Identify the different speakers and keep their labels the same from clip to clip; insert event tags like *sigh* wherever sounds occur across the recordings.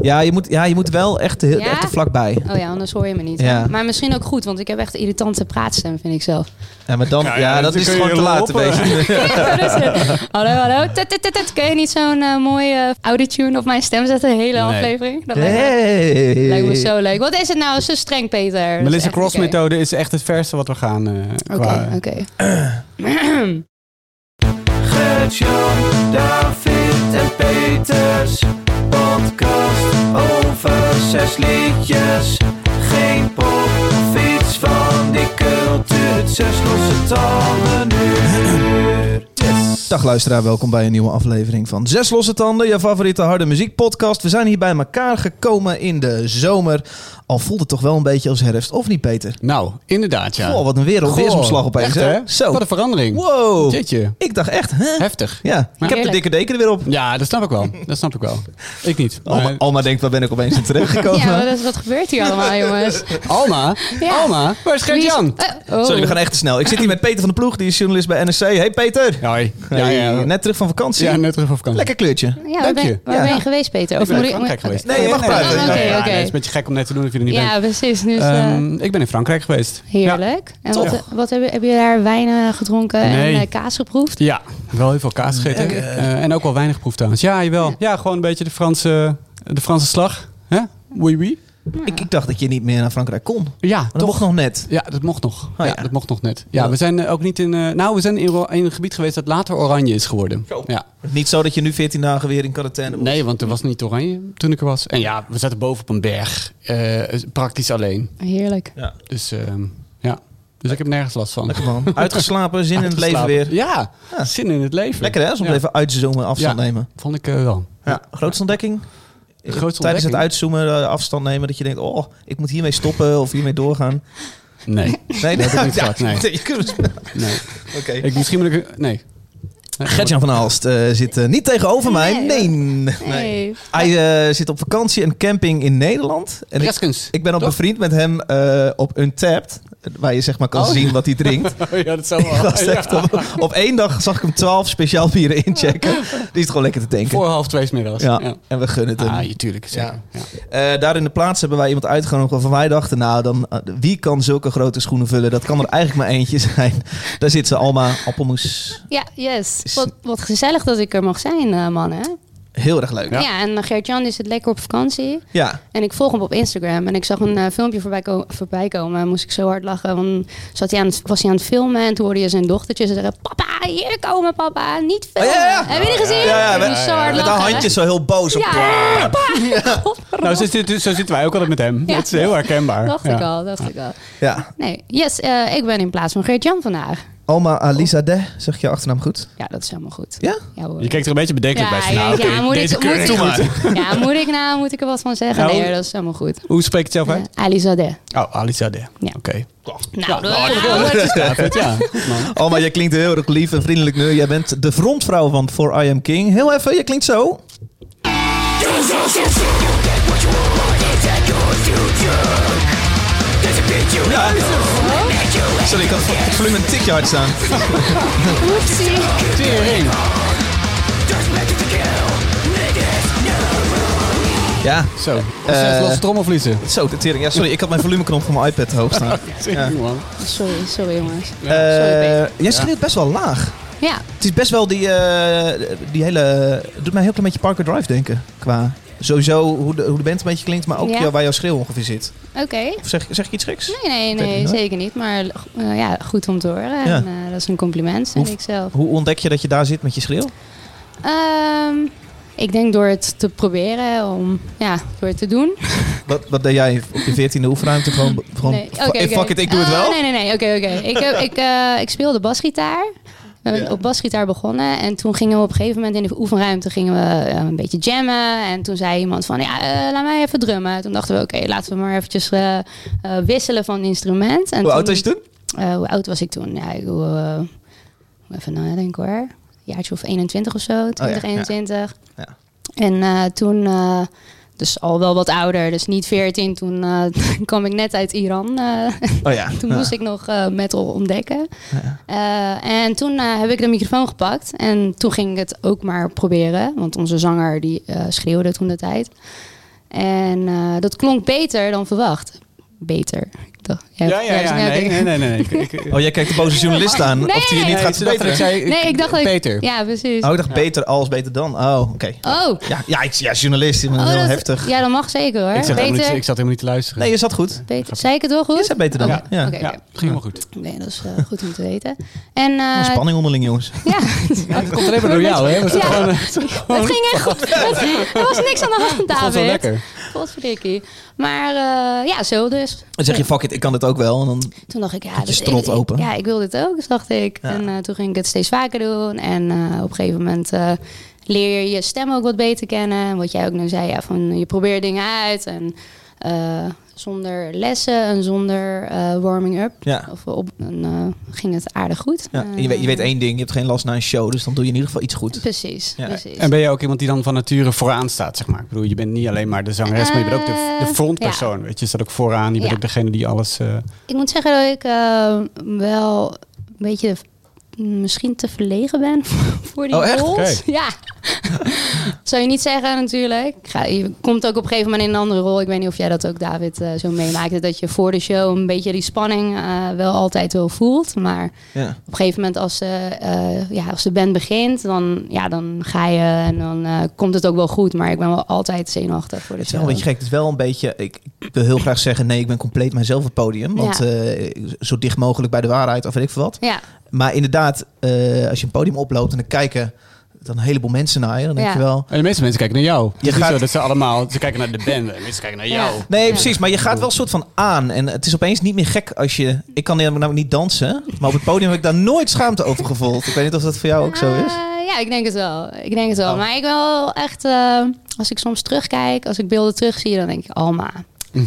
Speaker 1: Ja, je moet, ja, je moet wel echt, heel,
Speaker 2: Ja?
Speaker 1: echt er vlakbij.
Speaker 2: Oh ja, anders hoor je me niet.
Speaker 1: Ja.
Speaker 2: Maar misschien ook goed, want ik heb echt irritante praatstem, vind ik zelf.
Speaker 1: Ja, maar dan, ja,
Speaker 3: Ja, ja,
Speaker 1: dat
Speaker 3: dan
Speaker 1: is
Speaker 3: kun je
Speaker 1: gewoon te
Speaker 3: heel
Speaker 1: laat.
Speaker 3: hoppen.
Speaker 1: weet je.
Speaker 2: hallo, hallo. Tut, tut, tut, tut. Kun je niet zo'n eh, mooie uh, autotune op mijn stem zetten? De hele aflevering? Dat lijkt, me,
Speaker 1: Hey.
Speaker 2: *laughs* lijkt me zo leuk. Wat is het nou zo streng, Peter? Dat is
Speaker 3: Melissa
Speaker 2: echt
Speaker 3: Cross
Speaker 2: niet oké.
Speaker 3: methode is echt het verste wat we gaan. eh,
Speaker 2: Oké,
Speaker 3: qua-
Speaker 2: oké.
Speaker 4: Gert-Jan, David en Peters. Podcast over zes liedjes. Geen pop of iets van die cultuur. Zes losse tanden nu.
Speaker 1: Dag luisteraar, welkom bij een nieuwe aflevering van Zes Losse Tanden, je favoriete harde muziekpodcast. We zijn hier bij elkaar gekomen in de zomer. Al voelt het toch wel een beetje als herfst, of niet Peter?
Speaker 3: Nou, inderdaad, ja.
Speaker 1: Goh, wat een wereld,
Speaker 3: Goh,
Speaker 1: weersomslag opeens.
Speaker 3: echt,
Speaker 1: hè?
Speaker 3: hè?
Speaker 1: Zo.
Speaker 3: Wat een verandering.
Speaker 1: Wow.
Speaker 3: Jeetje,
Speaker 1: Ik dacht echt, hè?
Speaker 3: heftig.
Speaker 1: Ja, ik heb de
Speaker 2: Heerlijk.
Speaker 1: dikke deken er weer op.
Speaker 3: Ja, dat snap ik wel. Dat snap ik wel. Ik niet. maar-
Speaker 1: Alma, Alma denkt, waar ben ik opeens in
Speaker 3: Oh.
Speaker 1: terechtgekomen?
Speaker 2: Ja, wat, is- wat gebeurt hier allemaal, jongens?
Speaker 3: Alma?
Speaker 2: Ja.
Speaker 3: Alma? Waar is *laughs* Gert-Jan?
Speaker 2: Wie is- eh, oh.
Speaker 1: Sorry, we gaan echt te snel. Ik zit hier met Peter van de Ploeg, die is journalist bij NRC. Hey Peter!
Speaker 3: Hoi. Ja,
Speaker 1: Hey,
Speaker 3: ja.
Speaker 1: Net terug van vakantie.
Speaker 3: Ja, net terug op vakantie.
Speaker 1: Lekker kleurtje.
Speaker 2: Ja, waar
Speaker 3: Dank
Speaker 2: ben,
Speaker 3: je.
Speaker 2: waar
Speaker 1: Ja.
Speaker 2: ben je geweest, Peter? Of
Speaker 3: Ik ben
Speaker 2: moet
Speaker 3: in
Speaker 2: ik-
Speaker 3: Frankrijk
Speaker 2: moet-
Speaker 3: geweest.
Speaker 1: Nee, je mag praten.
Speaker 2: Oh, oké,
Speaker 3: Ja,
Speaker 2: oké.
Speaker 3: Het is een beetje gek om net te doen dat je er niet
Speaker 2: Ja,
Speaker 3: bent.
Speaker 2: precies. Dus, eh,
Speaker 3: Ehm, ik ben in Frankrijk geweest.
Speaker 2: heerlijk. En wat,
Speaker 3: toch.
Speaker 2: wat hebben heb je daar wijn eh, gedronken
Speaker 3: Nee.
Speaker 2: en eh, kaas geproefd?
Speaker 3: Ja, wel heel veel kaas gegeten. Eh, en ook wel weinig proef trouwens. Ja, jawel. Ja, gewoon een beetje de Franse, de Franse slag. hè? Oui, oui.
Speaker 1: Ik, ik dacht dat je niet meer naar Frankrijk kon. Maar
Speaker 3: Ja,
Speaker 1: dat
Speaker 3: toch.
Speaker 1: mocht nog net.
Speaker 3: Ja, dat mocht nog.
Speaker 1: Oh, ja.
Speaker 3: ja. dat mocht nog net. Ja,
Speaker 1: Ja.
Speaker 3: we zijn eh, ook niet in... eh, nou, we zijn in, ro- in een gebied geweest dat later oranje is geworden. Ja.
Speaker 1: Niet zo dat je nu 14 dagen weer in quarantaine moet.
Speaker 3: Nee, want er was niet oranje toen ik er was. En ja, we zaten boven op een berg. eh, praktisch alleen.
Speaker 2: Heerlijk.
Speaker 3: Dus ehm, ja. Dus ik heb nergens last van.
Speaker 1: Lekker man. Uitgeslapen, zin in het leven
Speaker 3: Uitgeslapen.
Speaker 1: weer.
Speaker 3: Ja,
Speaker 1: Ja.
Speaker 3: zin in het leven.
Speaker 1: Lekker hè, soms
Speaker 3: Ja.
Speaker 1: even uitzoomen, afstand
Speaker 3: Ja.
Speaker 1: nemen.
Speaker 3: Vond ik eh, wel.
Speaker 1: Ja. Grootste ontdekking?
Speaker 3: Grootste
Speaker 1: Tijdens het
Speaker 3: ontdekking?
Speaker 1: uitzoomen, eh, afstand nemen, dat je denkt, oh, ik moet hiermee stoppen of hiermee doorgaan. *laughs*
Speaker 3: Nee.
Speaker 1: Nee,
Speaker 3: Dat heb ik niet gehad, nee.
Speaker 1: je kunt- *laughs* Oké.
Speaker 3: nee. Ik, misschien moet ik... Nee. Nee,
Speaker 1: Gertjan van Aalst eh, zit eh, niet tegenover mij. Nee.
Speaker 2: Nee,
Speaker 1: Nee.
Speaker 2: Hey.
Speaker 1: Hij eh, zit op vakantie en camping in Nederland. En ik,
Speaker 3: Reskens.
Speaker 1: ik ben al
Speaker 3: Toch?
Speaker 1: bevriend met hem eh, op Untapped. Waar je zeg maar kan
Speaker 3: Oh.
Speaker 1: zien wat hij drinkt.
Speaker 3: Oh *laughs*
Speaker 1: *laughs*
Speaker 3: ja, dat zou wel.
Speaker 1: Gast
Speaker 3: Ja.
Speaker 1: heeft op, op één dag zag ik hem twaalf speciaal bieren inchecken. Die is het gewoon lekker te tanken.
Speaker 3: Voor half twee 's middags.
Speaker 1: Ja,
Speaker 3: Ja.
Speaker 1: en we gunnen het hem.
Speaker 3: Ah, ja, tuurlijk. zeker. Ja.
Speaker 1: Eh, daar in de plaats hebben wij iemand uitgenodigd waarvan wij dachten... nou, dan, eh, wie kan zulke grote schoenen vullen? Dat kan er eigenlijk maar eentje zijn. Daar zit ze, Alma Appelmoes.
Speaker 2: Ja, yes.
Speaker 1: Is-
Speaker 2: Wat, wat gezellig dat ik er mag zijn, eh, mannen.
Speaker 1: Heel erg leuk.
Speaker 2: Ja, en eh, Gert-Jan is het lekker op vakantie.
Speaker 1: Ja.
Speaker 2: En ik volg hem op Instagram. En ik zag een eh, filmpje voorbij, ko- voorbij komen. En moest ik zo hard lachen. Want zat hij aan het, was hij aan het filmen. En toen hoorde je zijn dochtertje zeggen... Papa, hier komen papa. Niet
Speaker 1: Oh,
Speaker 2: filmen.
Speaker 1: ja, ja.
Speaker 2: Heb je die gezien?
Speaker 1: Ja, ja,
Speaker 2: ik
Speaker 1: met-
Speaker 2: moest zo hard
Speaker 1: Met
Speaker 2: lachen.
Speaker 1: haar handjes zo heel boos op.
Speaker 2: Ja, papa. *laughs*
Speaker 3: Nou, zo, zit- zo zitten wij ook altijd met hem.
Speaker 2: Ja.
Speaker 3: Dat is heel herkenbaar.
Speaker 2: Dacht
Speaker 3: Ja.
Speaker 2: ik al, dacht ik al.
Speaker 1: Ja.
Speaker 2: Nee, yes, eh, ik ben in plaats van Gert-Jan vandaag.
Speaker 1: Alma Alizadeh, zeg je achternaam
Speaker 2: *laughs*
Speaker 1: goed?
Speaker 2: Ja, dat is helemaal goed.
Speaker 1: Ja?
Speaker 2: Ja, hoor.
Speaker 3: Je kijkt er een beetje bedenkelijk bij.
Speaker 2: ja,
Speaker 3: van,
Speaker 2: ja,
Speaker 3: nou, oké,
Speaker 2: ja, moet
Speaker 3: deze
Speaker 2: ik,
Speaker 3: keur
Speaker 2: moet,
Speaker 3: ik goed.
Speaker 2: ik, ja, moet ik nou, moet ik er wat van zeggen?
Speaker 3: Nou,
Speaker 2: nee, dat is helemaal goed.
Speaker 3: Hoe spreek je het zelf
Speaker 2: Ja,
Speaker 3: uit?
Speaker 2: Ali Zadeh.
Speaker 3: Oh, Alizade.
Speaker 2: Ja.
Speaker 3: Oké.
Speaker 2: Nou, dat-
Speaker 3: David, ja. Goed, *laughs* man.
Speaker 1: Alma, je klinkt heel erg lief en vriendelijk nu. Jij bent de frontvrouw van For I Am King. Heel even, je klinkt zo. Ja. Sorry, ik had het volume een tikje hard staan.
Speaker 2: Oepsie.
Speaker 3: Tering.
Speaker 1: Ja.
Speaker 3: Zo. Zes losse trommelvliezen.
Speaker 1: Zo, de tering. Ja, sorry, ik had mijn volumeknop van mijn iPad te hoog staan.
Speaker 3: Tering, man.
Speaker 2: Sorry, sorry jongens.
Speaker 1: Eh,
Speaker 2: Peter.
Speaker 1: jij schreeuwt best wel laag.
Speaker 2: Ja,
Speaker 1: Het is best wel die, eh, die hele... Het doet mij heel klein beetje Parker Drive denken. Qua sowieso hoe de, hoe de band een beetje klinkt, maar ook
Speaker 2: Ja.
Speaker 1: jou- waar jouw schreeuw ongeveer zit.
Speaker 2: oké.
Speaker 1: Of zeg, zeg ik iets geks?
Speaker 2: Nee, nee,
Speaker 1: Weet ik
Speaker 2: nee,
Speaker 1: niet, hoor.
Speaker 2: zeker niet. Maar eh, ja, goed om te horen. En, eh, dat is een compliment, vind
Speaker 1: Hoe-
Speaker 2: ik zelf.
Speaker 1: Hoe ontdek je dat je daar zit met je schreeuw?
Speaker 2: Ehm, ik denk door het te proberen, om, ja, door het te doen.
Speaker 1: Wat, wat deed jij op je veertiende oefenruimte? Gewoon, gewoon
Speaker 2: Nee,
Speaker 1: fa-
Speaker 2: oké,
Speaker 1: hey,
Speaker 2: oké.
Speaker 1: fuck it, ik doe het
Speaker 2: Oh,
Speaker 1: wel?
Speaker 2: Nee, nee, nee. Oké, oké. Ik, heb- ik, eh, ik speelde basgitaar. We hebben
Speaker 1: Ja.
Speaker 2: op basgitaar begonnen en toen gingen we op een gegeven moment in de oefenruimte gingen we eh, een beetje jammen. En toen zei iemand van, ja, eh, laat mij even drummen. Toen dachten we, oké, laten we maar eventjes eh, eh, wisselen van instrument. En
Speaker 1: Hoe oud
Speaker 2: toen-
Speaker 1: was je toen?
Speaker 2: eh, hoe oud was ik toen? Ja, ik, wil, eh, moet even nadenken hoor. Jaartje of 21 of zo, 20,
Speaker 1: ja.
Speaker 2: 21.
Speaker 1: Ja.
Speaker 2: En eh, toen, eh, dus al wel wat ouder, dus niet 14. Toen eh, *laughs* kwam ik net uit Iran. eh,
Speaker 1: Oh ja.
Speaker 2: toen
Speaker 1: Ja.
Speaker 2: moest ik nog eh, metal ontdekken. Eh, en toen eh, heb ik de microfoon gepakt. En toen ging ik het ook maar proberen. Want onze zanger die eh, schreeuwde toen de tijd. En eh, dat klonk beter dan verwacht. Beter. Ik dacht, jij-
Speaker 3: Ja, ja,
Speaker 2: jij was
Speaker 3: ja.
Speaker 2: net-
Speaker 3: Nee, nee, nee. nee. Ik- *laughs* ik-
Speaker 1: Oh, jij kijkt de boze journalist aan.
Speaker 2: Nee,
Speaker 1: of die je
Speaker 2: nee,
Speaker 1: niet
Speaker 3: Nee,
Speaker 1: gaat
Speaker 3: ze dacht dat
Speaker 1: verbeteren.
Speaker 3: ik zei...
Speaker 2: Nee, ik dacht dat ik-
Speaker 3: Peter.
Speaker 2: Ja, precies.
Speaker 1: Oh, ik dacht beter als, beter dan. Oh, oké.
Speaker 2: Oh,
Speaker 1: Ja, ja, ik, ja, journalist. Ik ben
Speaker 2: Oh,
Speaker 1: heel
Speaker 2: dat-
Speaker 1: heftig.
Speaker 2: Ja, dat mag zeker hoor.
Speaker 3: Ik, zat helemaal
Speaker 2: beter,
Speaker 3: niet, ik zat helemaal niet te luisteren.
Speaker 1: Nee, je zat goed.
Speaker 2: beter, zei ik het wel goed?
Speaker 1: Je zat beter dan.
Speaker 2: Oké, Eh,
Speaker 1: Ja. Ja.
Speaker 2: oké,
Speaker 3: ja,
Speaker 2: oké.
Speaker 3: ging helemaal goed.
Speaker 2: Nee, dat is eh, goed om te weten. En, eh,
Speaker 1: Spanning onderling, jongens.
Speaker 2: ja,
Speaker 3: Nou, *laughs* Het komt alleen maar door jou, hè?
Speaker 2: Ja. het ging echt
Speaker 3: *laughs*
Speaker 2: goed. Het- Er was niks aan de hand,
Speaker 3: eh, Dat was wel
Speaker 2: David.
Speaker 3: lekker.
Speaker 2: Godverdikkie. Maar eh, ja, zo dus.
Speaker 1: Dan zeg je, fuck it, ik kan dit ook wel. En dan,
Speaker 2: Toen dacht ik, ja,
Speaker 1: Had je
Speaker 2: dit- ik-
Speaker 1: strot
Speaker 2: ik-
Speaker 1: open.
Speaker 2: ja, ik wil dit ook, dus dacht ik.
Speaker 1: Ja.
Speaker 2: En eh, toen ging ik het steeds vaker doen. En eh, op een gegeven moment eh, leer je je stem ook wat beter kennen. En Wat jij ook nu zei, ja, van eh, je probeert dingen uit. En eh, zonder lessen en zonder eh, warming up.
Speaker 1: ja.
Speaker 2: Of op, en, eh, ging het aardig goed. Eh,
Speaker 1: Ja. Eh. En je, weet, je weet één ding, je hebt geen last na een show. Dus dan doe je in ieder geval iets goed.
Speaker 2: Precies,
Speaker 1: Ja.
Speaker 2: precies.
Speaker 3: En ben je ook iemand die dan van nature vooraan staat, zeg maar? Ik bedoel, je bent niet alleen maar de zangeres, maar je bent ook de, de
Speaker 2: Eh,
Speaker 3: frontpersoon. Weet je, je staat ook vooraan. Je bent
Speaker 2: Ja.
Speaker 3: ook degene die alles... eh,
Speaker 2: Ik moet zeggen dat ik eh, wel een beetje misschien te verlegen ben *laughs* voor die
Speaker 1: Oh, echt?
Speaker 2: roles.
Speaker 3: Kijk.
Speaker 2: Ja. *laughs* Dat zou je niet zeggen natuurlijk. Ik Ga, je komt ook op een gegeven moment in een andere rol. Ik weet niet of jij dat ook, David, eh, zo meemaakte. Dat je voor de show een beetje die spanning eh, wel altijd wel voelt. Maar
Speaker 1: Ja.
Speaker 2: op een gegeven moment als, eh, eh, ja, als de band begint, dan, ja, dan ga je en dan eh, komt het ook wel goed. Maar ik ben wel altijd zenuwachtig voor
Speaker 1: Het
Speaker 2: de
Speaker 1: is
Speaker 2: show.
Speaker 1: wel een beetje gek. Het is wel een beetje. Ik ik wil heel graag zeggen: nee, ik ben compleet mijzelf op het podium. Want
Speaker 2: Ja.
Speaker 1: eh, zo dicht mogelijk bij de waarheid, of weet ik veel wat.
Speaker 2: Ja,
Speaker 1: Maar inderdaad, eh, als je een podium oploopt en dan kijken dan een heleboel mensen naar je, dan denk
Speaker 2: Ja.
Speaker 1: je wel.
Speaker 3: En de meeste mensen kijken naar jou. Het
Speaker 1: Je
Speaker 3: is niet
Speaker 1: gaat-
Speaker 3: zo dat ze allemaal... Ze kijken naar de band. De mensen kijken naar
Speaker 2: Ja.
Speaker 3: jou.
Speaker 1: Nee,
Speaker 2: Ja.
Speaker 1: precies. Maar je gaat wel een soort van aan. En het is opeens niet meer gek als je. Ik kan namelijk niet dansen. Maar op het podium heb ik daar nooit schaamte over gevoeld. Ik weet niet of dat voor jou ook zo is.
Speaker 2: Eh, ja, ik denk het wel. Ik denk het wel.
Speaker 1: Oh.
Speaker 2: Maar ik wel echt, eh, als ik soms terugkijk, als ik beelden terugzie, dan denk ik, Alma,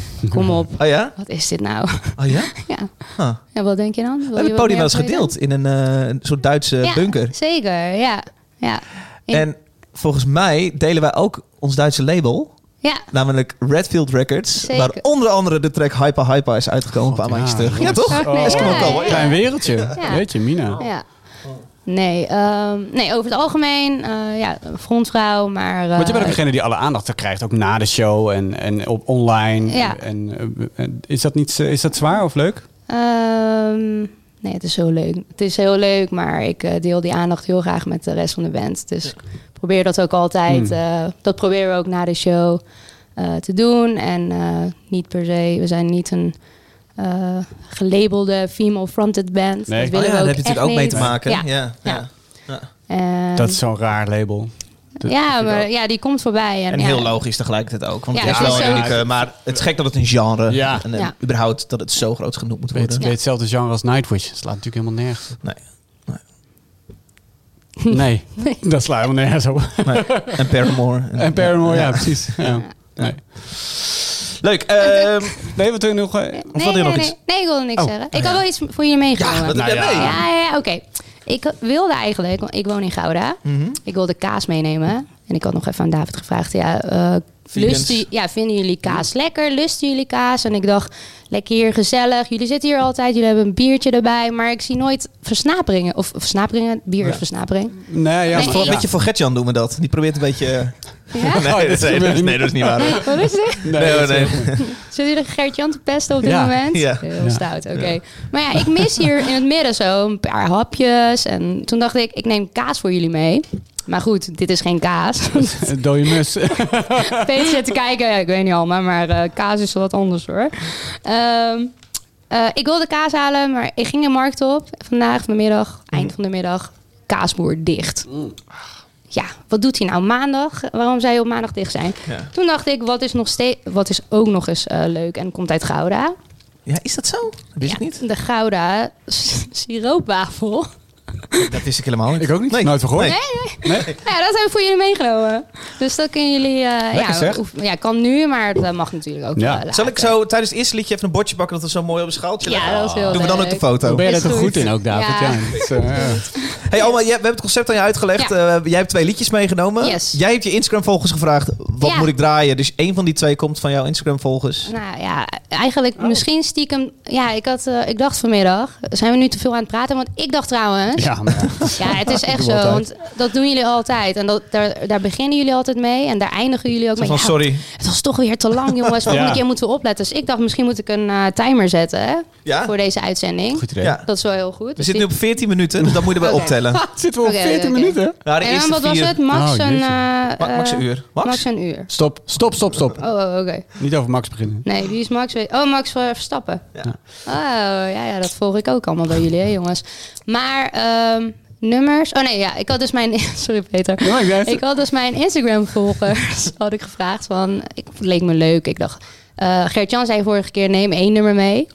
Speaker 1: *laughs*
Speaker 2: kom op.
Speaker 1: Oh ja?
Speaker 2: Wat is dit nou? *laughs*
Speaker 1: Oh ja?
Speaker 2: ja.
Speaker 1: Huh.
Speaker 2: ja, wat denk je dan?
Speaker 1: We hebben het podium wel eens gedeeld in een eh, een soort Duitse bunker.
Speaker 2: Zeker, ja. Ja, In-
Speaker 1: En volgens mij delen wij ook ons Duitse label.
Speaker 2: ja.
Speaker 1: Namelijk Redfield Records.
Speaker 2: Zeker.
Speaker 1: Waar onder andere de track Hyper Hyper is uitgekomen een paar
Speaker 3: God,
Speaker 1: maandjes
Speaker 3: ja,
Speaker 1: terug. Ja,
Speaker 3: jongens.
Speaker 1: toch?
Speaker 2: Oh.
Speaker 1: Eskimo
Speaker 2: Ja,
Speaker 1: Cowboy.
Speaker 2: ja,
Speaker 3: Klein wereldje.
Speaker 2: Ja.
Speaker 3: Weet je, Mina.
Speaker 2: ja. Nee, ehm, nee, over het algemeen, eh, ja, frontvrouw, maar... eh,
Speaker 3: Want je bent ook degene die alle aandacht krijgt, ook na de show en, en op online.
Speaker 2: Ja.
Speaker 3: En, eh, en is, dat niet, eh, is dat zwaar of leuk?
Speaker 2: Ehm, nee, het is heel leuk. Het is heel leuk, maar ik eh, deel die aandacht heel graag met de rest van de band. Dus ik probeer dat ook altijd.
Speaker 3: Hmm.
Speaker 2: eh, dat proberen we ook na de show eh, te doen. En eh, niet per se, we zijn niet een eh, gelabelde female-fronted band.
Speaker 3: Nee.
Speaker 2: dat
Speaker 1: Oh
Speaker 2: willen
Speaker 1: ja,
Speaker 2: we
Speaker 1: daar
Speaker 2: ook
Speaker 1: heb je natuurlijk
Speaker 2: echt
Speaker 1: ook mee
Speaker 2: niet.
Speaker 1: te maken. Ja.
Speaker 2: Ja.
Speaker 1: Ja.
Speaker 2: Ja. En-
Speaker 3: Dat is zo'n raar label. dat
Speaker 2: ja,
Speaker 3: vind ik
Speaker 2: maar,
Speaker 3: ook.
Speaker 2: ja, die komt voorbij. En, eh,
Speaker 1: En
Speaker 2: ja.
Speaker 1: heel logisch tegelijkertijd ook. Want
Speaker 2: Ja,
Speaker 1: het is
Speaker 2: het is
Speaker 1: wel een
Speaker 2: zo-
Speaker 1: unieke, maar het is gek dat het een genre
Speaker 3: Ja.
Speaker 1: en eh,
Speaker 2: Ja.
Speaker 1: überhaupt dat het zo groot genoemd moet
Speaker 3: Weet,
Speaker 1: worden.
Speaker 3: weet hetzelfde genre als Nightwish. Dat slaat natuurlijk helemaal nergens
Speaker 2: *laughs*
Speaker 3: op.
Speaker 1: Nee.
Speaker 3: Nee. dat slaat helemaal nergens *laughs* op.
Speaker 1: *laughs* En Paramore.
Speaker 3: En Paramore, ja, precies. Ja. Nee.
Speaker 1: Leuk. ehm,
Speaker 3: nee, wat doen we nog? eh,
Speaker 1: Of
Speaker 2: nee,
Speaker 1: wilde je
Speaker 2: nee,
Speaker 1: nog
Speaker 2: nee.
Speaker 1: iets?
Speaker 2: Nee, ik wilde niks
Speaker 3: Oh.
Speaker 2: zeggen. Ik had wel iets voor jullie meegenomen.
Speaker 1: ja, dat
Speaker 3: Nou
Speaker 1: heb jij
Speaker 3: ja.
Speaker 1: mee.
Speaker 2: Ja, ja, oké. Ik wilde eigenlijk, want ik woon in Gouda.
Speaker 1: *laughs* Mhm.
Speaker 2: Ik wilde kaas meenemen. En ik had nog even aan David gevraagd. Ja, eh,
Speaker 1: Vegans.
Speaker 2: lust u- ja, vinden jullie kaas lekker? Lusten jullie kaas? En ik dacht, lekker hier, gezellig. Jullie zitten hier altijd. Jullie hebben een biertje erbij. Maar ik zie nooit versnaperingen. Of versnaperingen. Bier is versnapering.
Speaker 3: Nee, ja,
Speaker 2: Nee,
Speaker 1: Dat is wel
Speaker 3: maar-
Speaker 1: een beetje voor Gertjan doen we dat. Die probeert een beetje... eh, *laughs* Nee,
Speaker 2: Ja?
Speaker 3: Oh, dat
Speaker 1: dat
Speaker 3: is-
Speaker 1: is- nee, dat is- nee, dat is niet waar. hoor.
Speaker 2: Wat is dit?
Speaker 3: Nee,
Speaker 1: Nee,
Speaker 3: dat
Speaker 1: hoor,
Speaker 3: is
Speaker 1: nee.
Speaker 3: heel *laughs* goed.
Speaker 2: Zitten jullie Gert-Jan te pesten op dit
Speaker 3: Ja,
Speaker 2: moment?
Speaker 1: ja.
Speaker 2: Heel
Speaker 3: Ja.
Speaker 2: stout, oké. Maar ja, ik mis hier in het midden zo een paar hapjes. En toen dacht ik, ik neem kaas voor jullie mee. Maar goed, dit is geen kaas.
Speaker 3: Een Dode mus.
Speaker 2: Peter zit te kijken. Ja, ik weet niet allemaal, maar eh, kaas is wel wat anders hoor. Ehm, eh, ik wilde kaas halen, maar ik ging de markt op. Vandaag, vanmiddag,
Speaker 1: Mm.
Speaker 2: eind van de middag. Kaasboer dicht.
Speaker 1: Ah.
Speaker 2: Ja, wat doet hij nou maandag? Waarom zou je op maandag dicht zijn?
Speaker 1: Ja.
Speaker 2: Toen dacht ik, wat is, nog steeds, wat is ook nog eens eh, leuk en komt uit Gouda?
Speaker 1: Ja, is dat zo? Dat wist ik
Speaker 2: Ja,
Speaker 1: niet.
Speaker 2: De Gouda s- siroopwafel.
Speaker 1: Dat wist ik helemaal niet.
Speaker 3: Ik ook niet.
Speaker 1: Nee.
Speaker 3: Nooit van gehoord.
Speaker 1: Nee.
Speaker 2: Ja, dat hebben we voor jullie meegenomen. Dus dat kunnen jullie... eh, ja,
Speaker 3: zeg.
Speaker 2: oef- ja, kan nu, maar dat mag natuurlijk ook
Speaker 3: Ja.
Speaker 2: ja.
Speaker 1: Zal ik zo tijdens het eerste liedje even een bordje bakken dat we zo mooi op een schaaltje leggen?
Speaker 2: Ja, dat is heel
Speaker 1: Doen we dan ook
Speaker 2: leuk.
Speaker 1: de foto.
Speaker 3: Hoe ben je
Speaker 2: Is
Speaker 3: daar toch
Speaker 2: goed.
Speaker 3: goed in ook, David? Ja.
Speaker 2: Ja.
Speaker 3: dat is, eh,
Speaker 1: Hey Alma, jij- we hebben het concept aan je uitgelegd. Eh, jij hebt twee liedjes meegenomen.
Speaker 2: Yes.
Speaker 1: Jij hebt je Instagram-volgers gevraagd, wat
Speaker 2: Ja.
Speaker 1: moet ik draaien? Dus één van die twee komt van jouw Instagram-volgers.
Speaker 2: Nou ja,
Speaker 1: Oh.
Speaker 2: eigenlijk misschien stiekem... Ja, ik, had, eh, ik dacht vanmiddag... Zijn we nu te veel aan het praten? Want ik dacht trouwens... jongens.
Speaker 3: Ja, maar ja.
Speaker 2: Ja, het
Speaker 1: *laughs*
Speaker 2: is echt
Speaker 1: Doen
Speaker 2: zo.
Speaker 1: we
Speaker 2: Want dat doen jullie altijd. En dat, daar, daar beginnen jullie altijd mee. En daar eindigen jullie ook mee.
Speaker 1: Van
Speaker 2: Ja,
Speaker 1: sorry.
Speaker 2: Het was toch weer te lang,
Speaker 1: *laughs*
Speaker 2: jongens. Volgende keer moeten we opletten. Dus ik dacht, misschien moet ik een eh, timer zetten hè,
Speaker 1: Ja?
Speaker 2: voor deze uitzending.
Speaker 3: *laughs* goed idee.
Speaker 1: ja.
Speaker 2: Dat is wel heel goed.
Speaker 1: We
Speaker 2: Dus
Speaker 1: zitten nu
Speaker 2: die-
Speaker 1: op 14 minuten, dus dat moeten we
Speaker 2: *laughs* Oké.
Speaker 1: optellen.
Speaker 3: Zitten we op
Speaker 2: Oké,
Speaker 3: 14
Speaker 2: oké, oké.
Speaker 3: minuten?
Speaker 1: Nou, de
Speaker 2: en
Speaker 1: eerste
Speaker 2: wat was
Speaker 1: vier-
Speaker 2: het? Max
Speaker 3: Oh,
Speaker 2: een...
Speaker 3: jeetje.
Speaker 2: eh,
Speaker 1: Ma- Max een uur. Max?
Speaker 2: Max een uur.
Speaker 3: Stop, stop, stop, stop.
Speaker 2: Oh, oh, oké.
Speaker 3: Niet over Max beginnen.
Speaker 2: Nee, wie is Max? Weet- Oh, Max eh, Verstappen.
Speaker 1: Ja.
Speaker 2: Oh, ja, ja, dat volg ik ook allemaal bij jullie, hè, jongens. Maar ehm, nummers... Oh nee, ja, ik had dus mijn... *laughs* Sorry, Peter.
Speaker 3: Ja, ik
Speaker 2: Ik had dus mijn Instagram-volgers *laughs* had ik gevraagd. Van, ik, het leek me leuk. Ik dacht, eh Gert-Jan zei vorige keer, neem één nummer mee.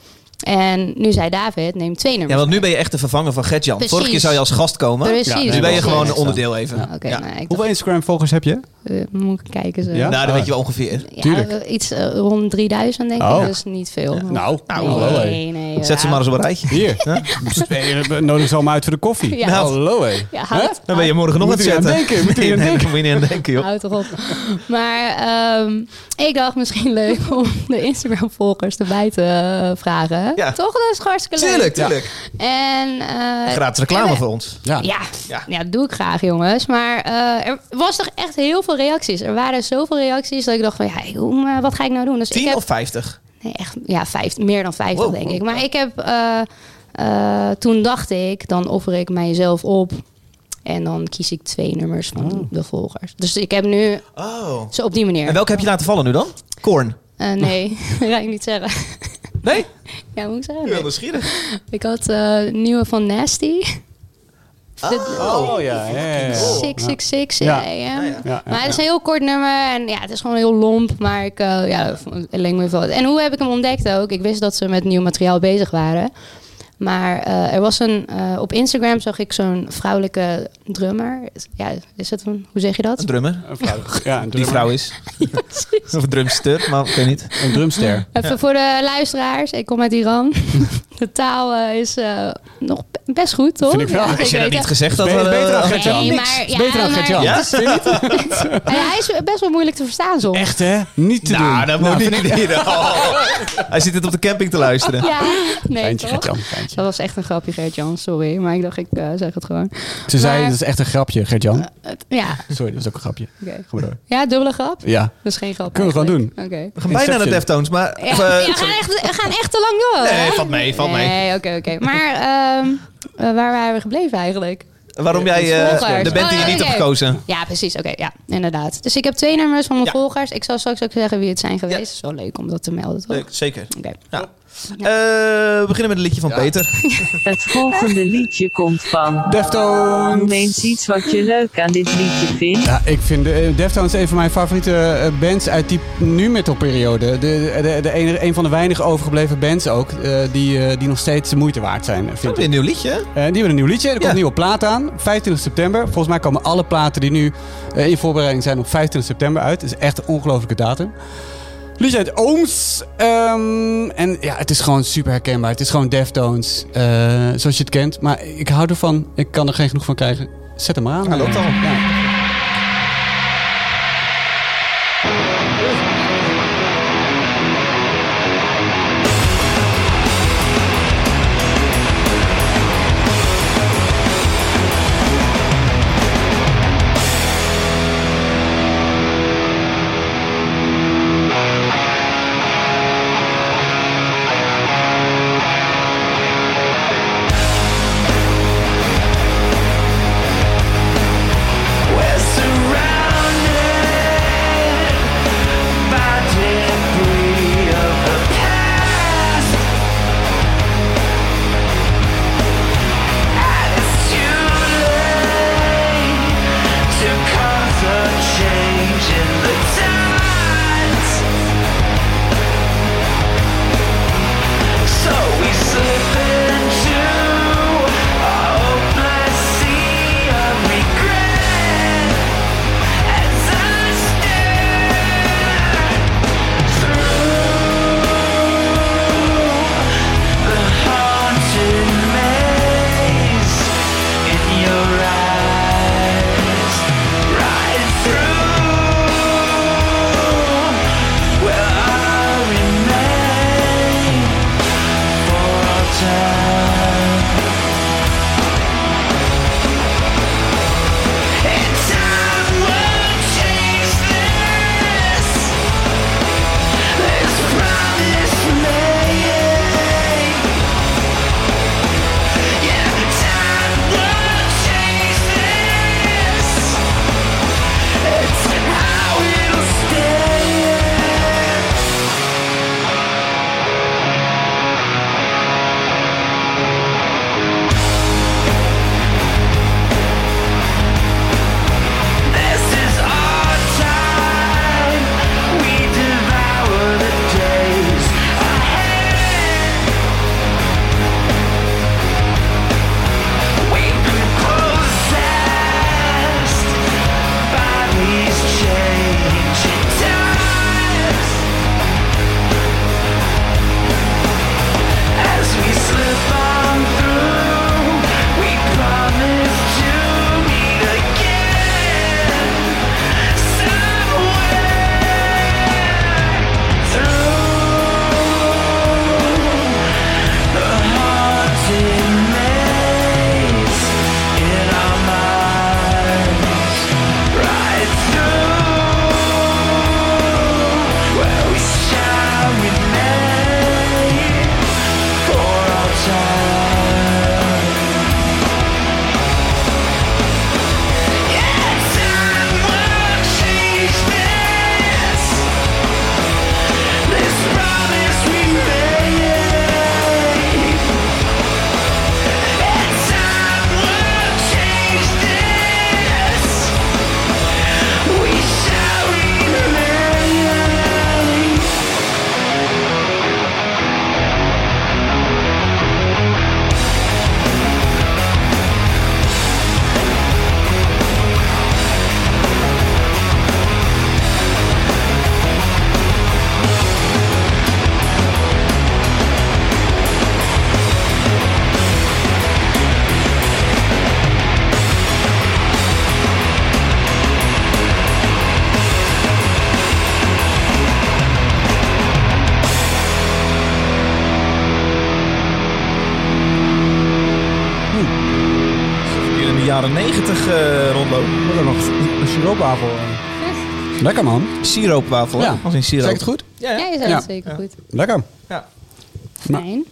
Speaker 2: En nu zei David, neem twee
Speaker 1: Ja,
Speaker 2: nummers
Speaker 1: want nu ben je echt de vervanger van Gertjan.
Speaker 2: Precies.
Speaker 1: Vorige keer zou je als gast komen.
Speaker 2: Precies,
Speaker 3: Ja,
Speaker 1: Nu dus ben je
Speaker 2: precies.
Speaker 1: gewoon een
Speaker 3: Precies.
Speaker 1: onderdeel even.
Speaker 2: dus Oké,
Speaker 1: Ja.
Speaker 2: nou, ik
Speaker 3: Hoeveel Instagram-volgers heb je?
Speaker 2: dacht, eh, moet ik kijken zo.
Speaker 3: Ja? Ah.
Speaker 1: Nou, dat weet je wel ongeveer.
Speaker 2: Ja,
Speaker 3: Tuurlijk.
Speaker 2: iets eh, rond 3000 denk
Speaker 3: Oh.
Speaker 2: ik, dus niet veel.
Speaker 3: Nou,
Speaker 2: nee,
Speaker 3: hallo, hé.
Speaker 2: nee, nee,
Speaker 1: Zet ze
Speaker 2: ja.
Speaker 1: maar eens op een rijtje.
Speaker 3: Hier. Pst, eh, we Nodig ze allemaal uit voor de koffie.
Speaker 2: *laughs* Ja.
Speaker 3: Hallo, hé.
Speaker 2: Ja,
Speaker 3: Hè?
Speaker 2: houd,
Speaker 1: Dan ben je morgen nog aan
Speaker 3: Moet
Speaker 1: het
Speaker 3: u aan
Speaker 1: zetten.
Speaker 3: denken, moet u
Speaker 1: Nee,
Speaker 3: aan
Speaker 1: nee,
Speaker 3: denken.
Speaker 1: daar moet je niet aan denken, joh.
Speaker 2: houd toch op. *laughs* Maar ehm, ik dacht misschien leuk om de Instagram-volgers erbij te eh, vragen.
Speaker 1: Ja.
Speaker 2: Toch? Dat is gewoon hartstikke leuk.
Speaker 1: Tuurlijk, tuurlijk.
Speaker 2: En, eh,
Speaker 1: Gratis reclame voor ons.
Speaker 3: Ja.
Speaker 2: Ja,
Speaker 1: Ja.
Speaker 2: ja. dat doe ik graag, jongens. Maar eh, er was toch echt heel veel reacties. Er waren zoveel reacties dat ik dacht van, ja, hoe, eh, wat ga ik nou doen? Dus ik
Speaker 1: 10
Speaker 2: heb,
Speaker 1: of 50?
Speaker 2: nee, echt, ja, vijf, meer dan 50
Speaker 1: Wow,
Speaker 2: denk
Speaker 1: wow.
Speaker 2: ik. Maar ik heb, eh, eh, toen dacht ik, dan offer ik mijzelf op. En dan kies ik twee nummers van de volgers. Dus ik heb nu,
Speaker 1: Oh.
Speaker 2: zo op die manier.
Speaker 1: En welke heb je laten vallen nu dan? Korn.
Speaker 2: Eh, nee, *laughs* dat ga ik niet zeggen. *laughs*
Speaker 1: Nee?
Speaker 2: ja, moet ik zeggen?
Speaker 1: Ik
Speaker 2: Nee.
Speaker 1: ben nieuwsgierig.
Speaker 2: Ik had eh, nieuwe van Nasty.
Speaker 3: Oh, ja. ja, Oh. ja, ja.
Speaker 2: 666
Speaker 3: Ja.
Speaker 2: AM.
Speaker 3: Ja,
Speaker 2: eh, Maar het is een heel kort nummer en ja, het is gewoon heel lomp. Maar ik, eh ja, vond- het leek me wel. wat. En hoe heb ik hem ontdekt ook? Ik wist dat ze met nieuw materiaal bezig waren. Maar eh, er was een, eh, op Instagram zag ik zo'n vrouwelijke drummer. Ja, is dat een, hoe zeg je dat?
Speaker 1: Een drummer.
Speaker 3: Een vrouw. Ja, een
Speaker 1: Die
Speaker 3: drummer.
Speaker 1: vrouw
Speaker 2: *laughs*
Speaker 1: is. Of een drumster, maar ik weet niet.
Speaker 3: Een drumster.
Speaker 2: Even voor de luisteraars, ik kom uit Iran. *laughs* de taal eh, is eh, nog be- best goed, toch?
Speaker 3: Vind ik wel.
Speaker 2: Ja,
Speaker 1: Als je
Speaker 2: weet
Speaker 1: dat niet
Speaker 2: het.
Speaker 1: gezegd had...
Speaker 3: Is beter-
Speaker 1: eh,
Speaker 3: beter dan Gert-Jan.
Speaker 2: Nee,
Speaker 3: Niks.
Speaker 2: maar-
Speaker 3: Is beter dan
Speaker 2: ja,
Speaker 3: Gert-Jan.
Speaker 1: Ja?
Speaker 2: En hij is best wel moeilijk te verstaan soms.
Speaker 3: Echt, hè? Niet te
Speaker 1: Nou,
Speaker 3: doen.
Speaker 1: dat moet ik
Speaker 3: *laughs*
Speaker 1: niet doen. Oh. Hij zit het op de camping te luisteren.
Speaker 2: Ja, nee
Speaker 3: Fijntje,
Speaker 2: toch?
Speaker 3: Gert-Jan. fijntje.
Speaker 2: Dat was echt een grapje, Gert-Jan. Sorry, maar ik dacht, ik eh, zeg het gewoon.
Speaker 3: Ze zei,
Speaker 2: Maar-
Speaker 3: dat is echt een grapje, Gert-Jan.
Speaker 2: Het- ja,
Speaker 3: Sorry, dat is ook een grapje.
Speaker 2: oké.
Speaker 3: Ga maar door.
Speaker 2: Ja, dubbele grap?
Speaker 3: Ja.
Speaker 2: Dat is geen grap.
Speaker 3: Kunnen we gewoon
Speaker 2: eigenlijk. Oké.
Speaker 1: We gaan bijna naar
Speaker 3: Inception.
Speaker 1: Deftones, maar...
Speaker 2: Ja,
Speaker 1: of, eh,
Speaker 2: ja, we, gaan echt, we gaan echt te lang door.
Speaker 1: Nee,
Speaker 2: hè?
Speaker 1: valt mee, valt mee.
Speaker 2: Nee, oké, oké. Maar ehm, eh, waar waren we gebleven eigenlijk?
Speaker 1: Waarom jij eh,
Speaker 2: Volgers.
Speaker 1: de band die je
Speaker 2: Oh,
Speaker 1: niet
Speaker 2: oké.
Speaker 1: hebt gekozen?
Speaker 2: Ja, precies. Oké, ja, inderdaad. Dus ik heb twee nummers van mijn
Speaker 1: Ja.
Speaker 2: volgers. Ik zal straks ook zeggen wie het zijn geweest. Is wel leuk om dat te melden, toch?
Speaker 1: Leuk, Eh, zeker.
Speaker 2: Oké.
Speaker 1: Ja. Eh, we beginnen met een liedje van Peter.
Speaker 5: Het volgende liedje komt van. Noem
Speaker 3: Deftones.
Speaker 5: eens iets wat je leuk aan dit liedje vindt.
Speaker 3: Ja, ik vind eh, Deftones een van mijn favoriete eh, bands uit die nu metal periode. De, de, de enige, een van de weinig overgebleven bands ook, eh, die, eh, die nog steeds de moeite waard zijn, eh, vind
Speaker 1: Weer
Speaker 3: ik.
Speaker 1: een nieuw liedje. hè?
Speaker 3: Eh, die hebben een nieuw liedje, er komt
Speaker 1: Ja.
Speaker 3: een nieuwe plaat aan, 25 september. Volgens mij komen alle platen die nu eh, in voorbereiding zijn op 25 september uit. Het is echt een ongelofelijke datum. Liedje uit Ooms. Ehm, en ja, het is gewoon super herkenbaar. Het is gewoon Deftones, eh, zoals je het kent. Maar ik hou ervan, ik kan er geen genoeg van krijgen. Zet hem maar aan.
Speaker 1: Hij loopt al.
Speaker 3: Ja.
Speaker 4: When
Speaker 1: jaren 90 eh rondlopen.
Speaker 3: Wat dan nog? Een siroopwafel. Lekker man.
Speaker 1: Siroopwafel, hè?
Speaker 3: Ja.
Speaker 1: Als in siroop.
Speaker 3: Zeg ik het goed?
Speaker 1: Ja,
Speaker 2: Ja,
Speaker 1: ja.
Speaker 2: je zei
Speaker 3: Ja.
Speaker 2: het zeker goed.
Speaker 3: Lekker.
Speaker 1: ja.
Speaker 2: Fijn.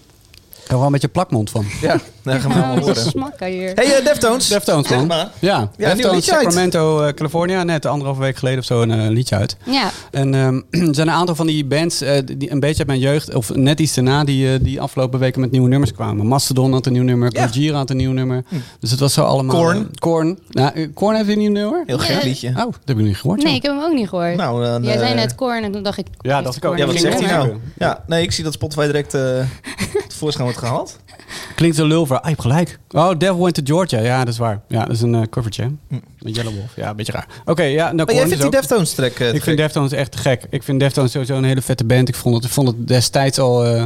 Speaker 3: Ik heb wel een beetje plakmond van.
Speaker 1: ja. daar gaan we
Speaker 2: Nou,
Speaker 1: allemaal
Speaker 2: we
Speaker 3: *laughs*
Speaker 1: horen.
Speaker 2: smakken hier.
Speaker 1: Hey, eh, *laughs* Deftones.
Speaker 3: Deftones
Speaker 1: Zeg
Speaker 3: man.
Speaker 1: maar.
Speaker 3: Ja,
Speaker 1: nieuw
Speaker 3: Deftones,
Speaker 1: liedje uit.
Speaker 3: Sacramento, eh, California. Net anderhalve week geleden of zo een eh, liedje uit.
Speaker 2: Ja,
Speaker 3: En ehm, *clears throat* er zijn een aantal van die bands eh, die een beetje uit mijn jeugd, of net iets daarna, die, eh, die afgelopen weken met nieuwe nummers kwamen. Mastodon had een nieuw nummer,
Speaker 1: Ja. Hm.
Speaker 3: Gojira had een nieuw nummer. Dus het was zo allemaal...
Speaker 1: Korn.
Speaker 3: eh, Korn. Nou, eh, Korn heeft een nieuw nummer?
Speaker 1: Heel gek
Speaker 2: Ja.
Speaker 1: liedje.
Speaker 3: Oh, dat heb ik niet gehoord.
Speaker 2: nee,
Speaker 3: joh.
Speaker 2: ik heb hem ook niet gehoord.
Speaker 1: Nou, dan,
Speaker 2: Jij
Speaker 1: eh,
Speaker 2: zei net Korn en toen dacht ik... heeft
Speaker 3: dacht ik
Speaker 2: Korn
Speaker 3: ook.
Speaker 1: Ja, wat
Speaker 2: een
Speaker 1: zegt hij
Speaker 2: nummer?
Speaker 1: nou? Ja, nee, ik zie dat Spotify direct eh
Speaker 3: *laughs*
Speaker 1: tevoorschijn wordt gehaald. Oh,
Speaker 3: Klinkt zo lulver. Ah, je hebt gelijk. Oh, Devil Went to Georgia. Ja, dat is waar. Ja, dat is een eh, covertje. hè? Met Yellow Wolf. Ja, een beetje raar. Oké, ja, nou
Speaker 1: Maar
Speaker 3: Korn
Speaker 1: Hm. Oh, jij
Speaker 3: is
Speaker 1: vindt die
Speaker 3: ook-
Speaker 1: Deftones track eh, te
Speaker 3: Ik vind
Speaker 1: gek.
Speaker 3: Deftones echt te gek. Ik vind Deftones sowieso een hele vette band. Ik vond het, ik vond het destijds al eh,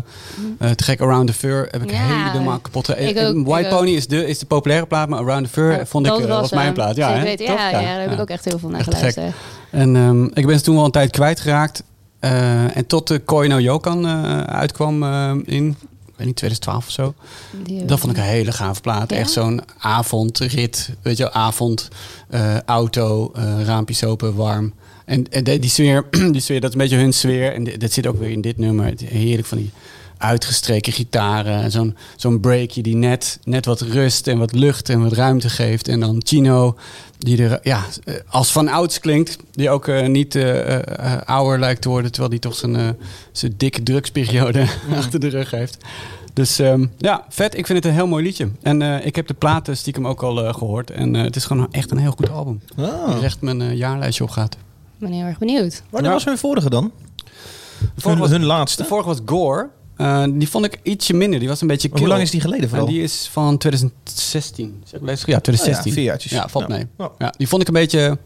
Speaker 3: eh, te gek. Around the Fur heb ik
Speaker 2: Mhm. Ja.
Speaker 3: helemaal kapot. ge- eh,
Speaker 2: Ik ook,
Speaker 3: White
Speaker 2: ik ook.
Speaker 3: Pony is de, is de populaire plaat, maar Around the Fur
Speaker 2: Ja,
Speaker 3: vond ik,
Speaker 2: dat
Speaker 3: eh, was, mijn
Speaker 2: hem.
Speaker 3: plaat. Ja,
Speaker 2: Zeker
Speaker 3: hè?
Speaker 2: weten.
Speaker 3: Toch?
Speaker 2: Ja, ja, daar heb ik
Speaker 3: Ja.
Speaker 2: ook echt heel veel naar
Speaker 3: Echt te gek.
Speaker 2: geluisterd.
Speaker 3: En ehm, ik ben ze toen wel een tijd kwijtgeraakt. Eh, en tot de Koi no Yokan eh, uitkwam eh, in... Ik weet niet, 2012 of zo.
Speaker 2: Die-
Speaker 3: Dat vond ik een hele gaaf plaat.
Speaker 2: Ja?
Speaker 3: Echt zo'n avondrit. Weet je, wel, avond, eh, auto, eh, raampjes open, warm. En, en de- die, sfeer, *clears throat* die sfeer, dat is een beetje hun sfeer. En di- dat zit ook weer in dit nummer. Het- Heerlijk van die uitgestreken gitaren. En zo'n zo'n breakje die net, net wat rust en wat lucht en wat ruimte geeft. En dan Chino, die er ja, eh, als van ouds klinkt. Die ook eh, niet eh, eh, ouder lijkt te worden. Terwijl die toch zijn, eh, zijn dikke drugsperiode *laughs* achter de rug heeft. Dus ehm, ja, vet. Ik vind het een heel mooi liedje. En eh, ik heb de platen stiekem ook al eh, gehoord. En eh, het is gewoon echt een heel goed album.
Speaker 1: Ah.
Speaker 3: Die echt mijn eh, jaarlijstje op gaat.
Speaker 2: Ik ben eh, heel erg benieuwd.
Speaker 1: Wanneer was hun vorige dan?
Speaker 3: De vorige
Speaker 1: Hun,
Speaker 3: was,
Speaker 1: hun
Speaker 3: de
Speaker 1: laatste?
Speaker 3: vorige was Gore. Eh, die vond ik ietsje minder. Die was een beetje kil.
Speaker 1: Hoe lang is die geleden vooral?
Speaker 3: En die is van 2016. Zeg ik lezen? Ja, 2016.
Speaker 1: Oh ja, vier jaartjes.
Speaker 3: Ja, valt
Speaker 1: Ja. Oh.
Speaker 3: mee.
Speaker 1: Ja.
Speaker 3: Ja, die vond ik een beetje,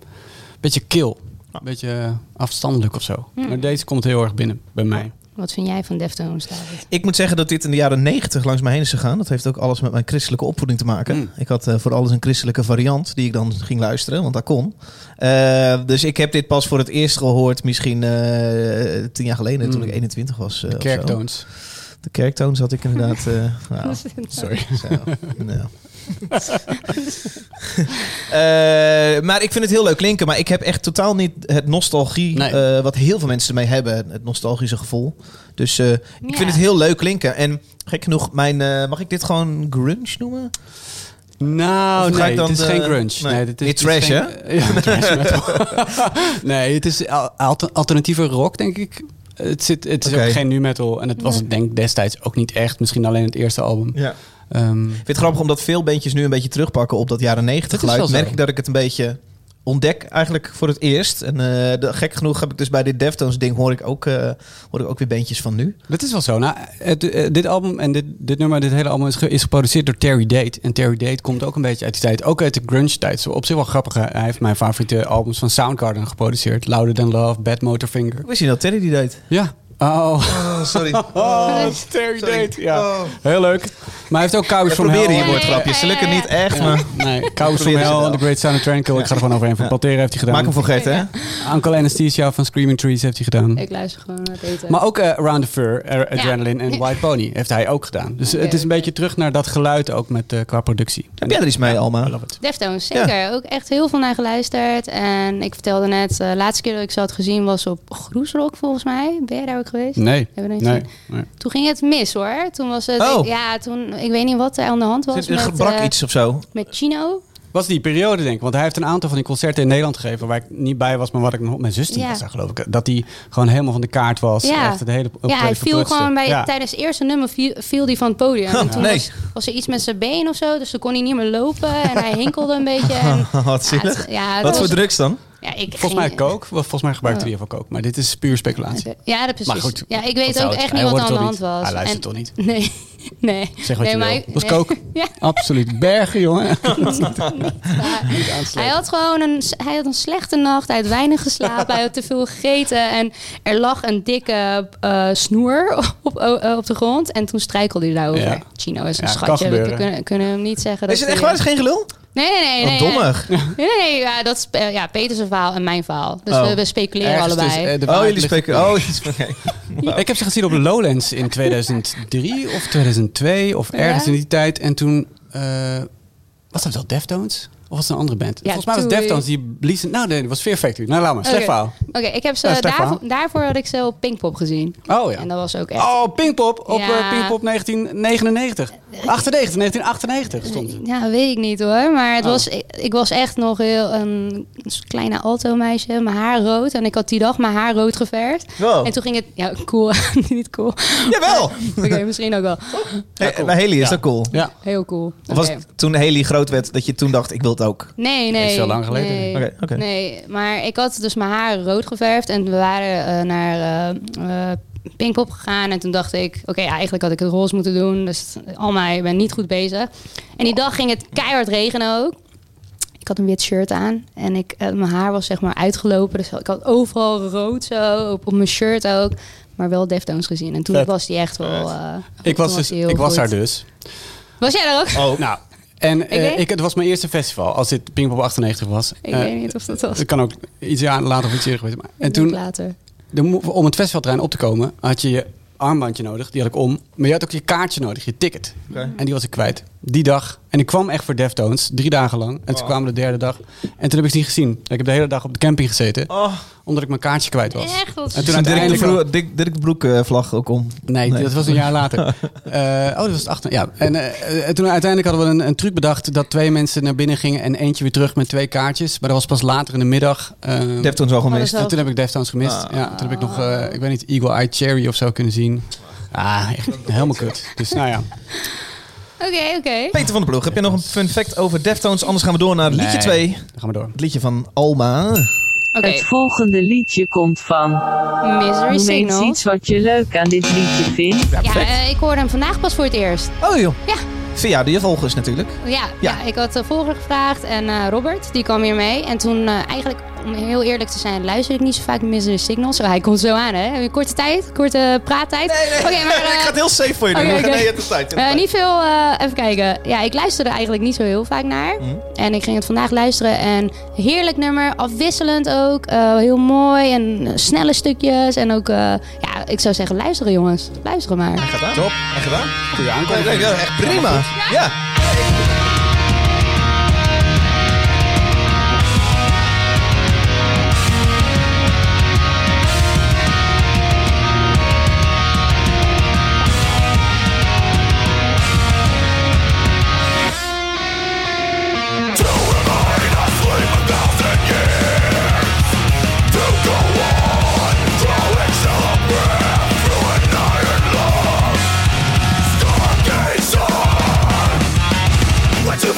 Speaker 3: beetje kil.
Speaker 1: Ah.
Speaker 3: Een beetje eh, afstandelijk of zo. Maar deze komt heel erg binnen bij mij.
Speaker 2: Wat vind jij van Deftones, David?
Speaker 1: Ik moet zeggen dat dit in de jaren 90 langs mij heen is gegaan. Dat heeft ook alles met mijn christelijke opvoeding te maken.
Speaker 3: Mm.
Speaker 1: Ik had eh, voor alles een christelijke variant die ik dan ging luisteren, want dat kon. Eh, dus ik heb dit pas voor het eerst gehoord, misschien eh, tien jaar geleden, toen
Speaker 3: Mm.
Speaker 1: ik 21 was. eh,
Speaker 3: De
Speaker 1: of zo.
Speaker 3: kerktoons.
Speaker 1: De kerktoon zat ik inderdaad. eh, nou,
Speaker 3: Sorry.
Speaker 1: Zo, nou. *laughs* Eh, maar ik vind het heel leuk klinken. Maar ik heb echt totaal niet het nostalgie...
Speaker 3: Nee.
Speaker 1: eh, wat heel veel mensen ermee hebben. Het nostalgische gevoel. Dus eh, ik
Speaker 2: Ja.
Speaker 1: vind het heel leuk klinken. En gek genoeg, mijn, eh, mag ik dit gewoon grunge noemen?
Speaker 3: Nou,
Speaker 1: Of ga
Speaker 3: nee,
Speaker 1: ik dan
Speaker 3: het is
Speaker 1: de-
Speaker 3: geen grunge.
Speaker 1: Nee.
Speaker 3: Nee, dit is,
Speaker 1: Niet
Speaker 3: dit is
Speaker 1: trash,
Speaker 3: geen- *laughs* Ja, trash metal. *laughs* nee, het is al- alter- alternatieve rock, denk ik. Het, zit, het is
Speaker 1: Oké.
Speaker 3: ook geen nu metal. En het was het denk ik destijds ook niet echt. Misschien alleen het eerste album.
Speaker 1: Ja.
Speaker 3: Ehm,
Speaker 1: Ik vind het grappig omdat veel bandjes nu een beetje terugpakken op dat jaren 90
Speaker 3: Dat is
Speaker 1: geluid.
Speaker 3: wel zo.
Speaker 1: Merk ik dat ik het een beetje ontdek eigenlijk voor het eerst. En eh, de- gek genoeg heb ik dus bij dit Deftones ding hoor ik ook, eh, hoor ik ook weer bandjes van nu.
Speaker 3: dat is wel zo. Nou, het, eh, dit album en dit, dit nummer, dit hele album is, ge- is geproduceerd door Terry Date. En Terry Date komt ook een beetje uit die tijd. Ook uit de grunge tijd. Zo op zich wel grappig. hè. Hij heeft mijn favoriete albums van Soundgarden geproduceerd. Louder Than Love, Bad Motorfinger.
Speaker 1: Ik wist niet dat nou, Terry die deed.
Speaker 3: Ja. Oh, *laughs*
Speaker 1: Oh, *laughs* sorry.
Speaker 3: Oh, het is Terry
Speaker 1: Sorry.
Speaker 3: Date. Ja.
Speaker 1: Oh.
Speaker 3: Heel leuk. Maar hij heeft ook Cowboys
Speaker 1: We
Speaker 3: from
Speaker 1: proberen
Speaker 3: Hell.
Speaker 1: hier woordgrapjes. Ze lukken niet echt, maar...
Speaker 3: Nee, Cowboys from
Speaker 1: Proberen ze
Speaker 3: Hell,
Speaker 1: wel.
Speaker 3: The Great Sound of Tranquil. Ik ga er gewoon overheen. Van Pantera heeft hij gedaan.
Speaker 1: Maak hem voor Gert, hè?
Speaker 3: Uncle Anesthesia van Screaming Trees heeft hij gedaan.
Speaker 2: Ik eh, luister gewoon naar Peter.
Speaker 3: Maar ook eh, Around the Fur, Ar- Adrenaline en White Pony heeft hij ook gedaan. Dus eh, het is een beetje terug naar dat geluid ook met, eh, qua productie.
Speaker 1: Heb jij er iets mee,
Speaker 3: I
Speaker 1: Alma?
Speaker 3: love it.
Speaker 2: Deftones, zeker. Ook echt heel veel naar geluisterd. En ik vertelde net, eh, de laatste keer dat ik ze had gezien was op Groesrock volgens mij. Ben jij daar ook geweest?
Speaker 3: Nee.
Speaker 2: Hebben we er niet
Speaker 3: Nee.
Speaker 2: gezien?
Speaker 3: nee.
Speaker 2: Toen ging het mis hoor. Toen was het,
Speaker 1: Oh.
Speaker 2: ik- ja, toen, ik weet niet wat er aan de hand was.
Speaker 1: Zit- Er
Speaker 2: met,
Speaker 1: gebrak
Speaker 2: eh,
Speaker 1: iets of zo. *laughs*
Speaker 2: Met Chino.
Speaker 3: Was die periode, denk ik. Want hij heeft een aantal van die concerten in Nederland gegeven... waar ik niet bij was, maar wat ik nog op mijn zus
Speaker 2: Ja.
Speaker 3: ja. zag, geloof ik. Dat hij gewoon helemaal van de kaart was.
Speaker 2: Ja.
Speaker 3: Echt het hele
Speaker 2: Ja, hij viel
Speaker 3: optreden verprutste.
Speaker 2: gewoon bij,
Speaker 3: Ja.
Speaker 2: tijdens het eerste nummer viel, viel hij van het
Speaker 1: *laughs*
Speaker 2: podium. En toen
Speaker 1: nee.
Speaker 2: was, was er iets met zijn been of zo, dus toen kon hij niet meer lopen. En hij hinkelde een
Speaker 1: *laughs*
Speaker 2: beetje. En,
Speaker 1: Wat
Speaker 2: ja,
Speaker 1: zielig.
Speaker 2: het- ja, het
Speaker 1: Wat
Speaker 2: was-
Speaker 1: voor drugs dan?
Speaker 2: Ja, ik
Speaker 3: Volgens mij
Speaker 2: ging-
Speaker 3: kook. Wel, Volgens mij gebruikte hij in ieder geval kook. Maar dit is puur speculatie.
Speaker 2: Ja, dat precies.
Speaker 3: Maar goed,
Speaker 2: ja, ik
Speaker 3: wat
Speaker 2: weet
Speaker 3: zou
Speaker 2: ook
Speaker 3: het-
Speaker 2: echt
Speaker 3: hij
Speaker 2: niet wat
Speaker 3: hoort
Speaker 2: er aan de
Speaker 3: toch
Speaker 2: hand was.
Speaker 3: niet? Hij luistert
Speaker 2: En-
Speaker 3: toch niet?
Speaker 2: *laughs* Nee. nee.
Speaker 3: Zeg wat
Speaker 2: nee,
Speaker 3: je
Speaker 2: maar
Speaker 3: wil.
Speaker 2: ik-
Speaker 3: Dat is
Speaker 2: nee.
Speaker 3: kook.
Speaker 2: *laughs* Ja,
Speaker 3: Absoluut. Bergen,
Speaker 2: *laughs*
Speaker 3: jongen. Niet
Speaker 2: hij
Speaker 3: aansluiten.
Speaker 2: had gewoon een, hij had een slechte nacht. Hij had weinig geslapen. hij had te veel gegeten. En er lag een dikke eh, snoer *laughs* op, eh, op de grond. En toen strijkelde hij daarover.
Speaker 3: Ja.
Speaker 2: Chino is een
Speaker 3: Ja, kan
Speaker 2: schatje. We
Speaker 3: gebeuren.
Speaker 2: kunnen, kunnen hem niet zeggen.
Speaker 1: Is het echt
Speaker 2: dat hij- eh,
Speaker 1: waar? Is het geen gelul?
Speaker 2: Nee, nee, nee.
Speaker 1: Wat
Speaker 2: nee,
Speaker 1: dommig.
Speaker 2: Nee, nee, nee, ja, dat is eh, ja, Peters zijn verhaal en mijn verhaal. Dus
Speaker 1: Oh.
Speaker 2: we, we speculeren
Speaker 3: Ergens
Speaker 2: allebei.
Speaker 3: tussen, eh, de
Speaker 1: Oh,
Speaker 3: waarheid
Speaker 1: jullie
Speaker 3: ligt-
Speaker 1: spreken... Oh, jullie spreken-
Speaker 3: Ik heb ze gezien op Lowlands in 2003 of 2002 of ergens
Speaker 2: Ja?
Speaker 3: in die tijd. En toen... eh, was dat wel Deftones? Of was het een andere band?
Speaker 2: Ja, Oh,
Speaker 3: Volgens mij was
Speaker 2: Toei.
Speaker 3: Deftones die bliezen... Nou nee, dat was Fear Factory. Nou, laat maar. Slecht
Speaker 2: Oké.
Speaker 3: verhaal.
Speaker 2: Oké, ik heb ze,
Speaker 3: Ja, slecht
Speaker 2: daarvoor,
Speaker 3: verhaal.
Speaker 2: daarvoor had ik ze op Pinkpop gezien.
Speaker 3: Oh ja.
Speaker 2: En dat was ook echt...
Speaker 3: Oh, Pinkpop op
Speaker 2: Ja.
Speaker 3: eh, Pinkpop 1999. 98, 1998 stond het.
Speaker 2: Ja, weet ik niet hoor. Maar het
Speaker 3: Oh.
Speaker 2: was, ik, ik was echt nog heel ehm, een kleine alto meisje. Mijn haar rood. En ik had die dag mijn haar rood geverfd.
Speaker 1: *laughs*
Speaker 3: Oh.
Speaker 1: Wow.
Speaker 2: En toen ging het... Ja, cool. *laughs* niet
Speaker 3: *laughs*
Speaker 2: cool.
Speaker 1: Jawel!
Speaker 2: Oké, misschien ook wel.
Speaker 1: Hey, Bij Haley is
Speaker 3: Ja.
Speaker 1: dat cool.
Speaker 3: Ja.
Speaker 2: Heel cool.
Speaker 1: Of was
Speaker 2: Oké.
Speaker 1: het toen Haley groot werd dat je toen dacht, ik wil het ook?
Speaker 2: Nee, nee.
Speaker 3: is wel lang geleden.
Speaker 2: Nee,
Speaker 1: Oké, oké.
Speaker 2: nee, maar ik had dus mijn haar rood geverfd en we waren eh, naar eh, eh, Pinkpop gegaan. En toen dacht ik, oké, ja, eigenlijk had ik het roze moeten doen. Dus Alma, je bent niet goed bezig. En die dag ging het keihard regenen ook. Ik had een wit shirt aan en ik, eh, mijn haar was zeg maar uitgelopen. Dus ik had overal rood zo, op, op mijn shirt ook. Maar wel Deftones gezien. En toen
Speaker 3: Vet.
Speaker 2: was die echt wel... eh,
Speaker 3: Ik
Speaker 2: toen
Speaker 3: was, dus,
Speaker 2: die heel
Speaker 3: ik was
Speaker 2: goed.
Speaker 3: daar dus.
Speaker 2: Was jij daar ook?
Speaker 3: Oh. Nou, en eh,
Speaker 2: weet-
Speaker 3: ik, het was mijn eerste festival. Als dit Pinkpop 98 was.
Speaker 2: Ik
Speaker 3: Eh,
Speaker 2: weet niet of dat was.
Speaker 3: Het kan ook iets jaar later of iets eerder geweest. zijn. Maar, en toen,
Speaker 2: Later.
Speaker 3: de mo- om het festivaltrein op te komen, had je je armbandje nodig. Die had ik om. Maar je had ook je kaartje nodig, je ticket. En die was ik kwijt. Die dag. En ik kwam echt voor Deftones. Drie dagen lang. En toen kwamen we de derde dag. En toen heb ik ze niet gezien. Ik heb de hele dag op de camping gezeten.
Speaker 1: Oh,
Speaker 3: Omdat ik mijn kaartje kwijt was.
Speaker 2: Echt? Wat
Speaker 1: toen
Speaker 3: En toen
Speaker 1: had Dirk de,
Speaker 3: uiteindelijk...
Speaker 1: Broek, Dirk, Dirk de Broek eh, vlag ook om.
Speaker 3: Nee,
Speaker 1: Nee.
Speaker 3: dat was een
Speaker 1: *laughs*
Speaker 3: jaar later. Eh, oh, dat was het achter. Ja. En eh, eh, toen uiteindelijk hadden we een, een truc bedacht dat twee mensen naar binnen gingen en eentje weer terug met twee kaartjes. Maar dat was pas later in de middag. Eh,
Speaker 1: Je hebt ons wel gemist.
Speaker 2: Oh,
Speaker 3: en toen heb ik Deftones gemist.
Speaker 1: Ah.
Speaker 3: Ja, toen heb ik nog, eh, ik weet niet, Eagle Eye Cherry of zo kunnen zien. Ah, echt helemaal kut. Dus nou ja.
Speaker 2: Oké, oké.
Speaker 1: Peter van der Ploeg, heb je nog een fun fact over Deftones? Anders gaan we door naar liedje
Speaker 3: Nee.
Speaker 1: 2.
Speaker 3: Dan gaan we door.
Speaker 1: Het liedje van Alma.
Speaker 2: Oké,
Speaker 5: Het volgende liedje komt van.
Speaker 2: Misery
Speaker 5: Noem eens
Speaker 2: Signal.
Speaker 5: iets wat je leuk aan dit liedje vindt.
Speaker 2: Ja, eh, ik hoorde hem vandaag pas voor het eerst.
Speaker 1: Oh joh.
Speaker 2: Ja.
Speaker 1: Via de volgers natuurlijk.
Speaker 2: Ja, ja. ik had de volger gevraagd en eh, Robert, die kwam hier mee. En toen, eh, eigenlijk, om heel eerlijk te zijn, luister ik niet zo vaak Misery Signal. Zo, hij komt zo aan, hè? Korte tijd, korte praattijd. Oké, maar,
Speaker 1: *laughs*
Speaker 2: eh,
Speaker 1: ik ga het heel safe voor je doen.
Speaker 2: oké, oké.
Speaker 1: Nee, het is tijd.
Speaker 2: Eh, niet veel, eh, even kijken. Ja, ik luisterde eigenlijk niet zo heel vaak naar. En ik ging het vandaag luisteren. En heerlijk nummer, afwisselend ook. eh, heel mooi en eh, snelle stukjes. En ook, eh, ja, ik zou zeggen, luisteren jongens. Luisteren maar.
Speaker 1: Gedaan. Top. En gedaan.
Speaker 3: Goeie aankomst.
Speaker 1: Ja, ja, echt prima. Ja.
Speaker 6: Gates on!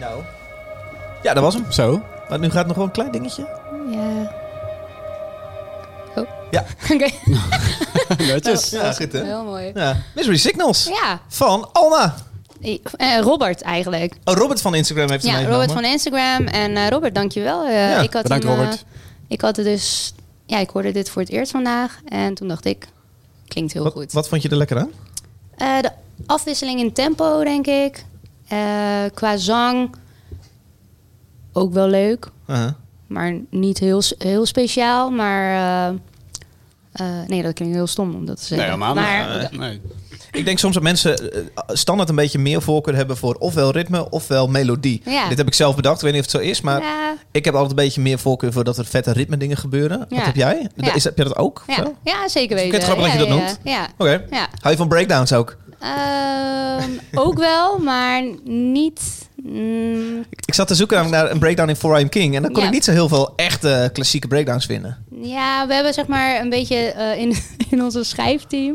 Speaker 1: Nou. dat was hem.
Speaker 3: Zo. *laughs*
Speaker 1: Maar nu gaat nog wel een klein dingetje.
Speaker 2: Ja. Oh.
Speaker 1: Ja.
Speaker 2: *laughs* Oké.
Speaker 3: Netjes.
Speaker 1: Ja, goed hè?
Speaker 2: Heel mooi.
Speaker 1: Ja. Mystery Signals
Speaker 2: Ja.
Speaker 1: van Alma.
Speaker 2: Eh, Robert eigenlijk.
Speaker 1: Oh, Robert van Instagram heeft hem
Speaker 2: Ja,
Speaker 1: meegenomen.
Speaker 2: Robert van Instagram. En eh, Robert, dankjewel. wel.
Speaker 1: Ja,
Speaker 2: ik had
Speaker 3: bedankt,
Speaker 2: hem, eh,
Speaker 3: Robert.
Speaker 2: ik had het dus... Ja, ik hoorde dit voor het eerst vandaag. En toen dacht ik, klinkt heel
Speaker 1: wat,
Speaker 2: goed.
Speaker 1: wat vond je er lekker aan?
Speaker 2: Eh, de afwisseling in tempo, denk ik. Eh, qua zang ook wel leuk.
Speaker 1: Uh-huh.
Speaker 2: Maar niet heel, s- heel speciaal. Maar... eh, eh, nee, dat klinkt heel stom om dat te zeggen. maar
Speaker 3: nee.
Speaker 1: Ik denk soms dat mensen eh, standaard een beetje meer voorkeur hebben voor ofwel ritme ofwel melodie.
Speaker 2: Ja.
Speaker 1: Dit heb ik zelf bedacht, ik weet niet of het zo is, maar
Speaker 2: ja,
Speaker 1: ik heb altijd een beetje meer voorkeur voor dat er vette ritme dingen gebeuren.
Speaker 2: Ja.
Speaker 1: Wat heb jij?
Speaker 2: Ja.
Speaker 1: Is, heb je dat ook? Of zo?
Speaker 2: ja,
Speaker 1: Oké,
Speaker 2: ja, zeker weten.
Speaker 1: vind het grappig
Speaker 2: ja,
Speaker 1: dat je dat
Speaker 2: ja,
Speaker 1: noemt.
Speaker 2: Ja, ja.
Speaker 1: hou je van breakdowns ook?
Speaker 2: Ehm, ook wel, maar niet. mm,
Speaker 1: Ik zat te zoeken namelijk naar een breakdown in 4 I'm King en dan kon
Speaker 2: Ja.
Speaker 1: ik niet zo heel veel echte klassieke breakdowns vinden.
Speaker 2: ja, we hebben zeg maar een beetje eh, in, *laughs* in onze schrijfteam.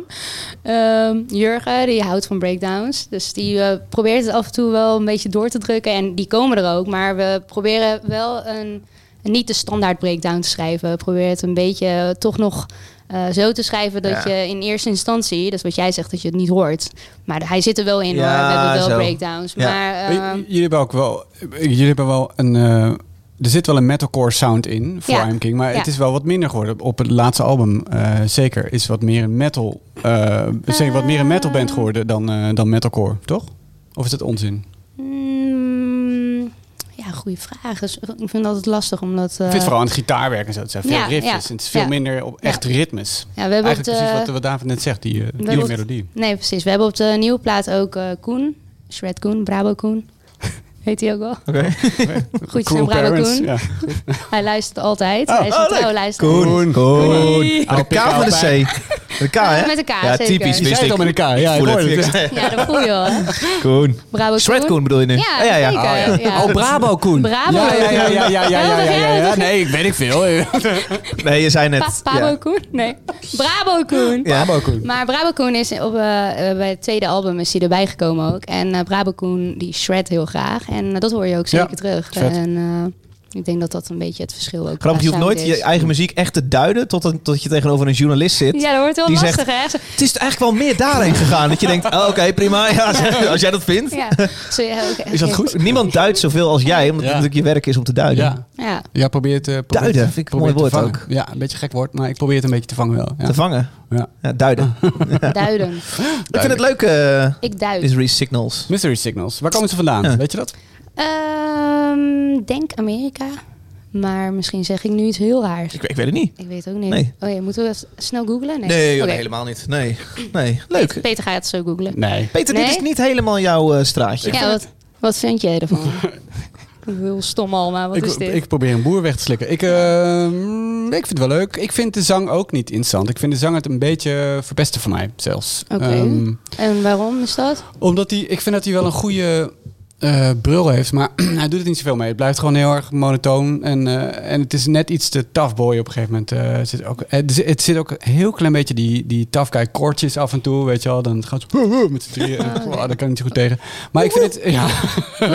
Speaker 2: ehm, Jurgen, die houdt van breakdowns. Dus die eh, probeert het af en toe wel een beetje door te drukken. En die komen er ook. Maar we proberen wel een, niet de standaard breakdown te schrijven. We proberen het een beetje eh, toch nog. eh, zo te schrijven dat
Speaker 1: Ja.
Speaker 2: je in eerste instantie, dat is wat jij zegt, dat je het niet hoort. Maar hij zit er wel in hoor.
Speaker 1: Ja,
Speaker 2: We hebben wel
Speaker 1: zo.
Speaker 2: breakdowns.
Speaker 1: Ja.
Speaker 2: Maar,
Speaker 3: Maar j-
Speaker 2: ehm,
Speaker 3: jullie hebben ook wel, jullie hebben wel een, eh, er zit wel een metalcore sound in voor
Speaker 2: Ja.
Speaker 3: I'm King, maar
Speaker 2: Ja.
Speaker 3: het is wel wat minder geworden. Op het laatste album eh, zeker is wat meer een metal, eh, zeker wat meer een metal band geworden dan, eh, dan metalcore, toch? Of is dat onzin?
Speaker 2: ehm, Mm, ja, goede vraag. Dus Ik vind het altijd lastig omdat. eh,
Speaker 3: ik vind het vooral aan het gitaarwerk en zo. Het zijn veel
Speaker 2: ja,
Speaker 3: riffs.
Speaker 2: ja,
Speaker 3: en het is veel
Speaker 2: ja.
Speaker 3: minder op echt ritmes.
Speaker 2: ja, we hebben op
Speaker 3: Eigenlijk precies
Speaker 2: de,
Speaker 3: wat, wat David net zegt, die, eh, die
Speaker 2: hebben-
Speaker 3: melodie.
Speaker 2: Nee, precies. We hebben op de nieuwe plaat ook eh, Koen. Shred Koen, Brabo Koen.
Speaker 3: *laughs*
Speaker 2: Heet hij ook wel?
Speaker 1: Oké.
Speaker 2: Goed, eh, zijn Brabo
Speaker 3: Parents,
Speaker 2: Koen.
Speaker 3: ja.
Speaker 2: Hij luistert altijd.
Speaker 3: Oh,
Speaker 2: hij is
Speaker 1: oh,
Speaker 2: een
Speaker 1: leuk.
Speaker 2: trouw luisteraar.
Speaker 1: Koen.
Speaker 2: Koen.
Speaker 1: Met een K van de C. Met een K, hè?
Speaker 2: Met een K,
Speaker 1: Ja,
Speaker 2: zeker.
Speaker 1: typisch.
Speaker 2: Je
Speaker 3: zei
Speaker 1: wist
Speaker 3: het
Speaker 1: ik.
Speaker 3: al met een K, ja, ik
Speaker 1: voel *laughs*
Speaker 3: hoorde
Speaker 1: het.
Speaker 2: Ja, dat voel je wel. hè?
Speaker 1: Koen.
Speaker 2: Brabo
Speaker 1: Shred
Speaker 2: Koen.
Speaker 1: Koen bedoel je nu?
Speaker 2: Ja,
Speaker 1: Ah, ja, ja.
Speaker 2: zeker.
Speaker 1: Oh, ja.
Speaker 2: ja.
Speaker 3: Oh, Brabo Koen.
Speaker 2: Brabo
Speaker 3: Ja, ja, ja,
Speaker 2: Koen.
Speaker 3: ja, ja, ja, ja,
Speaker 2: Wel,
Speaker 3: ja,
Speaker 2: dat
Speaker 3: ja,
Speaker 2: jij dat
Speaker 3: Nee, ik weet ik veel.
Speaker 1: Nee, je zei net.
Speaker 2: Pa- Pabo
Speaker 1: ja.
Speaker 2: Koen? Nee. Brabo Koen.
Speaker 1: Ja.
Speaker 3: Brabo Koen.
Speaker 2: Maar Brabacoon is op, eh, eh, bij het tweede album is hij erbij gekomen ook. En eh Brabacoon die shred heel graag. En eh, dat hoor je ook
Speaker 3: Ja,
Speaker 2: zeker terug.
Speaker 3: shred.
Speaker 2: En eh, ik denk dat dat een beetje het verschil ook
Speaker 1: Grappig, je
Speaker 2: qua
Speaker 1: hoeft
Speaker 2: sound
Speaker 1: nooit je
Speaker 2: is.
Speaker 1: eigen muziek echt te duiden tot, een, tot je tegenover een journalist zit.
Speaker 2: Ja, dat wordt wel
Speaker 1: die
Speaker 2: lastig hè.
Speaker 1: Het is eigenlijk wel meer daarheen gegaan. Dat je denkt, oh, oké, prima. Ja, als- als jij dat vindt.
Speaker 2: Ja. Zo, ja, oké,
Speaker 3: Is dat
Speaker 2: oké.
Speaker 3: goed?
Speaker 1: Niemand duidt zoveel als jij, omdat
Speaker 3: Ja.
Speaker 1: het natuurlijk je werk is om te duiden.
Speaker 3: Ja.
Speaker 2: Ja.
Speaker 3: Ja, probeer het... eh, probeer het-
Speaker 1: Duiden, vind ik een
Speaker 3: probeer
Speaker 1: mooi
Speaker 3: het te
Speaker 1: woord
Speaker 3: vangen. Ja, een beetje gek woord, maar ik probeer het een beetje te vangen wel. Ja.
Speaker 1: Te vangen.
Speaker 3: Ja. Ah.
Speaker 1: Ja, duiden.
Speaker 2: duiden.
Speaker 1: Ik vind het leuk, eh
Speaker 2: Ik duid.
Speaker 1: Misery Signals.
Speaker 3: Mystery Signals, waar komen ze vandaan?
Speaker 1: Ja.
Speaker 3: Weet je dat?
Speaker 2: Ehm, denk Amerika. Maar misschien zeg ik nu iets heel raars.
Speaker 1: Ik, ik weet het niet.
Speaker 2: Ik weet ook niet.
Speaker 1: Nee.
Speaker 2: Oh ja, moeten we dat snel googlen? Nee,
Speaker 1: Nee, joh,
Speaker 2: Oké.
Speaker 1: nee, helemaal niet. Nee, nee. leuk.
Speaker 2: Peter gaat het zo googlen.
Speaker 3: Nee.
Speaker 1: Peter, dit
Speaker 2: Nee?
Speaker 1: is niet helemaal jouw eh, straatje.
Speaker 2: Ja, wat, wat vind jij ervan? *laughs* heel stom al, maar wat
Speaker 3: Ik,
Speaker 2: is dit?
Speaker 3: ik probeer een boer weg te slikken. Ik, eh, mm, ik vind het wel leuk. Ik vind de zang ook niet interessant. Ik vind de zang het een beetje verpesten voor mij zelfs.
Speaker 2: Oké.
Speaker 3: Ehm,
Speaker 2: En waarom is dat?
Speaker 3: Omdat hij, ik vind dat hij wel een goede eh, brul heeft, maar *clears throat* hij doet het niet zoveel mee. Het blijft gewoon heel erg monotoon en, eh, en het is net iets te tough boy op een gegeven moment. Eh, het, zit ook, het, zit- het zit ook een heel klein beetje die, die tough guy koortjes af en toe, weet je wel. Dan *laughs* gaat het met z'n drieën.
Speaker 2: Ah, oké.
Speaker 3: Oh, daar kan ik niet zo goed tegen. Maar ik vind het, *laughs* ja,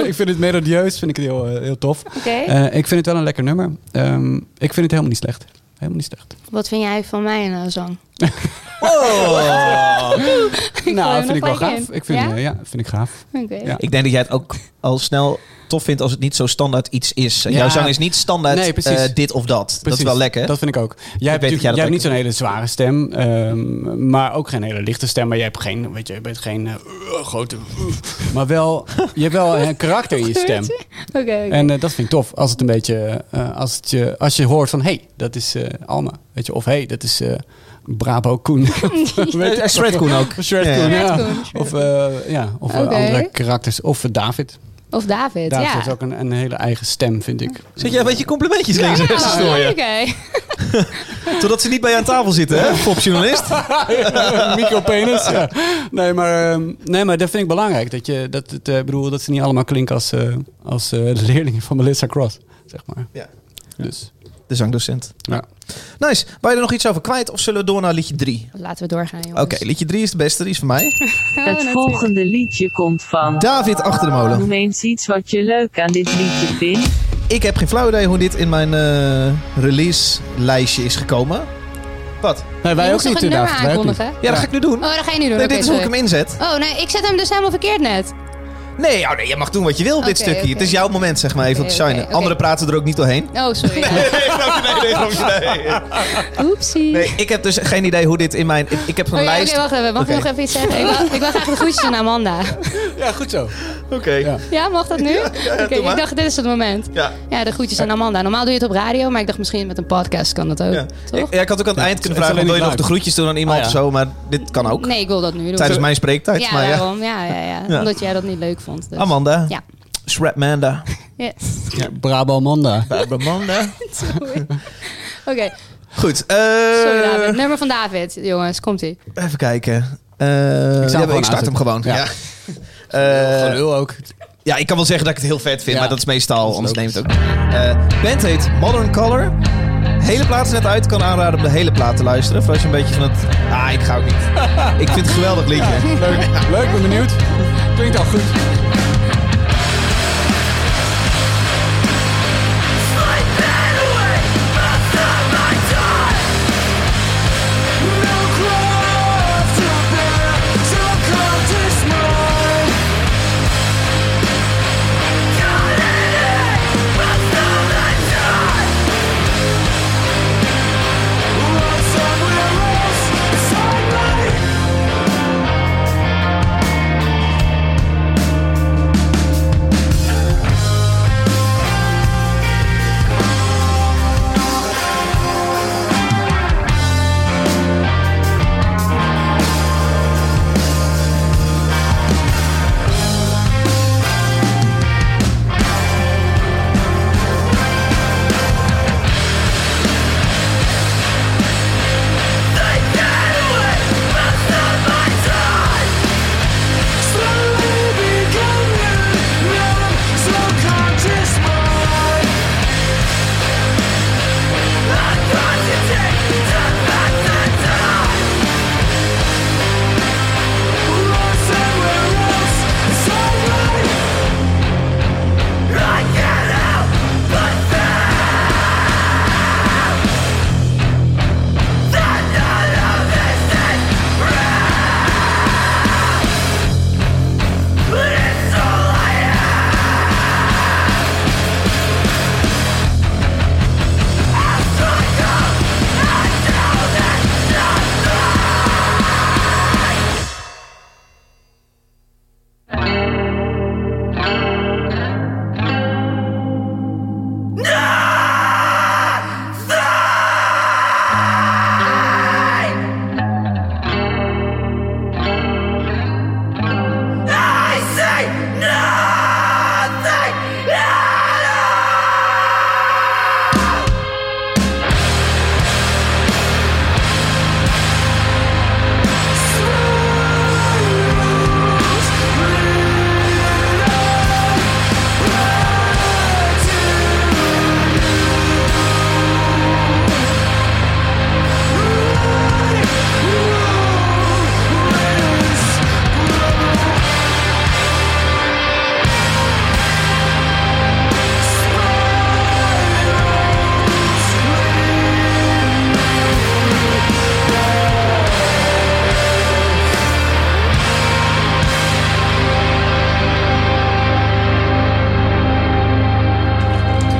Speaker 3: ik vind het melodieus, vind ik het heel, eh, heel tof.
Speaker 2: Oké.
Speaker 3: Eh, ik vind het wel een lekker nummer. Ehm, ik vind het helemaal niet slecht. Helemaal niet slecht.
Speaker 2: Wat vind jij van mijn eh, zang?
Speaker 1: Oh.
Speaker 2: gooi
Speaker 3: nou,
Speaker 2: hem
Speaker 3: vind ik wel
Speaker 2: nog gelijk
Speaker 3: gaaf.
Speaker 2: in.
Speaker 3: Ik vind,
Speaker 2: Ja?
Speaker 3: eh, ja, vind ik gaaf.
Speaker 2: Oké.
Speaker 3: Ja.
Speaker 1: Ik denk dat jij het ook al snel tof vindt als het niet zo standaard iets is. En
Speaker 3: Ja.
Speaker 1: Jouw zang is niet standaard
Speaker 3: Nee, precies.
Speaker 1: eh, dit of dat. Dat is
Speaker 3: Precies,
Speaker 1: wel lekker.
Speaker 3: Dat vind ik ook. Jij hebt,
Speaker 1: dat
Speaker 3: natuurlijk-
Speaker 1: jij
Speaker 3: jij
Speaker 1: dat
Speaker 3: hebt niet
Speaker 1: lekker
Speaker 3: zo'n hele zware stem, ehm, maar ook geen hele lichte stem. Maar jij hebt geen, weet je, je bent geen eh, eh, grote. eh, maar wel, je hebt wel een
Speaker 2: *laughs*
Speaker 3: karakter in je stem.
Speaker 2: Oké. oké.
Speaker 3: En eh, dat vind ik tof. Als het een beetje, eh, als, het je, als je hoort van, hé, hey, dat is eh, Alma, weet je, of hé, hey, dat is eh,
Speaker 2: *laughs*
Speaker 3: Brabo Koen.
Speaker 1: Eh, eh, Shred Koen ook.
Speaker 3: Shred
Speaker 1: Ja.
Speaker 3: Koen,
Speaker 2: Shred
Speaker 3: ja.
Speaker 2: Koen, Shred
Speaker 3: Of, eh, ja, of eh,
Speaker 2: Oké.
Speaker 3: andere karakters. Of eh, David.
Speaker 2: Of David.
Speaker 3: David
Speaker 2: ja.
Speaker 3: heeft ook een, een hele eigen stem, vind ik.
Speaker 1: Zet jij een beetje complimentjes links en
Speaker 2: Ja,
Speaker 1: rechts te
Speaker 2: Oh, oké.
Speaker 1: strooien? Totdat ze niet bij je aan tafel zitten, *laughs* hè? Popjournalist.
Speaker 3: *laughs* Micropenis. Ja. Nee, maar, ehm, nee, maar dat vind ik belangrijk. Dat, je, dat, het, eh, ik bedoel, dat ze niet allemaal klinken als, eh, als eh, de leerlingen van Melissa Cross. Zeg maar.
Speaker 1: Ja.
Speaker 3: Dus,
Speaker 1: De zangdocent.
Speaker 3: ja.
Speaker 1: Nice. Wou je er nog iets over kwijt of zullen we door naar liedje 3?
Speaker 2: Laten we doorgaan,
Speaker 1: Oké,
Speaker 2: jongens.
Speaker 1: liedje 3 is de beste, die is van mij.
Speaker 5: Het volgende liedje komt van.
Speaker 1: David achter de molen.
Speaker 5: Noem eens iets wat je leuk aan dit liedje vindt.
Speaker 1: Ik heb geen flauw idee hoe dit in mijn eh, release-lijstje is gekomen. Wat?
Speaker 3: Nee,
Speaker 2: Je
Speaker 3: wij ook
Speaker 2: moest
Speaker 3: niet,
Speaker 2: toch een
Speaker 3: inderdaad.
Speaker 2: nummer
Speaker 3: Wij ook
Speaker 2: aankondigen?
Speaker 3: niet.
Speaker 1: Ja, dat ga ik nu doen.
Speaker 2: Oh, dat ga je nu doen.
Speaker 1: Nee,
Speaker 2: Oké,
Speaker 1: dit is hoe ik hem
Speaker 2: sorry.
Speaker 1: inzet.
Speaker 2: Oh, nee, ik zet hem dus helemaal verkeerd net.
Speaker 1: Nee, oh nee, je mag doen wat je wil op dit
Speaker 2: Oké,
Speaker 1: stukje.
Speaker 2: oké.
Speaker 1: Het is jouw moment, zeg maar, even
Speaker 2: Oké,
Speaker 1: op te shinen.
Speaker 2: oké, oké.
Speaker 1: Anderen praten er ook niet doorheen.
Speaker 2: Oh, sorry. ja.
Speaker 1: nee, nee, nee.
Speaker 2: Oepsie.
Speaker 1: *laughs* Nee, ik heb dus geen idee hoe dit in mijn... Ik, ik heb een
Speaker 2: Oh ja, Oké,
Speaker 1: lijst...
Speaker 2: wacht even. Mag
Speaker 1: Oké.
Speaker 2: ik nog even iets zeggen? Ik wil, ik wil graag de groetjes doen aan Amanda.
Speaker 3: Ja, goed zo.
Speaker 1: Oké.
Speaker 3: Ja.
Speaker 2: Ja, mag dat nu? Oké,
Speaker 1: doe maar.
Speaker 2: ik dacht, dit is het moment.
Speaker 1: Ja.
Speaker 2: Ja, de groetjes aan Amanda. Normaal doe je het op radio, maar ik dacht misschien met een podcast kan dat ook.
Speaker 1: Ja.
Speaker 2: Toch?
Speaker 1: Ik, ja, ik had ook aan het eind kunnen
Speaker 3: het
Speaker 1: vragen,
Speaker 3: is alleen
Speaker 1: wil je
Speaker 3: niet
Speaker 1: nog de
Speaker 3: live.
Speaker 1: groetjes doen aan iemand
Speaker 3: Ah, ja.
Speaker 1: of zo? Maar dit kan ook.
Speaker 2: Nee, ik wil dat nu doen.
Speaker 1: Tijdens mijn spreektijd.
Speaker 2: ja,
Speaker 1: maar ja.
Speaker 2: daarom. Ja, ja, ja,
Speaker 1: Ja.
Speaker 2: Omdat jij dat niet leuk vond. Dus.
Speaker 1: Amanda.
Speaker 2: Ja.
Speaker 1: Shrapmanda.
Speaker 2: Yes.
Speaker 3: Ja, Brabamonda.
Speaker 1: Amanda.
Speaker 2: Sorry. Oké,
Speaker 1: Goed. eh,
Speaker 2: sorry David. Nummer van David, jongens.
Speaker 1: *laughs*
Speaker 2: Komt-ie.
Speaker 1: even kijken. Eh, ja,
Speaker 3: gewoon
Speaker 1: ik start
Speaker 3: aanzetten.
Speaker 1: hem gewoon. Ja.
Speaker 3: Ja.
Speaker 1: *laughs* Eh,
Speaker 3: Van Ul ook.
Speaker 1: ja, ik kan wel zeggen dat ik het heel vet vind,
Speaker 3: Ja.
Speaker 1: maar dat is meestal,
Speaker 3: Dat is
Speaker 1: anders neemt het ook. Eh band heet Modern Color. Hele plaat is net uit. Kan aanraden om de hele plaat te luisteren. Voor als je een beetje van het... Ah, ik ga ook niet. ik vind het een geweldig liedje.
Speaker 3: Leuk, leuk, ben benieuwd. Klinkt al goed.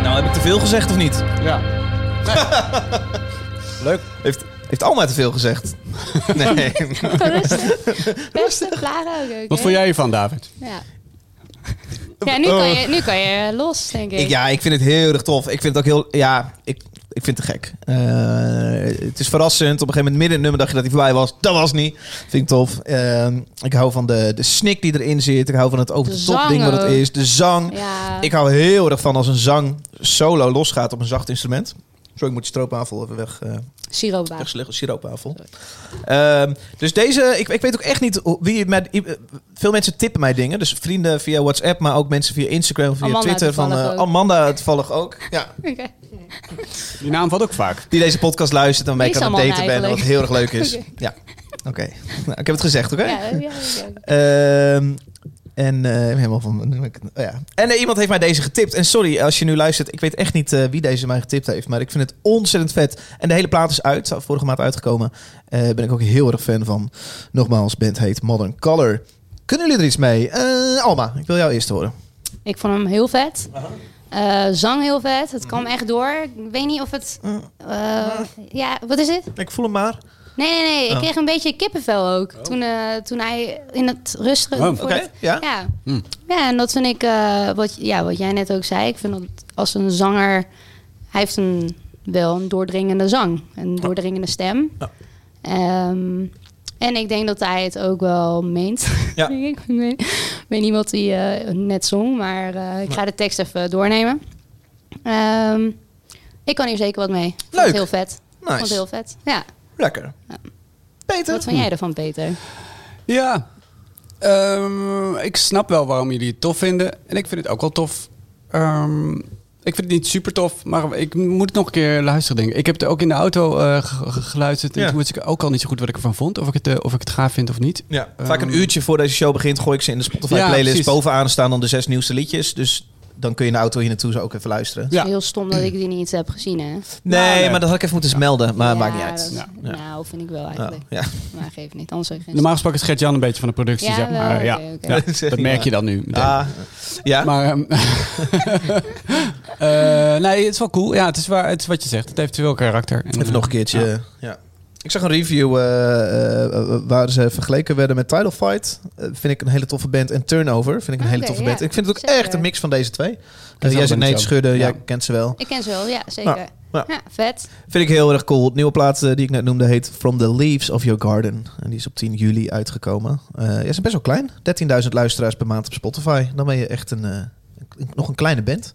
Speaker 1: Nou, heb ik te veel gezegd of niet?
Speaker 3: Ja. *laughs* leuk.
Speaker 1: Heeft, heeft Alma te veel gezegd? *laughs* nee.
Speaker 2: Beste Clara. oké, oké.
Speaker 3: Wat vond jij hiervan, David?
Speaker 2: Ja. *laughs* Ja, nu kan, je, nu kan je los, denk ik.
Speaker 1: Eh. Ik- ja, ik vind het heel erg tof. Ik vind het ook heel... Ja, ik, ik vind het te gek. Eh, het is verrassend. Op een gegeven moment midden in het nummer dacht je dat hij voorbij was. Dat was niet. Vind ik tof. Eh, ik hou van de, de snik die erin zit. Ik hou van het over de,
Speaker 2: De
Speaker 1: top
Speaker 2: zang
Speaker 1: ding wat het
Speaker 2: ook.
Speaker 1: is. De zang.
Speaker 2: Ja.
Speaker 1: Ik hou heel erg van als een zang solo losgaat op een zacht instrument. Sorry, ik moet de stroopwafel even weg... eh,
Speaker 2: Siroopbaar.
Speaker 1: Echt slecht, siroopwafel. Ehm, dus deze, ik, ik weet ook echt niet hoe- wie met. i- eh, Veel mensen tippen mij dingen. Dus vrienden via WhatsApp, maar ook mensen via Instagram, via
Speaker 2: Amanda
Speaker 1: Twitter. Van
Speaker 2: toevallig
Speaker 1: eh,
Speaker 2: ook.
Speaker 1: Amanda toevallig ook. Ja,
Speaker 2: Oké.
Speaker 3: Die naam valt ook vaak.
Speaker 1: die deze podcast luistert en
Speaker 2: Wie
Speaker 1: mee
Speaker 2: is
Speaker 1: kan aan het
Speaker 2: Amanda
Speaker 1: daten ben. Wat
Speaker 2: eigenlijk?
Speaker 1: heel erg
Speaker 2: *laughs*
Speaker 1: leuk is.
Speaker 2: Oké.
Speaker 1: Ja, oké. Nou, ik heb het gezegd, oké?
Speaker 2: Ja, ja, ja, ja.
Speaker 1: Ehm, En eh, helemaal van. oh ja. En eh, iemand heeft mij deze getipt. En sorry als je nu luistert, ik weet echt niet eh, wie deze mij getipt heeft. Maar ik vind het ontzettend vet. En de hele plaat is uit. Vorige maand uitgekomen. Eh ben ik ook heel erg fan van. Nogmaals, band heet Modern Color. Kunnen jullie er iets mee? Eh, Alma, ik wil jou eerst horen.
Speaker 2: Ik vond hem heel vet. Eh, zang heel vet. Het
Speaker 1: Mhm.
Speaker 2: kwam echt door. Ik weet niet of het...
Speaker 1: Mm.
Speaker 2: eh, ja, wat is het?
Speaker 1: Ik voel hem maar.
Speaker 2: Nee, nee, nee. Ik
Speaker 1: Oh.
Speaker 2: kreeg een beetje kippenvel ook. Toen, eh, toen hij in het rustige...
Speaker 1: Oh,
Speaker 2: voor
Speaker 1: oké,
Speaker 2: het-
Speaker 1: ja. Hmm.
Speaker 2: Ja. Ja, en dat vind ik... eh, wat, ja, wat jij net ook zei. Ik vind dat als een zanger... Hij heeft een, wel een doordringende zang. Een doordringende stem. Ehm, en ik denk dat hij het ook wel meent.
Speaker 1: Ja.
Speaker 2: *laughs* denk ik. Ik weet, ik weet niet wat hij eh, net zong. Maar eh, ik ga de tekst even doornemen. Ehm, ik kan hier zeker wat mee. Ik vond het
Speaker 1: Leuk.
Speaker 2: heel vet. Ik vond
Speaker 1: Nice.
Speaker 2: het heel vet. Ja.
Speaker 1: Lekker. Peter?
Speaker 2: Wat vind jij ervan, Peter?
Speaker 3: Ja. Ehm, ik snap wel waarom jullie het tof vinden. En ik vind het ook wel tof. Ehm, ik vind het niet super tof, maar ik moet het nog een keer luisteren, denk ik. Ik heb het ook in de auto eh, ge- ge- geluisterd. En
Speaker 1: Ja.
Speaker 3: toen wist ik ook al niet zo goed wat ik ervan vond. Of ik het, eh, of ik het gaaf vind of niet.
Speaker 1: Ja, vaak een
Speaker 3: Ehm,
Speaker 1: uurtje voor deze show begint gooi ik ze in de
Speaker 3: Ja,
Speaker 1: Spotify-playlist.
Speaker 3: precies.
Speaker 1: Bovenaan staan dan de zes nieuwste liedjes. Dus dan kun je in de auto hier naartoe zo ook even luisteren.
Speaker 3: Ja.
Speaker 2: Heel stom
Speaker 1: Hm.
Speaker 2: dat ik die niet heb gezien, hè?
Speaker 1: Nee,
Speaker 3: Nou, nee.
Speaker 1: maar dat had ik even moeten melden. Maar maakt niet
Speaker 2: Ja,
Speaker 1: uit.
Speaker 2: dat-
Speaker 1: Ja.
Speaker 2: Nou, vind ik wel
Speaker 1: Ja.
Speaker 2: eigenlijk.
Speaker 1: Ja.
Speaker 2: Maar geef niet, anders zou ik geen
Speaker 3: Normaal gesproken is Gert-Jan een beetje van de productie,
Speaker 2: Ja,
Speaker 3: zeg maar.
Speaker 2: wel,
Speaker 3: ja.
Speaker 2: oké, oké.
Speaker 3: Ja,
Speaker 1: Dat *laughs* is echt
Speaker 3: dat
Speaker 1: niet
Speaker 3: merk
Speaker 1: waar.
Speaker 3: je dan nu. meteen.
Speaker 1: Ah, ja.
Speaker 3: Maar, ehm, *laughs* eh, nee, het is wel cool. Ja, het is, waar, het is wat je zegt. Het heeft wel karakter. En,
Speaker 1: even nog een
Speaker 3: eh,
Speaker 1: keertje. Ja. Ik zag een review eh, eh, waar ze vergeleken werden met Tidal Fight. Eh, vind ik een hele toffe band. En Turnover vind ik een hele
Speaker 2: Oké,
Speaker 1: toffe
Speaker 2: ja.
Speaker 1: band. Ik vind het ook
Speaker 2: Zeker.
Speaker 1: echt een mix van deze twee.
Speaker 3: ze
Speaker 1: Eh, jij
Speaker 3: allemaal
Speaker 1: zit
Speaker 3: niet
Speaker 1: nee te
Speaker 3: zo.
Speaker 1: schudden,
Speaker 3: Ja.
Speaker 1: jij kent ze wel.
Speaker 2: Ik ken ze wel, ja, zeker.
Speaker 1: Nou,
Speaker 2: Ja,
Speaker 1: ja.
Speaker 2: vet.
Speaker 1: Vind ik heel erg cool. Het nieuwe plaat eh, die ik net noemde heet From the Leaves of Your Garden. En die is op 10 juli uitgekomen. Eh ja, ze zijn best wel klein. 13.000 luisteraars per maand op Spotify. Dan ben je echt een, eh, een- nog een kleine band.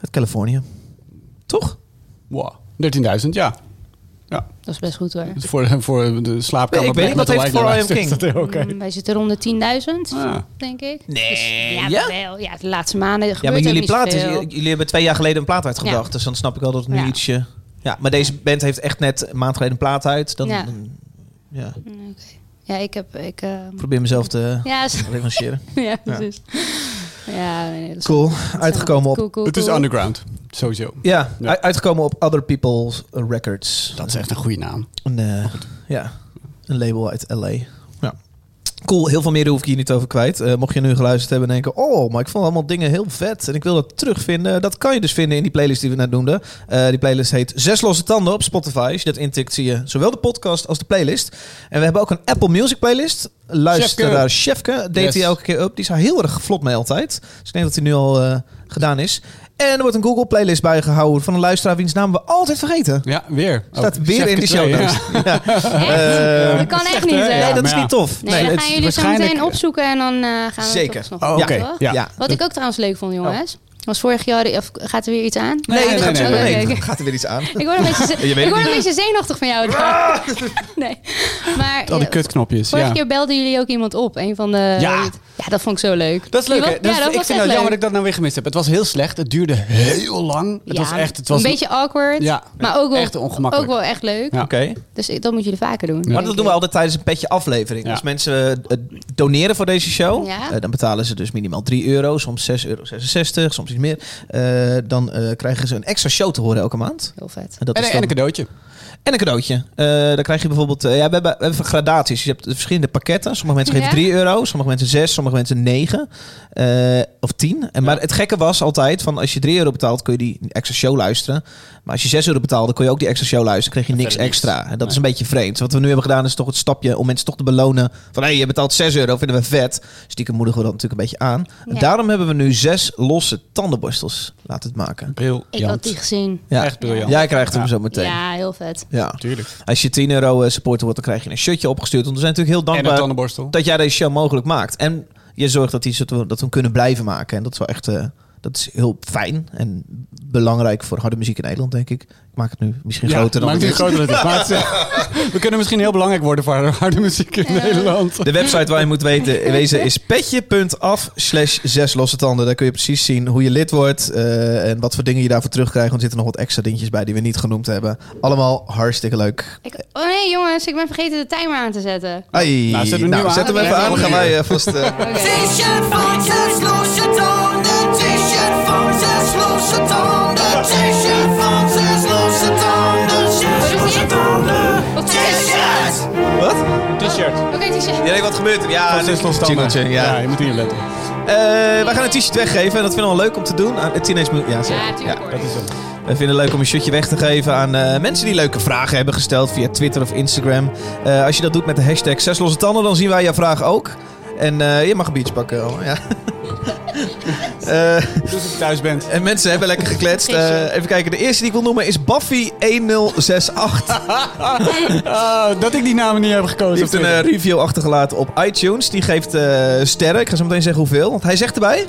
Speaker 1: Uit Californië. Toch?
Speaker 3: eh, Wow. 13.000, ja. Ja,
Speaker 2: Dat is best goed hoor.
Speaker 3: Dus voor, voor de slaapkamer.
Speaker 1: Nee, ik weet niet, wat
Speaker 3: met de
Speaker 1: heeft
Speaker 3: light naar
Speaker 1: For I Am
Speaker 3: luistert,
Speaker 1: King?
Speaker 3: dat is Oké.
Speaker 2: Mm, Wij zitten rond de 10.000,
Speaker 3: Ah.
Speaker 2: denk ik.
Speaker 1: Nee,
Speaker 2: Dus,
Speaker 1: ja?
Speaker 2: ja, wel. Ja, de laatste maanden gebeurt
Speaker 1: Ja, maar
Speaker 2: ook
Speaker 1: jullie
Speaker 2: niet
Speaker 1: plaat is,
Speaker 2: zoveel.
Speaker 1: jullie hebben twee jaar geleden een plaat uitgebracht.
Speaker 2: Ja.
Speaker 1: Dus dan snap ik wel dat het nu
Speaker 2: Ja.
Speaker 1: ietsje... Ja, maar deze band heeft echt net een maand geleden een plaat uit. Dan,
Speaker 2: Ja.
Speaker 1: dan- ja,
Speaker 2: Mm, oké. Ja, ik heb... Ik, eh,
Speaker 1: probeer mezelf te
Speaker 2: ja, *laughs* s-
Speaker 1: revancheren.
Speaker 2: ja, precies. Ja, nee, dat is-
Speaker 1: Cool.
Speaker 2: dat is
Speaker 1: Uitgekomen op...
Speaker 2: cool, cool,
Speaker 3: Het is
Speaker 2: cool.
Speaker 3: underground, sowieso.
Speaker 1: Ja,
Speaker 3: Ja.
Speaker 1: u- uitgekomen op Other People's Records.
Speaker 3: Dat is echt een goede naam.
Speaker 1: Een, eh, ja, een label uit LA. Ja. Cool, heel veel meer hoef ik hier niet over kwijt. Eh, mocht je nu geluisterd hebben en denken... oh, maar ik vond allemaal dingen heel vet en ik wil dat terugvinden... dat kan je dus vinden in die playlist die we net noemden. Eh, die playlist heet Zes Losse Tanden op Spotify. Als je dat intikt zie je zowel de podcast als de playlist. En we hebben ook een Apple Music playlist. Luisteraar Chefke deed
Speaker 3: Yes.
Speaker 1: hij elke keer up. Die is daar heel erg vlot mee altijd. Dus ik denk dat hij nu al eh, gedaan is. En er wordt een Google playlist bijgehouden... van een luisteraar wiens naam we altijd vergeten.
Speaker 3: Ja, weer.
Speaker 1: Staat
Speaker 3: Oh,
Speaker 1: weer in de
Speaker 3: Chefke
Speaker 1: show
Speaker 3: twee,
Speaker 1: notes.
Speaker 3: ja.
Speaker 2: Echt? dat kan echt niet, hè?
Speaker 1: Nee,
Speaker 3: Ja,
Speaker 1: Eh, dat is
Speaker 3: maar
Speaker 1: niet
Speaker 3: ja.
Speaker 1: tof.
Speaker 2: Nee,
Speaker 1: Nee,
Speaker 2: dan
Speaker 1: het-
Speaker 3: is
Speaker 2: gaan jullie zo
Speaker 3: waarschijnlijk-
Speaker 2: meteen opzoeken en dan eh, gaan we
Speaker 1: Zeker.
Speaker 2: het toch nog
Speaker 3: Oh, Oké,
Speaker 2: doen, toch?
Speaker 3: ja. Oh.
Speaker 1: ja.
Speaker 2: Wat ik ook trouwens leuk vond, jongens. Was vorig jaar, of gaat er weer iets aan?
Speaker 1: Nee,
Speaker 3: nee,
Speaker 1: die gaat
Speaker 3: nee,
Speaker 1: zo-
Speaker 3: nee,
Speaker 1: nee,
Speaker 2: oké,
Speaker 1: dan
Speaker 3: *laughs*
Speaker 2: oké.
Speaker 1: gaat er weer iets aan.
Speaker 2: Ik word een beetje, ze-
Speaker 1: weet
Speaker 2: ik word
Speaker 1: het
Speaker 2: een beetje zenuwachtig van jou.
Speaker 3: *laughs*
Speaker 2: Nee. Maar
Speaker 3: Al die
Speaker 2: ja,
Speaker 3: kutknopjes,
Speaker 2: vorige
Speaker 3: ja.
Speaker 2: keer belden jullie ook iemand op. Een van de...
Speaker 3: Ja.
Speaker 2: Ja, dat vond ik zo leuk.
Speaker 3: Dat is leuk,
Speaker 2: Die
Speaker 3: hè?
Speaker 2: was-
Speaker 3: Dat
Speaker 2: ja,
Speaker 3: is-
Speaker 2: dat
Speaker 3: ik
Speaker 2: was
Speaker 3: vind
Speaker 2: echt
Speaker 3: het jammer
Speaker 2: leuk.
Speaker 3: dat ik dat nou weer gemist heb. Het was heel slecht. Het duurde heel lang. Het
Speaker 2: Ja,
Speaker 3: was echt... Het was
Speaker 2: een beetje awkward.
Speaker 3: Ja.
Speaker 2: maar ook wel,
Speaker 3: Echt ongemakkelijk.
Speaker 2: Ook wel echt leuk.
Speaker 3: Ja.
Speaker 1: Oké.
Speaker 2: Dus ik- dat moeten jullie vaker doen.
Speaker 1: Maar
Speaker 2: denk
Speaker 1: dat
Speaker 2: ik.
Speaker 1: doen we altijd tijdens een petje aflevering.
Speaker 3: Ja.
Speaker 1: Als mensen eh, doneren voor deze show,
Speaker 2: Ja.
Speaker 1: eh, dan betalen ze dus minimaal 3 euro, soms 6,66 euro, soms iets meer. Eh, dan eh, krijgen ze een extra show te horen elke maand.
Speaker 2: Heel vet.
Speaker 1: En, dat
Speaker 3: En,
Speaker 1: is
Speaker 3: en een
Speaker 1: dan-
Speaker 3: cadeautje.
Speaker 1: en een cadeautje. Eh, dan krijg je bijvoorbeeld, eh, ja, we, hebben, we hebben gradaties. Je hebt verschillende pakketten. Sommige mensen geven
Speaker 2: Ja.
Speaker 1: 3 euro, sommige mensen 6, sommige mensen 9 eh, of 10. En, maar het gekke was altijd, van als je 3 euro betaalt, kun je die extra show luisteren. Maar als je 6 euro betaalde, kon je ook die extra show luisteren. kreeg je niks
Speaker 3: verder niks.
Speaker 1: extra. En dat is een beetje vreemd. Wat we nu hebben gedaan, is toch het stapje om mensen toch te belonen. Van hé, je betaalt 6 euro, vinden we vet. Stiekem moedigen we dat natuurlijk een beetje aan. En
Speaker 2: Ja.
Speaker 1: daarom hebben we nu zes losse tandenborstels laten maken.
Speaker 2: Ik had die gezien.
Speaker 1: Ja.
Speaker 3: Echt briljant.
Speaker 1: Jij krijgt hem
Speaker 3: Ja.
Speaker 1: zo meteen. Ja.
Speaker 2: Ja, heel vet.
Speaker 3: Tuurlijk.
Speaker 1: Als je 10 euro eh, supporter wordt, dan krijg je een shirtje opgestuurd. Want we zijn natuurlijk heel
Speaker 3: En een
Speaker 1: dankbaar
Speaker 3: tandenborstel.
Speaker 1: dat jij deze show mogelijk maakt. En je zorgt dat, die, soort- dat we hem kunnen blijven maken. En dat is wel echt eh, Dat is heel fijn en belangrijk voor harde muziek in Nederland, denk ik. Ik maak het nu misschien
Speaker 3: Ja,
Speaker 1: groter dan
Speaker 3: maakt
Speaker 1: het
Speaker 3: het
Speaker 1: is.
Speaker 3: groter *laughs* dan het is. Maar het is, eh, we kunnen misschien heel belangrijk worden voor harde muziek in Nederland.
Speaker 1: De website waar je moet weten,
Speaker 3: *laughs*
Speaker 1: wezen is petje.af slash zes losse tanden. Daar kun je precies zien hoe je lid wordt eh, en wat voor dingen je daarvoor terugkrijgt. Want er zitten nog wat extra dingetjes bij die we niet genoemd hebben. Allemaal hartstikke leuk.
Speaker 2: Ik- oh nee, jongens, ik ben vergeten de timer aan te zetten.
Speaker 1: Ai,
Speaker 3: Nou, zet hem nu aan.
Speaker 1: zet hem even
Speaker 2: Oké.
Speaker 1: aan. Dan gaan wij eh, vast... eh,
Speaker 6: T-shirt van zes losse tanden. T-shirt van zes losse tanden. T-shirt van zes losse tanden. Zes losse tanden.
Speaker 2: Wat
Speaker 6: T-shirt.
Speaker 1: wat?
Speaker 3: T-shirt.
Speaker 2: Oké, t-shirt.
Speaker 1: Ja, nee, wat gebeurt er? Ja,
Speaker 3: Als
Speaker 1: een
Speaker 3: losse
Speaker 1: jingletje,
Speaker 3: tanden.
Speaker 1: ja.
Speaker 3: je moet hier letten.
Speaker 1: Eh, wij gaan een t-shirt weggeven en dat vinden we al leuk om te doen. Aan het Teenage Mutant... Ja,
Speaker 2: Ja,
Speaker 1: zeker.
Speaker 2: natuurlijk. hoor.
Speaker 3: Dat is hem.
Speaker 1: We vinden het leuk om een shirtje weg te geven aan eh, mensen die leuke vragen hebben gesteld via Twitter of Instagram. Eh, als je dat doet met de hashtag 6 losse tanden, dan zien wij jouw vraag ook. En eh, je mag een biertje pakken. Elma,
Speaker 2: *laughs*
Speaker 1: Ja. Eh,
Speaker 3: Dus als je thuis bent.
Speaker 1: en mensen hebben lekker gekletst. Eh, even kijken, de eerste die ik wil noemen is Buffy1068.
Speaker 3: Ah, dat ik die namen niet heb gekozen.
Speaker 1: Die heeft
Speaker 3: op
Speaker 1: een eh,
Speaker 3: Twitter.
Speaker 1: review achtergelaten op iTunes. Die geeft eh, sterren. Ik ga zo meteen zeggen hoeveel. Want hij zegt erbij...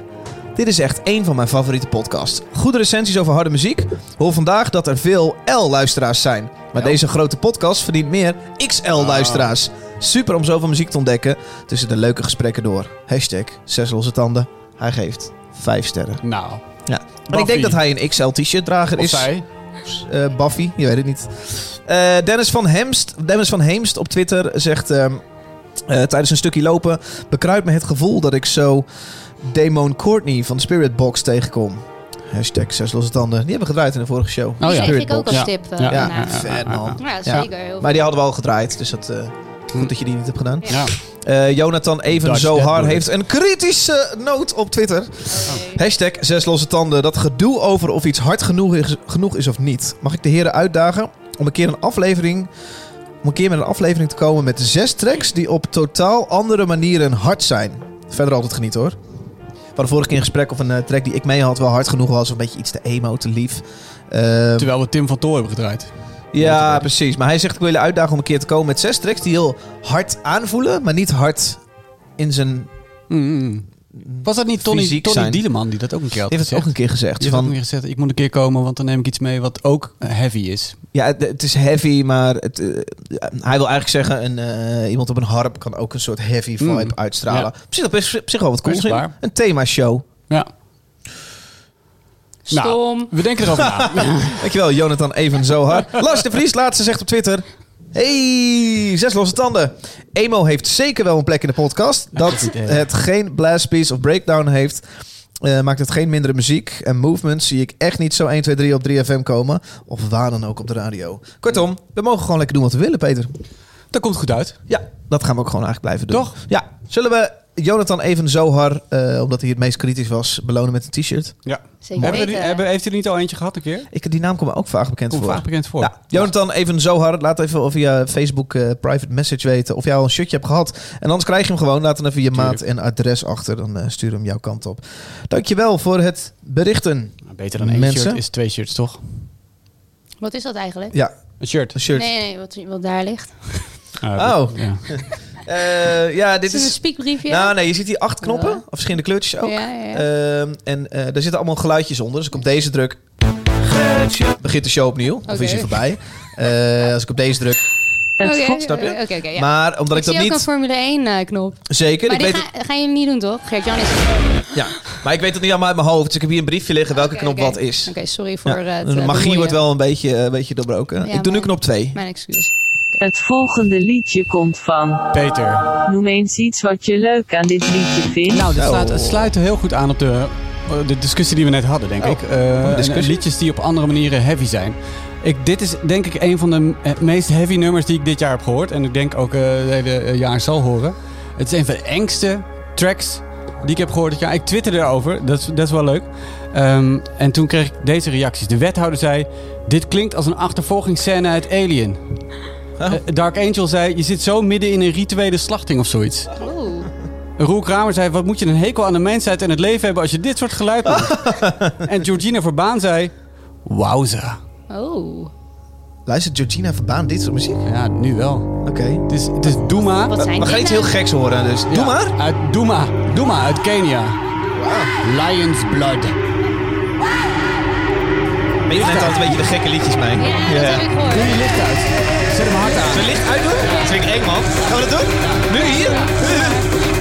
Speaker 1: Dit is echt één van mijn favoriete podcasts. Goede recensies over harde muziek. Hoor vandaag dat er veel L-luisteraars zijn. Maar deze grote podcast verdient meer XL-luisteraars.
Speaker 3: Ah.
Speaker 1: Super om zoveel muziek te ontdekken tussen de leuke gesprekken door. Hashtag zes losse tanden. Hij geeft vijf sterren.
Speaker 3: nou,
Speaker 1: Ja. En ik denk dat hij een XL-t-shirt drager
Speaker 3: of
Speaker 1: is.
Speaker 3: zij.
Speaker 1: Eh, Buffy, je weet het niet. Eh, Dennis, van Hemst, Dennis van Heemst op Twitter zegt... ehm, eh, tijdens een stukje lopen bekruipt me het gevoel dat ik zo Damon Courtney van Spirit Box tegenkom. Hashtag zes losse tanden. Die hebben we gedraaid in de vorige show.
Speaker 2: Die
Speaker 3: Oh ja.
Speaker 2: geef ik ook als
Speaker 3: Ja.
Speaker 2: tip. eh,
Speaker 3: Ja.
Speaker 1: Ja,
Speaker 2: daarna.
Speaker 1: vet man.
Speaker 2: Ja,
Speaker 1: Ja.
Speaker 2: zeker. heel
Speaker 1: Maar die hadden we al gedraaid, dus dat, eh, goed dat je die niet hebt gedaan.
Speaker 3: Ja.
Speaker 1: Eh, Jonathan Even
Speaker 3: Dutch
Speaker 1: Zohar
Speaker 3: Deadwood.
Speaker 1: heeft een kritische noot op Twitter.
Speaker 3: Nou.
Speaker 1: Hashtag zes losse tanden. Dat gedoe over of iets hard genoeg is, genoeg is of niet. Mag ik de heren uitdagen om een keer een aflevering... Om een keer met een aflevering te komen met zes tracks die op totaal andere manieren hard zijn. Verder altijd geniet hoor. We hadden vorige keer een gesprek of een eh, track die ik mee had wel hard genoeg was. Of een beetje iets te emo, te lief. Ehm,
Speaker 3: Terwijl we Tim van Toor hebben gedraaid.
Speaker 1: ja, precies. Maar hij zegt, ik wil je uitdagen om een keer te komen met zes tracks die heel hard aanvoelen. Maar niet hard in zijn
Speaker 3: Mm, Was dat niet Tony,
Speaker 1: Fysiek
Speaker 3: Tony
Speaker 1: zijn.
Speaker 3: Dieleman die dat ook een keer had
Speaker 1: Die heeft het ook
Speaker 3: gezegd?
Speaker 1: een keer gezegd.
Speaker 3: Die heeft ook een
Speaker 1: Van,
Speaker 3: keer gezegd, ik moet een keer komen, want dan neem ik iets mee wat ook eh, heavy is.
Speaker 1: ja, het, het is heavy, maar het, eh, hij wil eigenlijk zeggen... Een, eh, iemand op een harp kan ook een soort heavy vibe
Speaker 3: Mm.
Speaker 1: uitstralen. Op zich, op zich- op zich wel wat cool.
Speaker 3: Best waar.
Speaker 1: in. Een thema-show.
Speaker 3: Ja. Nou,
Speaker 2: Stom.
Speaker 3: we denken erover
Speaker 1: *laughs*
Speaker 3: na.
Speaker 1: Dankjewel, Jonathan Even Zohar.
Speaker 3: *laughs*
Speaker 1: Lars de Vries, laatste zegt op Twitter... Hey, zes losse tanden. Emo heeft zeker wel een plek in de podcast. Dat
Speaker 3: goed idee.
Speaker 1: het geen blast piece of breakdown heeft... eh, maakt het geen mindere muziek. En movement zie ik echt niet zo 1, 2, 3 op 3FM komen. Of waar dan ook op de radio. Kortom, we mogen gewoon lekker doen wat we willen, Peter.
Speaker 3: dat komt goed uit.
Speaker 1: Ja, dat gaan we ook gewoon eigenlijk blijven doen.
Speaker 3: Toch?
Speaker 1: Ja. Zullen we Jonathan Even Zohar, eh, omdat hij het meest kritisch was, belonen met een t-shirt?
Speaker 3: Ja.
Speaker 2: Zeker
Speaker 3: hebben we
Speaker 2: weten.
Speaker 3: er, hebben, heeft u er niet al eentje gehad een keer?
Speaker 1: Ik, die naam komt me ook vaak bekend
Speaker 3: Komt
Speaker 1: voor.
Speaker 3: vaak bekend voor.
Speaker 1: Ja, Jonathan, even zo hard. Laat even via Facebook eh, private message weten of jij al een shirtje hebt gehad. En anders krijg je hem gewoon. Laat dan even je maat en adres achter. Dan eh, stuur hem jouw kant op. Dankjewel voor het berichten.
Speaker 3: Nou, Beter dan één
Speaker 1: Mensen?
Speaker 3: shirt is twee shirts, toch?
Speaker 2: Wat is dat eigenlijk?
Speaker 1: Ja,
Speaker 3: Een shirt.
Speaker 1: een shirt.
Speaker 2: Nee, nee, wat, wat daar ligt.
Speaker 3: Ah,
Speaker 1: Oh.
Speaker 3: ja.
Speaker 1: Eh, ja, dit
Speaker 2: Is het een
Speaker 1: is...
Speaker 2: spiekbriefje?
Speaker 1: Nou nee, je ziet hier acht knoppen.
Speaker 2: Ja.
Speaker 1: Of verschillende kleurtjes ook.
Speaker 2: Ja, ja, ja.
Speaker 1: Ehm, en eh, daar zitten allemaal geluidjes onder. Dus ik op deze druk begint de show opnieuw. Of
Speaker 2: Oké.
Speaker 1: is hij voorbij. Eh, als ik op deze druk.
Speaker 5: Het
Speaker 2: Oké,
Speaker 5: goed.
Speaker 1: snap je?
Speaker 2: Oké, oké, ja.
Speaker 1: Maar omdat ik,
Speaker 2: zie
Speaker 1: dat
Speaker 2: ook een
Speaker 1: niet...
Speaker 2: Formule 1 eh, knop.
Speaker 1: Zeker,
Speaker 2: Maar
Speaker 1: ik
Speaker 2: die
Speaker 1: weet
Speaker 2: ga, gaan jullie niet doen, toch? Geert-Jan is...
Speaker 1: Ja, maar ik weet het niet allemaal uit mijn hoofd. Dus ik heb hier een briefje liggen welke
Speaker 2: Oké,
Speaker 1: knop
Speaker 2: oké.
Speaker 1: wat is.
Speaker 2: Oké, sorry voor eh, het
Speaker 1: de magie
Speaker 2: eh, bemoeien.
Speaker 1: wordt wel een beetje, eh, een beetje doorbroken. ik
Speaker 2: Ja,
Speaker 1: doe nu
Speaker 2: maar-
Speaker 1: knop 2.
Speaker 2: Mijn excuus.
Speaker 5: Het volgende liedje komt van.
Speaker 3: Peter.
Speaker 5: Noem eens iets wat je leuk aan dit liedje vindt.
Speaker 3: Nou, dat
Speaker 1: Zo.
Speaker 3: sluit, het sluit heel goed aan op de, eh, de discussie die we net hadden, denk
Speaker 1: Oh,
Speaker 3: ik. Eh, en- en
Speaker 1: discussie.
Speaker 3: liedjes die op andere manieren heavy zijn. Ik, dit is denk ik een van de eh, meest heavy nummers die ik dit jaar heb gehoord. En ik denk ook eh het hele eh, jaar zal horen. Het is een van de engste tracks die ik heb gehoord dit jaar. Ik twitterde erover, dat is, dat is wel leuk. Ehm, en toen kreeg ik deze reacties. De wethouder zei, dit klinkt als een achtervolgingsscène uit Alien.
Speaker 1: Oh.
Speaker 3: Eh, Dark Angel zei, je zit zo midden in een rituele slachting of zoiets.
Speaker 2: Oeh.
Speaker 3: Roel Kramer zei: Wat moet je een hekel aan de mensheid en het leven hebben als je dit soort geluid maakt? en Georgina Verbaan zei: Wauwza.
Speaker 2: Oh.
Speaker 1: Luistert Georgina Verbaan dit soort muziek?
Speaker 3: Ja, nu wel.
Speaker 1: Oké.
Speaker 3: Het is, het is Doema.
Speaker 2: Wat zijn
Speaker 1: We gaan
Speaker 2: dit
Speaker 1: iets heel
Speaker 2: nou?
Speaker 1: geks horen, dus doe
Speaker 3: Ja,
Speaker 1: maar.
Speaker 3: Uit Doema. Doema uit Kenya. Lions Blood.
Speaker 1: Maar je bent altijd een beetje de gekke liedjes mee.
Speaker 2: Ja, dat heb ik gehoord.
Speaker 1: Doe je licht uit. Zet hem hard aan. Zullen we licht uitdoen? Dat vind ik eng, man. Gaan we dat doen? Nu, hier?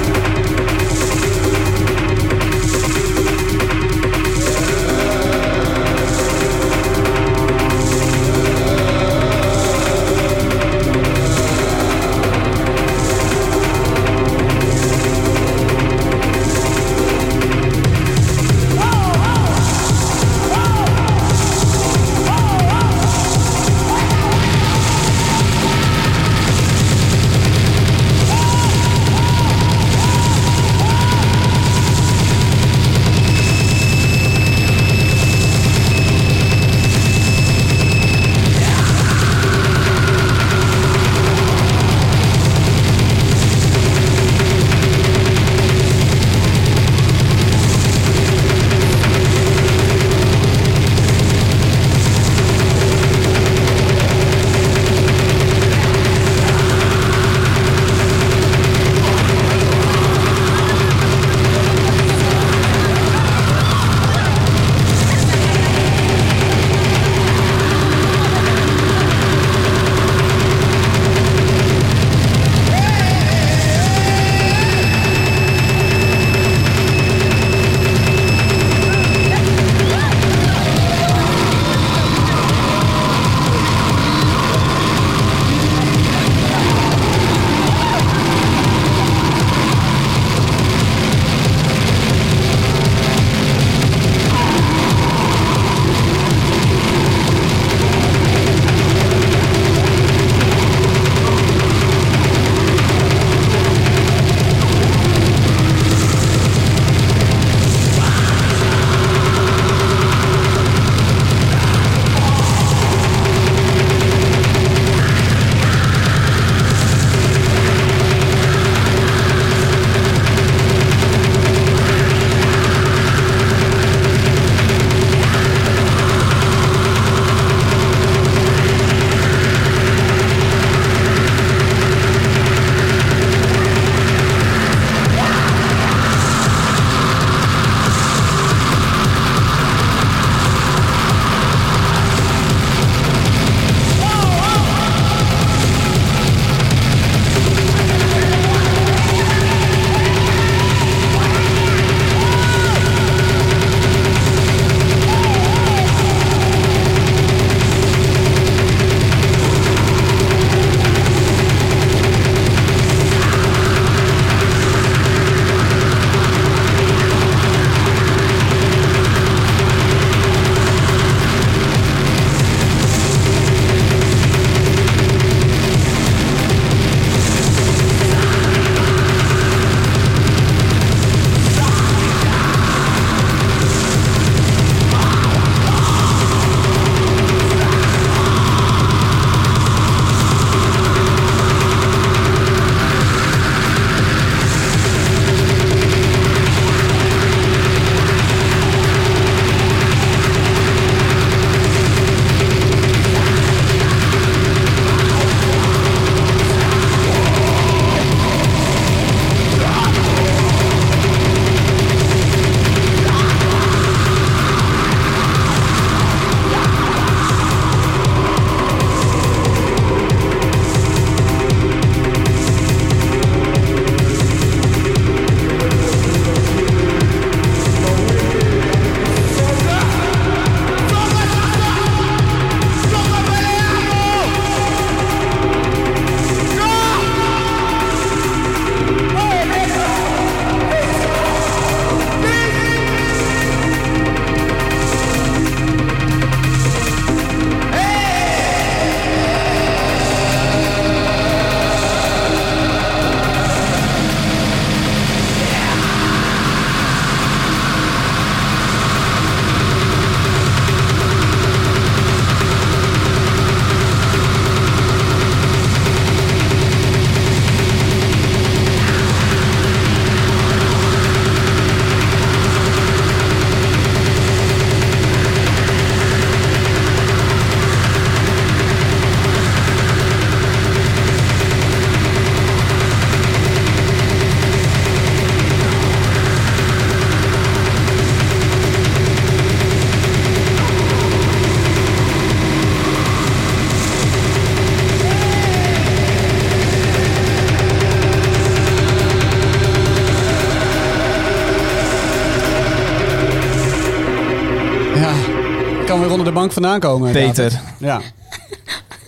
Speaker 3: kan weer onder de bank vandaan komen.
Speaker 1: Peter.
Speaker 3: Ja.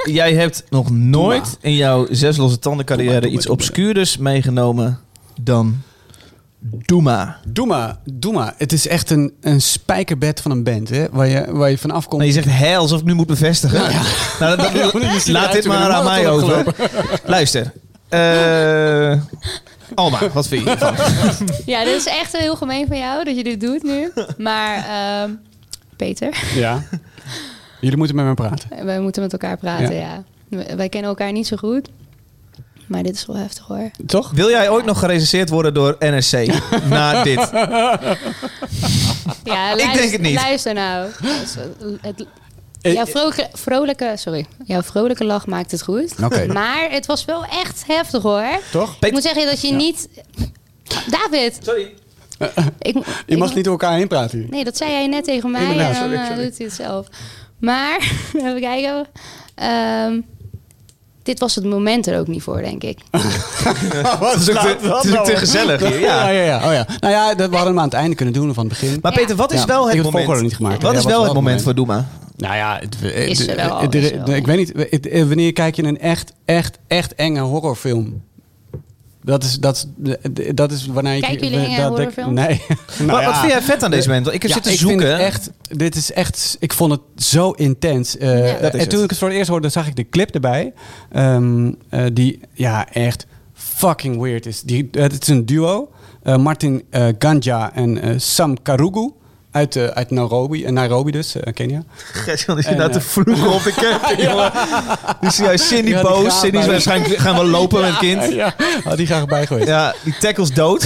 Speaker 1: Jij hebt nog nooit in jouw zes losse tanden carrière iets obscuurders meegenomen dan Doema.
Speaker 3: Doe maar, doe maar. Het is echt een, een spijkerbed van een band, hè? Waar je, waar je van afkomt.
Speaker 1: Nou, je zegt hé, alsof ik nu moet bevestigen. Nou, dat- dat- laat dit maar aan mij over. Luister. Eh, Alma, wat vind je hiervan?
Speaker 2: Ja, dit is echt heel gemeen van jou dat je dit doet nu. Maar ehm, Peter,
Speaker 3: Ja. Jullie moeten met me praten.
Speaker 2: we moeten met elkaar praten, ja. We- Wij kennen elkaar niet zo goed. Maar dit is wel heftig hoor.
Speaker 3: Toch?
Speaker 1: *laughs* Wil jij ooit nog gerecenseerd worden door NRC na dit?
Speaker 2: Ja,
Speaker 1: Ik
Speaker 2: luister-
Speaker 1: denk het niet.
Speaker 2: Luister nou. Het-
Speaker 3: Eh,
Speaker 2: Jouw vrolijke, vrolijke, sorry, jouw vrolijke lach maakt het goed.
Speaker 3: Oké.
Speaker 2: Maar het was wel echt heftig hoor.
Speaker 3: Toch?
Speaker 2: Ik moet zeggen dat je
Speaker 3: Ja.
Speaker 2: niet... David!
Speaker 1: Sorry.
Speaker 2: Ik,
Speaker 3: Je
Speaker 2: ik-
Speaker 3: mag niet door elkaar heen praten hier.
Speaker 2: Nee, dat zei jij net tegen mij.
Speaker 3: Inderdaad,
Speaker 2: en dan
Speaker 3: sorry,
Speaker 2: eh,
Speaker 3: sorry.
Speaker 2: doet hij het zelf. Maar, *laughs* even kijken. Ehm, dit was het moment er ook niet voor, denk
Speaker 3: *laughs*
Speaker 2: ik.
Speaker 1: Het is ook te, het is ook te gezellig hier.
Speaker 3: nou *laughs* Ja,
Speaker 1: Ja.
Speaker 3: ja, ja. Oh, ja. Nou ja, dat, we hadden hem aan het einde kunnen doen of aan het begin.
Speaker 1: Maar Peter, wat is
Speaker 3: Ja,
Speaker 1: wel
Speaker 3: ik
Speaker 1: het
Speaker 3: heb het
Speaker 1: moment?
Speaker 3: volgorde niet gemaakt.
Speaker 1: Wat
Speaker 3: Ja,
Speaker 1: is
Speaker 3: wat
Speaker 1: wel het moment voor Doema?
Speaker 3: Nou ja, het, eh,
Speaker 2: Is
Speaker 3: eh,
Speaker 2: er wel,
Speaker 3: eh,
Speaker 2: is
Speaker 3: eh,
Speaker 2: wel.
Speaker 3: ik weet niet. eh, eh, Wanneer kijk je een echt, echt, echt enge horrorfilm? Dat is, dat is, eh, dat is wanneer je...
Speaker 2: Kijken jullie enge
Speaker 3: dat- dat-
Speaker 2: horrorfilms?
Speaker 3: Nee. *laughs* Nou
Speaker 1: Wat- wat
Speaker 3: ja.
Speaker 1: vind jij vet aan deze moment? Want Ik heb
Speaker 3: Ja,
Speaker 1: zitten
Speaker 3: ik
Speaker 1: zoeken.
Speaker 3: Vind het echt, dit is echt, ik vond het zo intens. Eh,
Speaker 2: Ja.
Speaker 1: Dat is
Speaker 3: en toen
Speaker 1: het.
Speaker 3: ik het voor het eerst hoorde, zag ik de clip erbij. Ehm, eh, die ja, echt fucking weird is. Die, het is een duo. eh, Martin eh, Ganja en eh, Sam Karugu. Uit, eh, uit Nairobi, eh, Nairobi dus, eh, Kenia.
Speaker 1: Gertjan is
Speaker 3: En,
Speaker 1: inderdaad
Speaker 3: eh,
Speaker 1: te vroeg op de
Speaker 3: *laughs*
Speaker 1: camping, jongen. Die is juist Cindy
Speaker 3: Ja, die
Speaker 1: boos.
Speaker 3: gaat
Speaker 1: Cindy is
Speaker 3: bij-
Speaker 1: waarschijnlijk gaan we lopen met het kind.
Speaker 3: Ja, *laughs* had die graag bij geweest.
Speaker 1: Ja, die tackles dood.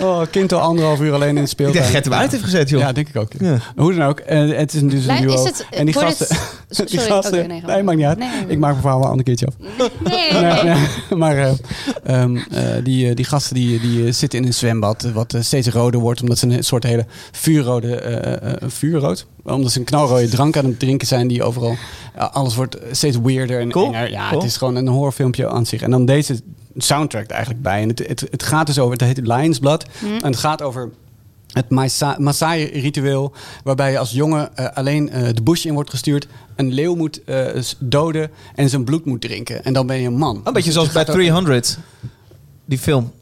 Speaker 3: Oh, kind al anderhalf uur alleen in de
Speaker 1: Ik
Speaker 3: speeltuin.
Speaker 1: denk Gert hem uit heeft gezet, joh.
Speaker 3: Ja, denk ik ook. Hoe dan ook, eh, het is een- dus een
Speaker 2: Lijkt-
Speaker 3: duo.
Speaker 2: is het-
Speaker 3: en die
Speaker 2: wordt
Speaker 3: gasten...
Speaker 2: het-
Speaker 3: *laughs* die
Speaker 2: *laughs* Sorry,
Speaker 3: gasten
Speaker 2: oké, nee,
Speaker 3: nee,
Speaker 2: ga maar.
Speaker 3: maakt niet uit.
Speaker 2: Nee, nee, nee.
Speaker 3: ik maak mijn verhaal wel een ander keertje af.
Speaker 2: Nee,
Speaker 3: Nee,
Speaker 2: nee.
Speaker 3: nee, *laughs* maar eh, ehm, eh, die, eh, die gasten die, die eh, zitten in een zwembad, eh, wat eh, steeds roder wordt, omdat ze een soort hele vuurrode, eh, eh, vuurrood, omdat ze een knalrode drank aan het drinken zijn, die overal, eh, alles wordt steeds weirder en
Speaker 1: Cool,
Speaker 3: enger. Ja,
Speaker 1: cool.
Speaker 3: het is gewoon een horrorfilmpje aan zich. En dan deze soundtrack er eigenlijk bij. En het, het, het gaat dus over, het heet Lions Blood, en het gaat over... Het Maasa- Maasai-ritueel, waarbij je als jongen eh, alleen eh, de bush in wordt gestuurd, een leeuw moet eh, s- doden en zijn bloed moet drinken. En dan ben je een man. Dus
Speaker 1: Een beetje zoals bij 300, die film.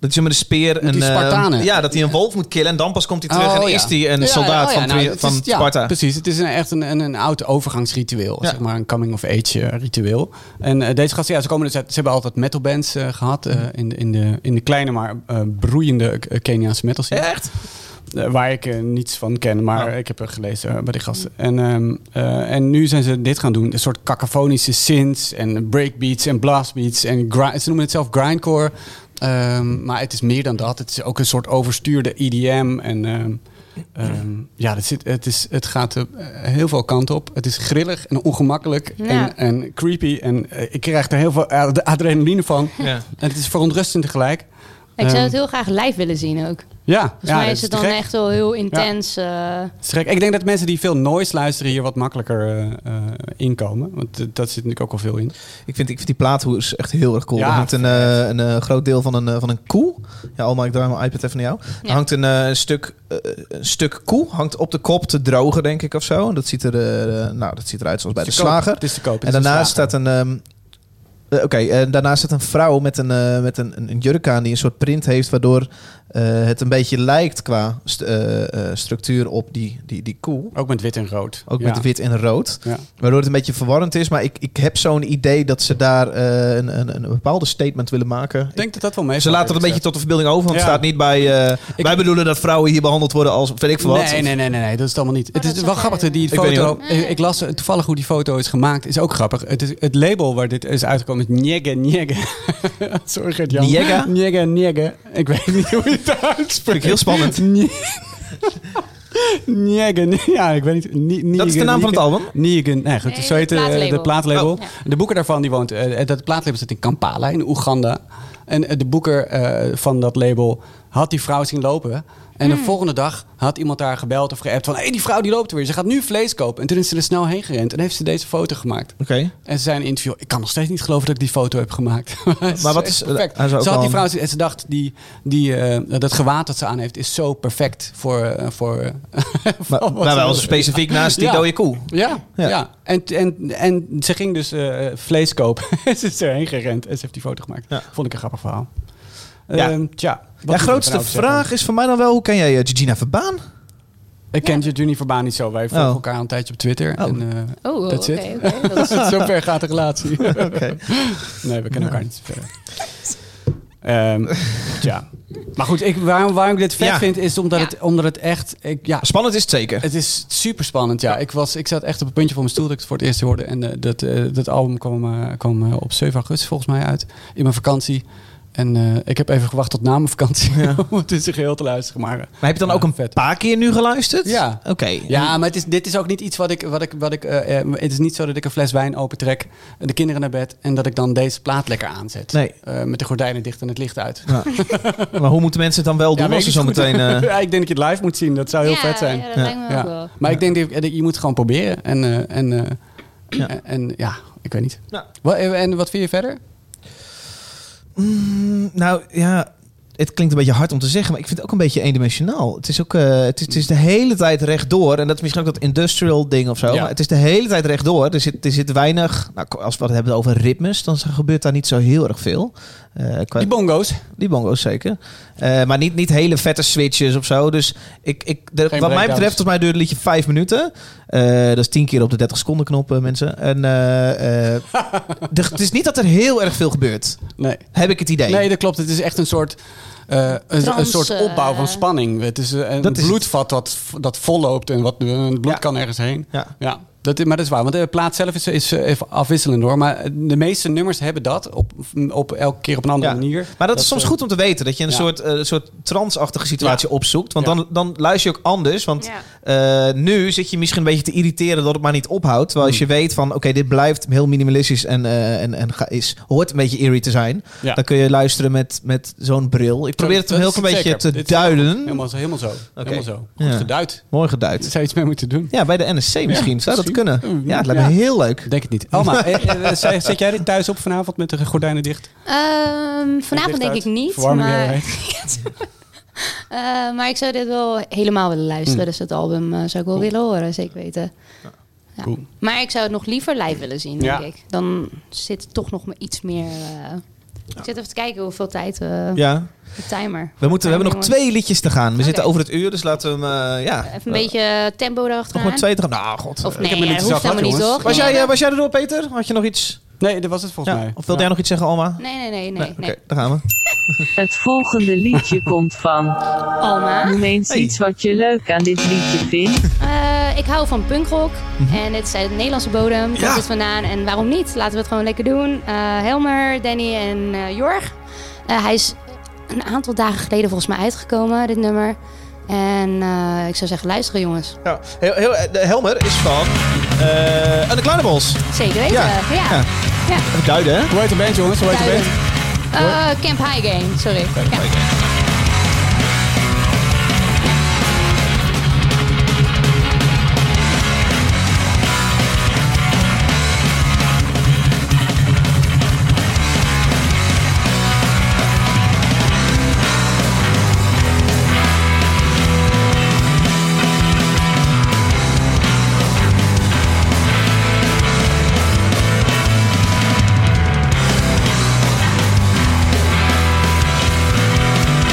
Speaker 1: Dat je met een speer een.
Speaker 3: die
Speaker 1: eh,
Speaker 3: Spartanen.
Speaker 1: ja, dat hij een wolf moet killen en dan pas komt hij terug en
Speaker 3: Oh, ja.
Speaker 1: is hij een
Speaker 3: Ja,
Speaker 1: soldaat
Speaker 3: oh, ja,
Speaker 1: van,
Speaker 3: nou,
Speaker 1: Tri-
Speaker 3: het is-
Speaker 1: van
Speaker 3: ja,
Speaker 1: Sparta.
Speaker 3: precies, het is een, echt een, een, een oud overgangsritueel,
Speaker 1: Ja.
Speaker 3: zeg maar, een coming-of-age eh, ritueel. En eh, deze gasten, ja, ze, komen dus uit- ze hebben altijd metalbands eh, gehad
Speaker 1: Mhm.
Speaker 3: eh, in, de- in, de, in de kleine, maar eh, broeiende eh, Keniaanse metal scene.
Speaker 1: Echt?
Speaker 3: Eh, waar ik eh, niets van ken, maar ik heb er gelezen eh, bij die gasten. En, ehm, eh, en nu zijn ze dit gaan doen. Een soort cacophonische synths en breakbeats en blastbeats. En gri- ze noemen het zelf grindcore. Ehm, maar het is meer dan dat. Het is ook een soort overstuurde EDM. En ehm, ehm, ja, het, zit, het, is, het gaat eh, heel veel kanten op. Het is grillig en ongemakkelijk
Speaker 2: Ja.
Speaker 3: en, en creepy. En eh, ik krijg er heel veel ad- adrenaline van.
Speaker 1: Ja.
Speaker 3: En het is verontrustend tegelijk.
Speaker 2: Ik zou
Speaker 3: Ehm,
Speaker 2: het heel graag live willen zien ook.
Speaker 3: ja,
Speaker 2: Volgens
Speaker 3: ja,
Speaker 2: mij
Speaker 3: dat
Speaker 2: is het
Speaker 3: te
Speaker 2: dan
Speaker 3: gek.
Speaker 2: echt wel heel intens. eh,
Speaker 3: Schrek. Ik denk dat mensen die veel noise luisteren hier wat makkelijker eh, eh, inkomen. Want eh, dat zit natuurlijk ook wel veel in.
Speaker 1: Ik vind, ik vind die plaathoes echt heel erg cool.
Speaker 3: Ja,
Speaker 1: er hangt een, eh, een eh, groot deel van een, eh, van een koe. Ja, Alma, ik draai mijn iPad even naar jou. Er
Speaker 2: Ja.
Speaker 1: hangt een, eh, stuk, eh, een stuk koe hangt op de kop te drogen, denk ik, of zo. En dat ziet, er, eh, nou, dat ziet eruit zoals bij de
Speaker 3: Het is te koop.
Speaker 1: slager.
Speaker 3: Het is te koop.
Speaker 1: En daarnaast staat een... ehm, eh, Oké, en daarnaast staat een vrouw met, een, eh, met een, een, een jurk aan die een soort print heeft... waardoor eh, het een beetje lijkt qua st- eh, eh, structuur op die, die, die koe.
Speaker 3: Ook met wit en rood.
Speaker 1: Ook
Speaker 3: Ja.
Speaker 1: met wit en rood.
Speaker 3: Ja.
Speaker 1: Waardoor het een beetje verwarrend is. Maar ik, ik heb zo'n idee dat ze daar eh, een, een, een bepaalde statement willen maken.
Speaker 3: Ik denk dat dat wel mee
Speaker 1: Ze laten het een beetje tot de verbeelding over. Want het
Speaker 3: Ja.
Speaker 1: staat niet bij... eh, wij bedoelen dat vrouwen hier behandeld worden als... Weet ik veel wat.
Speaker 3: Nee, nee, nee, nee, nee, dat is het allemaal niet. het
Speaker 2: dat
Speaker 3: is
Speaker 2: is
Speaker 3: wel
Speaker 2: oké.
Speaker 3: grappig, dat die
Speaker 1: Ik weet niet
Speaker 3: foto. Ik, ik las eh, toevallig hoe die foto is gemaakt, is ook grappig. Het, is, het label waar dit is uitgekomen is Njege Njege. *laughs* Sorry, Gert Jan.
Speaker 1: Njega?
Speaker 3: Njege Njege. Ik weet niet hoe je het
Speaker 1: Vind ik
Speaker 3: uitspreekt.
Speaker 1: heel spannend.
Speaker 3: *laughs* Njegen. Ja, ik weet niet. Nie-
Speaker 1: Dat is de
Speaker 3: Niegen,
Speaker 1: naam van het
Speaker 3: Niegen.
Speaker 1: album?
Speaker 3: Niegen. Nee, goed.
Speaker 2: Nee,
Speaker 3: zo heet eh,
Speaker 2: het
Speaker 3: de,
Speaker 2: plaatlabel.
Speaker 3: de plaatlabel.
Speaker 2: Oh.
Speaker 3: De boeken daarvan, die woont... eh, dat plaatlabel zit in Kampala, in Oeganda. En eh, de boeker eh, van dat label had die vrouw zien lopen. En
Speaker 2: Hmm.
Speaker 3: de volgende dag had iemand daar gebeld of geappt van... hé, hey, die vrouw die loopt weer. Ze gaat nu vlees kopen. En toen is ze er snel heen gerend en heeft ze deze foto gemaakt.
Speaker 1: Oké.
Speaker 3: En ze zei in een interview... ik kan nog steeds niet geloven dat ik die foto heb gemaakt. *laughs* maar
Speaker 1: wat is- eh,
Speaker 3: Perfect.
Speaker 1: hij
Speaker 3: Ze
Speaker 1: zou ook
Speaker 3: had
Speaker 1: al
Speaker 3: die
Speaker 1: een-
Speaker 3: vrouw en ze dacht... Die, die, eh, dat gewaad dat ze aan heeft is zo perfect voor... eh, voor eh, *laughs* voor
Speaker 1: Maar,
Speaker 3: wat
Speaker 1: maar
Speaker 3: ze
Speaker 1: wel
Speaker 3: wil.
Speaker 1: specifiek naast die
Speaker 3: Ja.
Speaker 1: dode koe.
Speaker 3: Ja,
Speaker 1: Ja.
Speaker 3: ja. En, en, en ze ging dus eh, vlees kopen. *laughs* ze is erheen gerend en ze heeft die foto gemaakt.
Speaker 1: Ja.
Speaker 3: Vond ik een grappig verhaal.
Speaker 1: Ja.
Speaker 3: Ehm, tja. wat moet
Speaker 1: De
Speaker 3: ik
Speaker 1: grootste
Speaker 3: erover zeggen?
Speaker 1: vraag is voor mij dan wel, hoe ken jij eh, Gina Verbaan?
Speaker 3: Ik ken Juni Verbaan niet zo. Wij volgen
Speaker 1: Oh.
Speaker 3: elkaar al een tijdje op Twitter.
Speaker 1: Oh.
Speaker 3: En, eh, *laughs*
Speaker 2: Oh, oké.
Speaker 3: that's it.
Speaker 2: oké, dat is-
Speaker 3: Zover gaat de relatie.
Speaker 1: *laughs* Oké.
Speaker 3: nee, we kennen elkaar niet zo verder. Ehm, tja. Maar goed, ik, waarom, waarom ik dit vet
Speaker 1: Ja.
Speaker 3: vind is omdat,
Speaker 2: Ja.
Speaker 3: het, omdat het echt... Ik, ja,
Speaker 1: Spannend is het zeker.
Speaker 3: Het is super spannend, ja. Ik, was, ik zat echt op het puntje van mijn stoel dat ik het voor het eerst hoorde. En eh, dat, eh, dat album kwam, eh, kwam eh, op 7 augustus volgens mij uit. In mijn vakantie. En eh, ik heb even gewacht tot na mijn vakantie *laughs* om het in zijn geheel te luisteren. Maar, eh,
Speaker 1: Maar heb je dan
Speaker 3: ja,
Speaker 1: ook een
Speaker 3: vet.
Speaker 1: paar keer nu geluisterd?
Speaker 3: Ja.
Speaker 1: Oké.
Speaker 3: Ja, maar het is, dit is ook niet iets wat ik... Wat ik, wat ik eh, eh, het is niet zo dat ik een fles wijn opentrek, de kinderen naar bed... en dat ik dan deze plaat lekker aanzet.
Speaker 1: Nee.
Speaker 3: Eh, met de gordijnen dicht en het licht uit.
Speaker 1: Maar hoe moeten mensen het dan wel doen
Speaker 3: weet
Speaker 1: als ze
Speaker 3: ik
Speaker 1: zo
Speaker 3: niet
Speaker 1: meteen...
Speaker 3: goed.
Speaker 1: eh,
Speaker 3: *laughs* ja, ik denk dat je het live moet zien. Dat zou heel
Speaker 2: Ja,
Speaker 3: vet zijn.
Speaker 2: Ja, dat
Speaker 1: Ja.
Speaker 2: lijkt me ook wel.
Speaker 3: Maar ik denk dat je, dat je moet gewoon proberen. En, eh, en, eh,
Speaker 1: Ja.
Speaker 3: en, en ja, ik weet niet.
Speaker 1: Ja.
Speaker 3: Wat, eh, en wat vind je verder?
Speaker 1: Mm, nou ja, het klinkt een beetje hard om te zeggen, maar ik vind het ook een beetje eendimensionaal. Het is ook, eh, het, is, het is de hele tijd rechtdoor. En dat is misschien ook dat industrial ding of zo.
Speaker 3: Ja.
Speaker 1: Maar het is de hele tijd rechtdoor. Er zit, er zit weinig. Nou, als we het hebben over ritmes, dan gebeurt daar niet zo heel erg veel. Eh, qua-
Speaker 3: Die bongo's.
Speaker 1: die bongo's zeker. Eh, maar niet, niet hele vette switches of zo. Dus ik, ik, de- wat mij
Speaker 3: breakdowns.
Speaker 1: betreft, volgens mij duurt het liedje vijf minuten. Eh, dat is tien keer op de 30 seconden knop, eh, mensen. En eh,
Speaker 3: *laughs*
Speaker 1: eh, de- het is niet dat er heel erg veel gebeurt.
Speaker 3: Nee.
Speaker 1: Heb ik het idee.
Speaker 3: nee, dat klopt. Het is echt een soort, eh, een, een
Speaker 2: Trance.
Speaker 3: soort opbouw
Speaker 2: eh.
Speaker 3: van spanning. Het is eh, een
Speaker 1: Dat is
Speaker 3: bloedvat dat, dat volloopt en wat, eh, het bloed
Speaker 1: Ja.
Speaker 3: kan ergens heen.
Speaker 1: Ja.
Speaker 3: Ja, dat is, maar dat is waar. Want de plaat zelf is, is eh, even afwisselend hoor. Maar de meeste nummers hebben dat op, op elke keer op een andere
Speaker 1: Ja.
Speaker 3: manier.
Speaker 1: Maar dat, is soms
Speaker 3: eh,
Speaker 1: goed om te weten. Dat je een
Speaker 3: ja.
Speaker 1: soort, eh, soort transachtige situatie opzoekt. Want
Speaker 3: Ja.
Speaker 1: dan, dan luister je ook anders. Want
Speaker 2: Ja.
Speaker 1: eh, nu zit je misschien een beetje te irriteren dat het maar niet ophoudt. Terwijl
Speaker 3: Hmm.
Speaker 1: als je weet van, oké, dit blijft heel minimalistisch en, eh, en, en ga- is, hoort een beetje eerie te zijn.
Speaker 3: Ja.
Speaker 1: Dan kun je luisteren met, met zo'n bril. Ik probeer het
Speaker 3: Dat
Speaker 1: een heel
Speaker 3: is het
Speaker 1: klein beetje
Speaker 3: zeker.
Speaker 1: te
Speaker 3: Dit is
Speaker 1: duiden.
Speaker 3: Helemaal, zo- helemaal zo. Helemaal zo. Goed
Speaker 1: Ja.
Speaker 3: geduid.
Speaker 1: Mooi
Speaker 3: Daar
Speaker 1: geduid.
Speaker 3: zou je iets mee moeten doen.
Speaker 1: Ja, bij de NSC misschien. Zou dat
Speaker 3: misschien.
Speaker 1: kunnen?
Speaker 3: Mm,
Speaker 1: Ja, het lijkt me
Speaker 3: ja.
Speaker 1: heel leuk.
Speaker 3: Denk het niet. *laughs* Alma, eh, eh, zet zet jij dit thuis op vanavond met de gordijnen dicht?
Speaker 2: Ehm, vanavond
Speaker 3: Licht
Speaker 2: denk
Speaker 3: uit.
Speaker 2: ik niet.
Speaker 3: Verwarming
Speaker 2: maar...
Speaker 3: heel
Speaker 2: Eh, maar ik zou dit wel helemaal willen
Speaker 1: Hmm.
Speaker 2: luisteren. Dus het album eh, zou ik wel willen horen, zeker weten. Ja.
Speaker 3: Cool.
Speaker 2: Maar ik zou het nog liever live willen zien,
Speaker 3: Ja.
Speaker 2: denk ik. Dan zit het toch nog maar iets meer... eh, Ik zit even te kijken hoeveel tijd we...
Speaker 1: Ja.
Speaker 2: De timer.
Speaker 1: We, moeten, we hebben nog
Speaker 2: Jongens.
Speaker 1: twee liedjes te gaan. We zitten
Speaker 2: Oké.
Speaker 1: over het uur, dus laten we hem... eh, ja,
Speaker 2: Even een beetje tempo
Speaker 1: nog
Speaker 2: erachteraan.
Speaker 1: maar twee te gaan. Nou, god.
Speaker 2: Of
Speaker 1: eh,
Speaker 2: nee,
Speaker 3: heb me niet
Speaker 2: eh,
Speaker 3: zelf
Speaker 2: hoeft
Speaker 3: gehad,
Speaker 2: helemaal niet,
Speaker 3: jongens.
Speaker 2: toch?
Speaker 1: Was
Speaker 2: Nee,
Speaker 1: jij,
Speaker 2: dat-
Speaker 1: eh, was jij erdoor, Peter? Had je nog iets?
Speaker 3: Nee, dat was het volgens
Speaker 1: Ja.
Speaker 3: mij.
Speaker 1: Of wilde jij nog iets zeggen, Alma?
Speaker 2: Nee, nee, nee, nee. nee.
Speaker 1: Oké, daar gaan we.
Speaker 5: Het volgende liedje komt van.
Speaker 2: Alma.
Speaker 5: Noem eens
Speaker 1: Hey.
Speaker 5: iets wat je leuk aan dit liedje vindt.
Speaker 2: Eh, ik hou van punkrock. En dit is uit de Nederlandse bodem. Komt
Speaker 1: Mhm. Ja.
Speaker 2: het vandaan. En waarom niet? Laten we het gewoon lekker doen. Eh, Helmer, Danny en eh, Jorg. Eh, hij is een aantal dagen geleden volgens mij uitgekomen, dit nummer. En eh, ik zou zeggen, luisteren jongens.
Speaker 1: Ja, heel, heel, eh, de Helmer is van eh Unclimables.
Speaker 2: Zeker weten.
Speaker 1: Ja.
Speaker 2: Ja.
Speaker 1: Ja. Even duiden, hè?
Speaker 3: Hoe heet de band, jongens? Hoe heet de
Speaker 2: Duidelijk.
Speaker 3: band?
Speaker 2: Eh, Camp High Game, sorry. Ja.
Speaker 6: Als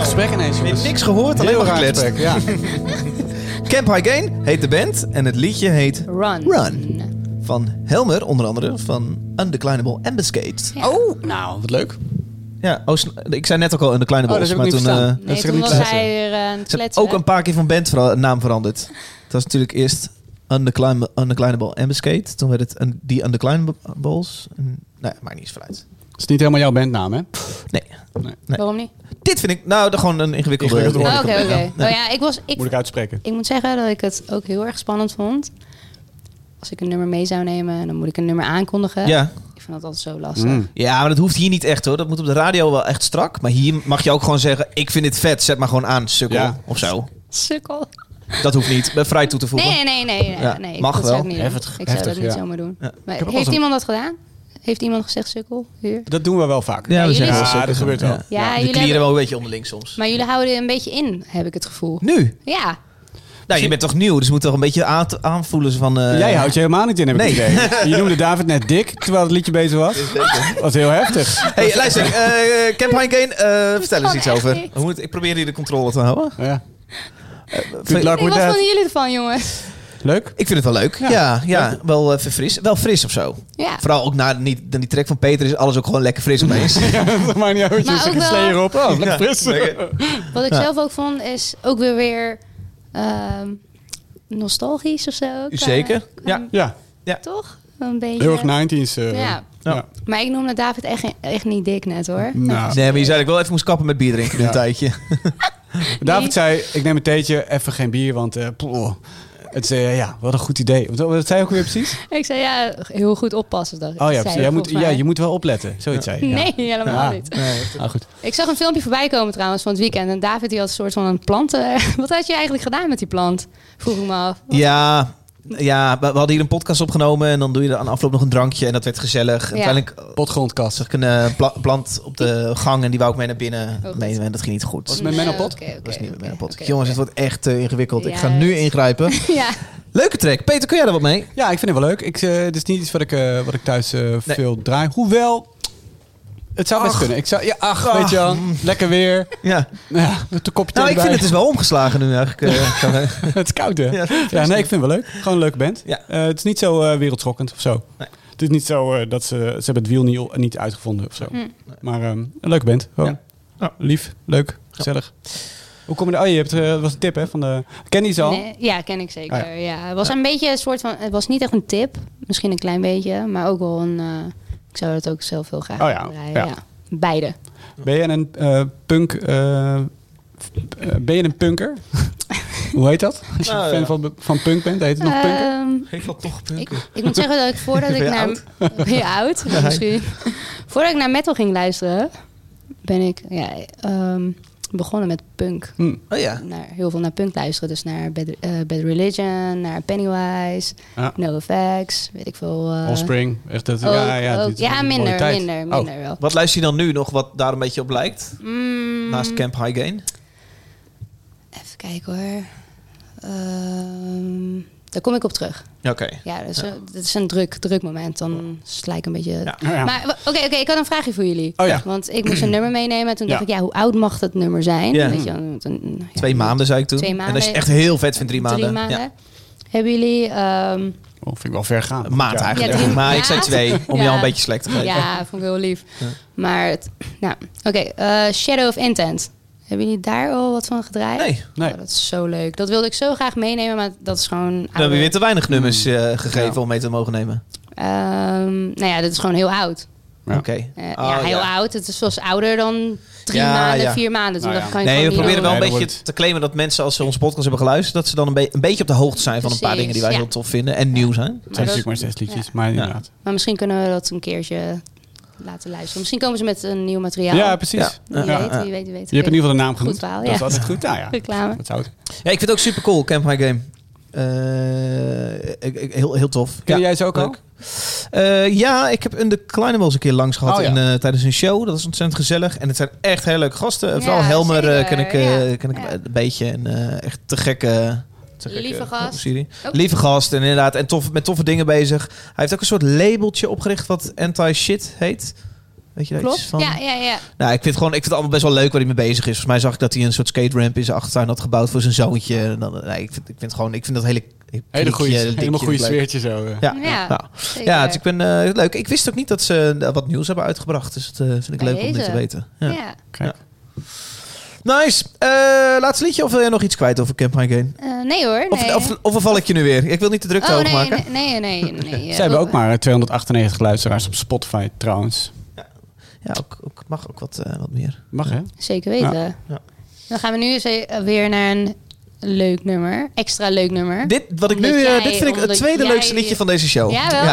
Speaker 3: gesprek
Speaker 1: Ik
Speaker 3: ineens,
Speaker 1: heb
Speaker 3: jongens.
Speaker 1: niks gehoord, alleen
Speaker 3: Heel
Speaker 1: maar
Speaker 3: raar
Speaker 1: gekletst.
Speaker 3: gesprek, ja.
Speaker 1: Camp High Gain heet de band en het liedje heet
Speaker 2: Run.
Speaker 1: Run. Van Helmer, onder andere, van Undeclinable Ambuscade.
Speaker 3: Oh, nou, wat leuk.
Speaker 1: Ja, oh, sn- ik zei net ook al Undeclinable,
Speaker 3: Oh, dat heb ik
Speaker 1: maar
Speaker 3: niet
Speaker 1: toen...
Speaker 3: verstaan.
Speaker 1: eh,
Speaker 2: Nee,
Speaker 3: is
Speaker 2: toen
Speaker 3: niet
Speaker 2: was
Speaker 3: kletsen.
Speaker 2: hij er eh, aan het
Speaker 1: Ze
Speaker 2: kletsen.
Speaker 1: hebben ook een paar keer van band vera- naam veranderd. Het was natuurlijk eerst Undeclim- Undeclinable Ambuscade. Toen werd het un- die Undeclinables. Nee, nou maakt niet eens uit.
Speaker 3: Het is niet helemaal jouw bandnaam, hè?
Speaker 1: Nee. Nee.
Speaker 2: Waarom niet?
Speaker 1: Dit vind ik nou de- gewoon een ingewikkelde...
Speaker 3: Ingewikkelde
Speaker 2: Oh,
Speaker 3: hoor
Speaker 2: Oké,
Speaker 3: ik
Speaker 2: oké.
Speaker 3: hem
Speaker 2: Nou ja, ik was... Ik,
Speaker 3: Moet ik uitspreken.
Speaker 2: ik moet zeggen dat ik het ook heel erg spannend vond. Als ik een nummer mee zou nemen, dan moet ik een nummer aankondigen.
Speaker 1: ja.
Speaker 2: Ik vind dat altijd zo lastig.
Speaker 3: Mm.
Speaker 1: ja, maar dat hoeft hier niet echt hoor. Dat moet op de radio wel echt strak. Maar hier mag je ook gewoon zeggen... Ik vind dit vet, zet maar gewoon aan, sukkel.
Speaker 3: Ja.
Speaker 1: Of zo.
Speaker 2: Sukkel.
Speaker 1: Dat hoeft niet. Ik ben vrij toe te voegen.
Speaker 2: Nee, nee, nee. nee,
Speaker 1: Ja,
Speaker 2: nee
Speaker 1: mag
Speaker 2: dat
Speaker 1: wel.
Speaker 2: Zou ik niet doen.
Speaker 3: Heftig,
Speaker 2: ik zou
Speaker 3: heftig,
Speaker 2: dat niet
Speaker 3: ja.
Speaker 2: zomaar doen.
Speaker 1: Ja.
Speaker 2: Maar
Speaker 3: Ik heb ook
Speaker 2: heeft
Speaker 3: wel
Speaker 2: iemand dat gedaan? Heeft iemand gezegd sukkel hier?
Speaker 3: Dat doen we wel vaak.
Speaker 1: Ja, we
Speaker 2: jullie-
Speaker 1: zeggen wel
Speaker 2: Ja,
Speaker 1: sukkel.
Speaker 3: dat gebeurt wel. Ja,
Speaker 1: Ja, die
Speaker 2: jullie
Speaker 1: klieren
Speaker 2: hebben-
Speaker 1: wel een beetje onderling soms.
Speaker 2: Maar jullie houden een beetje in, heb ik het gevoel.
Speaker 1: Nu?
Speaker 2: Ja.
Speaker 1: Nou, je bent toch nieuw, dus je moet toch een beetje aan- aanvoelen van... eh,
Speaker 3: Jij houdt je helemaal niet in, heb ik
Speaker 1: Nee.
Speaker 3: het idee. Je noemde David net dik, terwijl het liedje bezig
Speaker 1: *laughs*
Speaker 3: was. Dat was heel heftig.
Speaker 1: Hey, luister, eh Camp High Gain, eh, vertel eens
Speaker 2: Gewoon
Speaker 1: iets
Speaker 2: echt
Speaker 1: over.
Speaker 2: niet.
Speaker 1: Hoe moet, ik probeer hier de controle te houden.
Speaker 3: Ja.
Speaker 1: vind-
Speaker 2: Ik
Speaker 3: Good luck with
Speaker 2: was van
Speaker 3: that.
Speaker 2: jullie ervan,
Speaker 3: *laughs*
Speaker 2: jongens.
Speaker 3: Leuk.
Speaker 1: Ik vind het wel leuk. Ja, ja, wel eh, even fris. Wel fris of zo.
Speaker 2: Ja.
Speaker 1: Vooral ook na die, die track van Peter is alles ook gewoon lekker fris *laughs* opeens.
Speaker 3: Ja, dat maakt niet uit. Je
Speaker 2: Maar
Speaker 3: zit
Speaker 2: ook
Speaker 3: een
Speaker 2: wel-
Speaker 3: slayer op. Oh, lekker
Speaker 1: Ja,
Speaker 3: fris.
Speaker 1: lekker.
Speaker 2: Wat ik
Speaker 1: Ja.
Speaker 2: zelf ook vond, is ook weer weer ehm, nostalgisch of zo. eh, Qua-
Speaker 1: Zeker,
Speaker 2: qua-
Speaker 1: ja.
Speaker 3: Ja,
Speaker 2: Toch? Een beetje.
Speaker 3: heel erg 90s. eh.
Speaker 2: Ja.
Speaker 3: Ja.
Speaker 2: Maar ik noemde David echt, echt niet dik net, hoor.
Speaker 3: Nou.
Speaker 1: Nee, maar je zei dat ik wel even moest kappen met bier drinken nu
Speaker 3: Ja.
Speaker 1: een tijdje.
Speaker 3: David zei, ik neem een theetje, even geen bier, want... eh, ploh. het is, eh, ja, wat een goed idee. Wat, wat zei je ook weer
Speaker 2: *laughs*
Speaker 3: precies?
Speaker 2: Ik zei, ja, heel goed oppassen. Dat
Speaker 3: Oh ja,
Speaker 2: zei
Speaker 3: precies.
Speaker 2: ik
Speaker 3: Jij moet,
Speaker 2: volgens
Speaker 3: ja,
Speaker 2: mij.
Speaker 3: je moet wel opletten. Zoiets zei je. ja.
Speaker 2: Nee, helemaal
Speaker 3: Ja.
Speaker 2: niet.
Speaker 3: Ah, goed.
Speaker 2: Ik zag een filmpje voorbij komen trouwens van het weekend. En David die had een soort van een plant. eh, *laughs* wat had je eigenlijk gedaan met die plant? Vroeg ik me af.
Speaker 1: Ja, ja, we we hadden hier een podcast opgenomen en dan doe je er aan de afloop nog een drankje en dat werd gezellig. En
Speaker 2: Ja.
Speaker 1: Uiteindelijk eh,
Speaker 3: Potgrondkast.
Speaker 1: zag ik een eh, pla- plant op de gang en die wou ik mee naar binnen
Speaker 2: Oh, goed.
Speaker 1: nemen en dat ging niet goed.
Speaker 3: Was
Speaker 1: Dat
Speaker 3: het met Menno
Speaker 2: Eh,
Speaker 3: Pot?
Speaker 2: oké, oké,
Speaker 1: was niet met
Speaker 2: oké,
Speaker 1: mijn pot.
Speaker 2: oké,
Speaker 1: Jongens, het
Speaker 2: oké.
Speaker 1: wordt echt eh, ingewikkeld. Ik ga nu
Speaker 2: Juist. *laughs*
Speaker 1: ingrijpen.
Speaker 2: Ja,
Speaker 1: Leuke track. Peter, kun jij er wat mee?
Speaker 3: Ja, ik vind het wel leuk. Ik, eh, dit is niet iets wat ik, eh, wat ik thuis eh, veel draai. Hoewel, het zou best
Speaker 1: Ach.
Speaker 3: kunnen. Ik zou, ja, ach,
Speaker 1: Ach.
Speaker 3: weet je wel. Lekker weer.
Speaker 1: *laughs* Ja.
Speaker 3: Ja, met een kopje
Speaker 1: Nou,
Speaker 3: thee
Speaker 1: ik vind het
Speaker 3: erbij.
Speaker 1: dus wel omgeslagen nu eigenlijk.
Speaker 3: *laughs*
Speaker 1: eh, kan, eh.
Speaker 3: het is koud, hè?
Speaker 1: Ja,
Speaker 3: Ja,
Speaker 1: fris
Speaker 3: nee, ik vind het wel leuk. Gewoon een leuke band.
Speaker 1: Ja.
Speaker 3: Eh, het is niet zo eh, wereldschokkend of zo.
Speaker 1: Nee.
Speaker 3: Het is niet zo eh, dat ze... Ze hebben het wiel niet, niet uitgevonden of zo.
Speaker 2: Hm.
Speaker 3: Maar ehm, een leuke band. Gewoon.
Speaker 1: Ja.
Speaker 3: Lief, leuk, gezellig. Hoe kom je er... Oh, je hebt, eh, dat was een tip, hè? Van de, ken die ze al?
Speaker 2: Nee, ja, ken ik zeker.
Speaker 3: Ah, ja.
Speaker 2: ja. Het was een beetje een soort van. Het was niet echt een tip, misschien een klein beetje, maar ook wel een. eh, ik zou dat ook zelf heel graag
Speaker 3: Oh ja,
Speaker 2: willen draaien,
Speaker 3: ja.
Speaker 2: ja. Beide.
Speaker 3: Ben je een eh, punk... eh, f- eh, ben je een
Speaker 2: *laughs*
Speaker 3: punker? Hoe heet dat? Als je
Speaker 1: Nou,
Speaker 3: fan
Speaker 1: ja.
Speaker 3: van, van punk bent, heet het nog punker?
Speaker 2: Ehm,
Speaker 1: Ik wil toch
Speaker 2: ik, ik moet zeggen dat ik voordat
Speaker 3: *laughs*
Speaker 2: ik
Speaker 1: Ben je
Speaker 2: naar. *laughs* Ben je oud? Misschien. voordat ik naar metal ging luisteren, ben ik ja, ehm, begonnen met punk.
Speaker 1: Oh ja.
Speaker 2: naar, heel veel naar punk luisteren. Dus naar Bad, eh, Bad Religion, naar Pennywise,
Speaker 3: Ja.
Speaker 2: NoFX, weet ik veel. eh,
Speaker 3: Offspring, echt dat...
Speaker 2: ook-
Speaker 3: ja, ja,
Speaker 2: ook-
Speaker 3: dit is
Speaker 2: ja,
Speaker 3: een mooie
Speaker 2: minder,
Speaker 3: tijd.
Speaker 2: minder,
Speaker 3: Oh.
Speaker 2: minder wel.
Speaker 1: Wat luister je dan nu nog wat daar een beetje op lijkt?
Speaker 2: Mm,
Speaker 1: Naast Camp High Gain?
Speaker 2: Even kijken hoor. Ehm, daar kom ik op terug.
Speaker 1: Oké.
Speaker 2: Ja, dat is, Een, dat is een druk, druk moment. Dan sla ik een beetje...
Speaker 3: Oh, ja.
Speaker 2: Maar w- oké, oké, ik had een vraagje voor jullie.
Speaker 3: Oh ja.
Speaker 2: Want ik moest een nummer meenemen. En toen
Speaker 3: Ja.
Speaker 2: dacht ik, ja, hoe oud mag dat nummer zijn?
Speaker 1: Ja.
Speaker 2: Weet je, wel, want een- ja,
Speaker 1: Twee maanden zei ik toen.
Speaker 2: Twee
Speaker 1: En als je
Speaker 2: maanden.
Speaker 1: het echt heel vet vindt, drie maanden.
Speaker 2: Drie maanden. Hebben jullie... ehm,
Speaker 3: Oh, vind ik wel ver gaan.
Speaker 1: Ja. Maand
Speaker 3: Ja.
Speaker 1: eigenlijk.
Speaker 2: Ja,
Speaker 1: *laughs*
Speaker 2: drie
Speaker 1: maar ik zei
Speaker 2: maand.
Speaker 1: twee, om
Speaker 2: Ja.
Speaker 1: jou een beetje slecht te geven.
Speaker 2: Ja, vond ik heel lief. Maar, het, nou, oké. eh, Shadow of Intent. Hebben jullie daar al wat van gedraaid?
Speaker 1: Nee.
Speaker 3: Nee.
Speaker 2: Oh, dat is zo leuk. Dat wilde ik zo graag meenemen, maar dat is gewoon...
Speaker 1: We hebben weer
Speaker 2: oud.
Speaker 1: te weinig nummers eh, gegeven
Speaker 3: Ja.
Speaker 1: om mee te mogen nemen.
Speaker 2: Ehm, nou ja, dat is gewoon heel oud.
Speaker 3: Ja.
Speaker 1: Oké.
Speaker 2: Eh,
Speaker 1: Oh,
Speaker 2: ja, heel oud. Het is zoals ouder dan drie
Speaker 1: Ja,
Speaker 2: maanden,
Speaker 1: ja.
Speaker 2: vier maanden. Toen
Speaker 3: Nou
Speaker 2: dacht
Speaker 3: ja.
Speaker 2: ik, kan je
Speaker 1: Nee, we
Speaker 2: gewoon niet
Speaker 1: proberen wel een
Speaker 2: doen.
Speaker 3: Nee, dat
Speaker 1: beetje
Speaker 3: wordt-
Speaker 1: te claimen dat mensen als ze onze podcast hebben geluisterd, dat ze dan een, be- een beetje op de hoogte zijn van een paar
Speaker 2: Precies,
Speaker 1: dingen die wij
Speaker 2: ja.
Speaker 1: heel tof vinden en nieuw zijn.
Speaker 3: Het
Speaker 2: Maar
Speaker 3: zijn
Speaker 2: dat-
Speaker 3: natuurlijk maar zes liedjes,
Speaker 2: ja.
Speaker 3: maar inderdaad.
Speaker 2: Maar misschien kunnen we dat een keertje laten luisteren. Misschien komen ze met een nieuw
Speaker 3: Ja,
Speaker 2: materiaal.
Speaker 3: precies.
Speaker 2: Wie
Speaker 3: Ja.
Speaker 2: weet, wie weet, wie weet.
Speaker 3: Je hebt in ieder geval de naam genoemd.
Speaker 2: Goed verhaal,
Speaker 3: Dat is
Speaker 2: ja.
Speaker 3: altijd goed. Nou ja,
Speaker 2: Reclame.
Speaker 3: dat zou het.
Speaker 1: Ja, ik vind het ook super cool, Camp My Game. Eh, ik- ik- heel, heel tof.
Speaker 3: Ken
Speaker 1: ja.
Speaker 3: jij ze ook al?
Speaker 1: Leuk. Eh, ja, ik heb Under Kleine wel eens een keer langs gehad
Speaker 3: Oh, ja.
Speaker 1: in, eh, tijdens een show. Dat is ontzettend gezellig. En het zijn echt hele leuke gasten.
Speaker 2: Ja,
Speaker 1: Vooral Helmer eh,
Speaker 2: zeker.
Speaker 1: ken ik, eh,
Speaker 2: Ja.
Speaker 1: ken ik
Speaker 2: Ja.
Speaker 1: een beetje. En eh, echt te gekke... te gekke-
Speaker 2: Lieve
Speaker 1: eh,
Speaker 2: gast.
Speaker 1: serie.
Speaker 2: Ook.
Speaker 1: Lieve gast, en inderdaad. En tof, met toffe dingen bezig. Hij heeft ook een soort labeltje opgericht wat anti-shit heet. Weet je daar iets
Speaker 2: Klopt?
Speaker 1: van?
Speaker 2: Ja, ja, ja.
Speaker 1: Nou, ik vind, gewoon, ik vind het allemaal best wel leuk waar hij mee bezig is. Volgens mij zag ik dat hij een soort skate ramp in zijn achtertuin had gebouwd voor zijn zoontje. En dan, nee, ik, vind, ik vind gewoon, ik vind dat hele...
Speaker 3: Hele goede,
Speaker 1: klikje,
Speaker 3: helemaal
Speaker 1: dikje
Speaker 3: goede
Speaker 1: leuk.
Speaker 3: sfeertje zo. eh.
Speaker 1: Ja,
Speaker 2: Ja,
Speaker 1: ja. Nou,
Speaker 2: zeker.
Speaker 1: ja dus ik ben eh, leuk. Ik wist ook niet dat ze eh, wat nieuws hebben uitgebracht. Dus dat eh, vind ik
Speaker 2: Bij
Speaker 1: leuk om dit
Speaker 2: deze.
Speaker 1: te weten. Ja.
Speaker 2: Ja.
Speaker 1: Nice. Eh, laatste liedje of wil jij nog iets kwijt over Camp My Game?
Speaker 2: Eh, nee hoor.
Speaker 1: Of,
Speaker 2: nee.
Speaker 1: of, of val ik je nu weer? Ik wil niet te druk
Speaker 2: oh,
Speaker 1: over
Speaker 2: nee,
Speaker 1: maken.
Speaker 2: nee, nee, nee, nee,
Speaker 3: *laughs*
Speaker 2: nee. eh,
Speaker 3: Ze hebben ook maar 298 luisteraars op Spotify trouwens.
Speaker 1: Ja, ook, ook, mag ook wat, eh, wat meer.
Speaker 3: Mag hè?
Speaker 2: Zeker weten.
Speaker 1: Ja.
Speaker 2: Dan gaan we nu eens e- weer naar een leuk nummer. Extra leuk nummer.
Speaker 1: Dit, wat ik nu,
Speaker 2: Omdat
Speaker 1: eh,
Speaker 2: jij-
Speaker 1: dit vind ik het
Speaker 2: omdat
Speaker 1: tweede
Speaker 2: jij-
Speaker 1: leukste liedje van deze show.
Speaker 2: Jawel.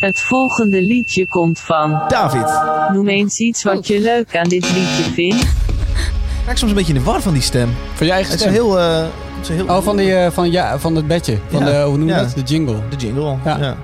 Speaker 5: Het volgende liedje komt van.
Speaker 2: *laughs*
Speaker 1: David.
Speaker 5: Noem eens iets wat je leuk aan dit liedje vindt.
Speaker 1: Ik raak soms een beetje in de war van die stem.
Speaker 3: Van je eigen
Speaker 1: Het is een
Speaker 3: stem.
Speaker 1: heel... eh, het is een heel
Speaker 3: Oh, van, die, eh, van, ja, van het bedje. Van
Speaker 1: Ja.
Speaker 3: de, hoe noem je
Speaker 1: Ja.
Speaker 3: dat? De jingle.
Speaker 1: De jingle.
Speaker 3: Ja.
Speaker 1: Ja.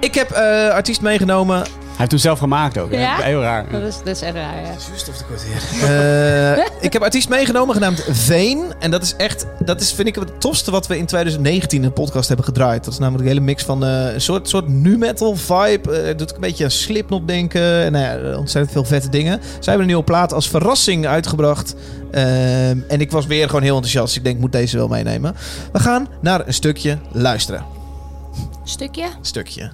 Speaker 1: Ik heb eh, artiest meegenomen.
Speaker 3: Hij heeft hem zelf gemaakt ook. hè?
Speaker 2: Ja?
Speaker 3: Heel raar.
Speaker 2: Dat is, dat is echt raar, ja.
Speaker 1: Eh, *laughs* ik heb artiest meegenomen genaamd Veen. En dat is echt, dat is, vind ik het tofste wat we in 2019 in een podcast hebben gedraaid. Dat is namelijk een hele mix van eh, een soort, soort nu-metal vibe. Eh, doet een beetje aan Slipknot denken. En nou ja, ontzettend veel vette dingen. Zij hebben een nieuwe plaat als verrassing uitgebracht. Ehm, en ik was weer gewoon heel enthousiast. Ik denk, ik moet deze wel meenemen. We gaan naar een stukje luisteren.
Speaker 2: Stukje?
Speaker 1: Stukje.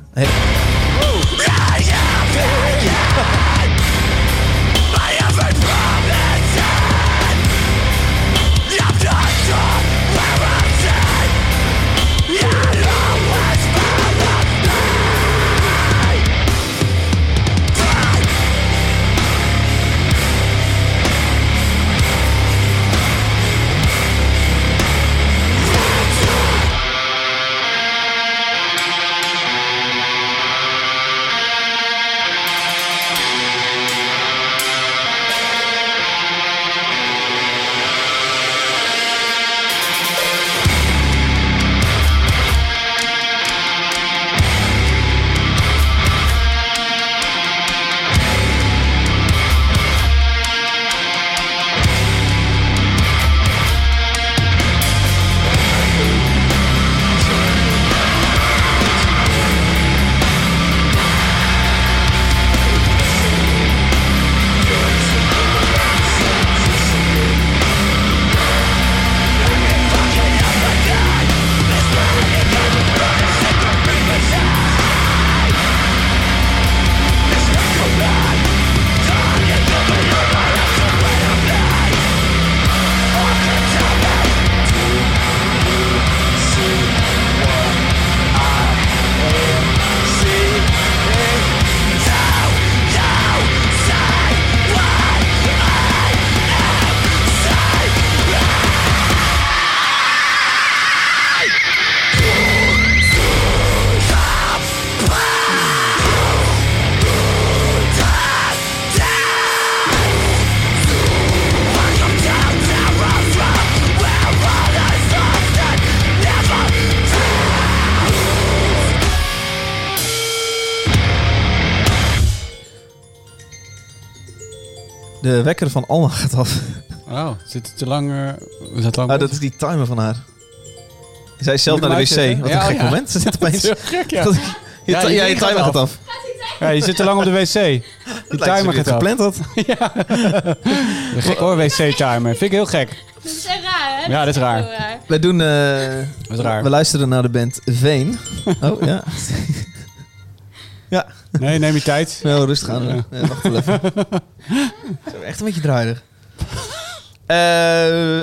Speaker 1: De wekker van Alma *laughs* gaat af.
Speaker 3: Oh, zit het te lang... eh, is dat lang?
Speaker 1: Ah, dat is die timer van haar. Zij is zelf
Speaker 3: Moet
Speaker 1: naar
Speaker 3: ik
Speaker 1: de
Speaker 3: hem
Speaker 1: wc.
Speaker 3: uitzetten?
Speaker 1: Wat een
Speaker 3: Ja, oh
Speaker 1: gek
Speaker 3: ja.
Speaker 1: moment. Ze zit opeens...
Speaker 3: heel gek, ja.
Speaker 1: *laughs* Dat- je
Speaker 3: Ja,
Speaker 1: ti-
Speaker 3: je
Speaker 1: ja, je
Speaker 3: ding gaat
Speaker 1: timer gaat *laughs*
Speaker 3: af.
Speaker 1: af.
Speaker 3: Ja, je zit te lang op de wc. Die
Speaker 1: Lijkt alsof
Speaker 3: timer
Speaker 1: je het
Speaker 3: gaat gepland.
Speaker 1: gepland had.
Speaker 3: Gek hoor, wc-timer. Vind ik heel gek.
Speaker 2: Dat is echt raar, hè?
Speaker 3: Ja, dat is raar.
Speaker 2: Heel raar.
Speaker 1: We doen... eh,
Speaker 3: Dat is raar.
Speaker 1: We luisteren naar de band Veen. Oh, ja. *laughs* ja,
Speaker 3: Nee, neem je tijd.
Speaker 1: nou, rustig aan. Eh, wacht wel even. Ze zijn echt een beetje draaierig. Eh,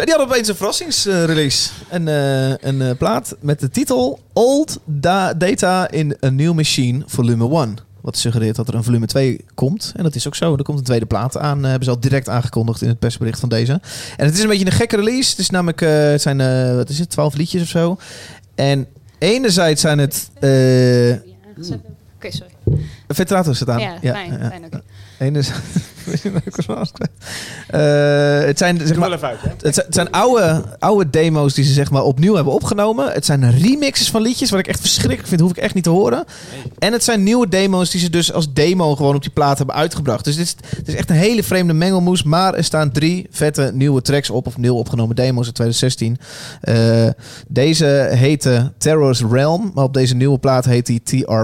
Speaker 1: die hadden opeens een verrassingsrelease. Een, eh, een eh, plaat met de titel Old Da- Data in a New Machine Volume 1. Wat suggereert dat er een volume 2 komt. En dat is ook zo. Er komt een tweede plaat aan. Eh, hebben ze al direct aangekondigd in het persbericht van deze. En het is een beetje een gekke release. Het, is namelijk, eh, het zijn eh, wat is het, 12 liedjes of zo. En enerzijds zijn het... eh
Speaker 2: Ja, gezet. Oké, sorry.
Speaker 1: Ventilator staat aan.
Speaker 2: Ja, fijn, fijn, oké.
Speaker 1: *laughs* Enerzijds, Eh, het zijn zeg maar,
Speaker 3: wel even uit, hè?
Speaker 1: het zijn, het zijn oude, oude demo's die ze zeg maar opnieuw hebben opgenomen. Het zijn remixes van liedjes, wat ik echt verschrikkelijk vind, hoef ik echt niet te horen. En het zijn nieuwe demo's die ze dus als demo gewoon op die plaat hebben uitgebracht. Dus dit is, het is echt een hele vreemde mengelmoes. Maar er staan drie vette nieuwe tracks op, of nieuw opgenomen demo's uit 2016. Eh, deze heette Terror's Realm, maar op deze nieuwe plaat heet die TR+.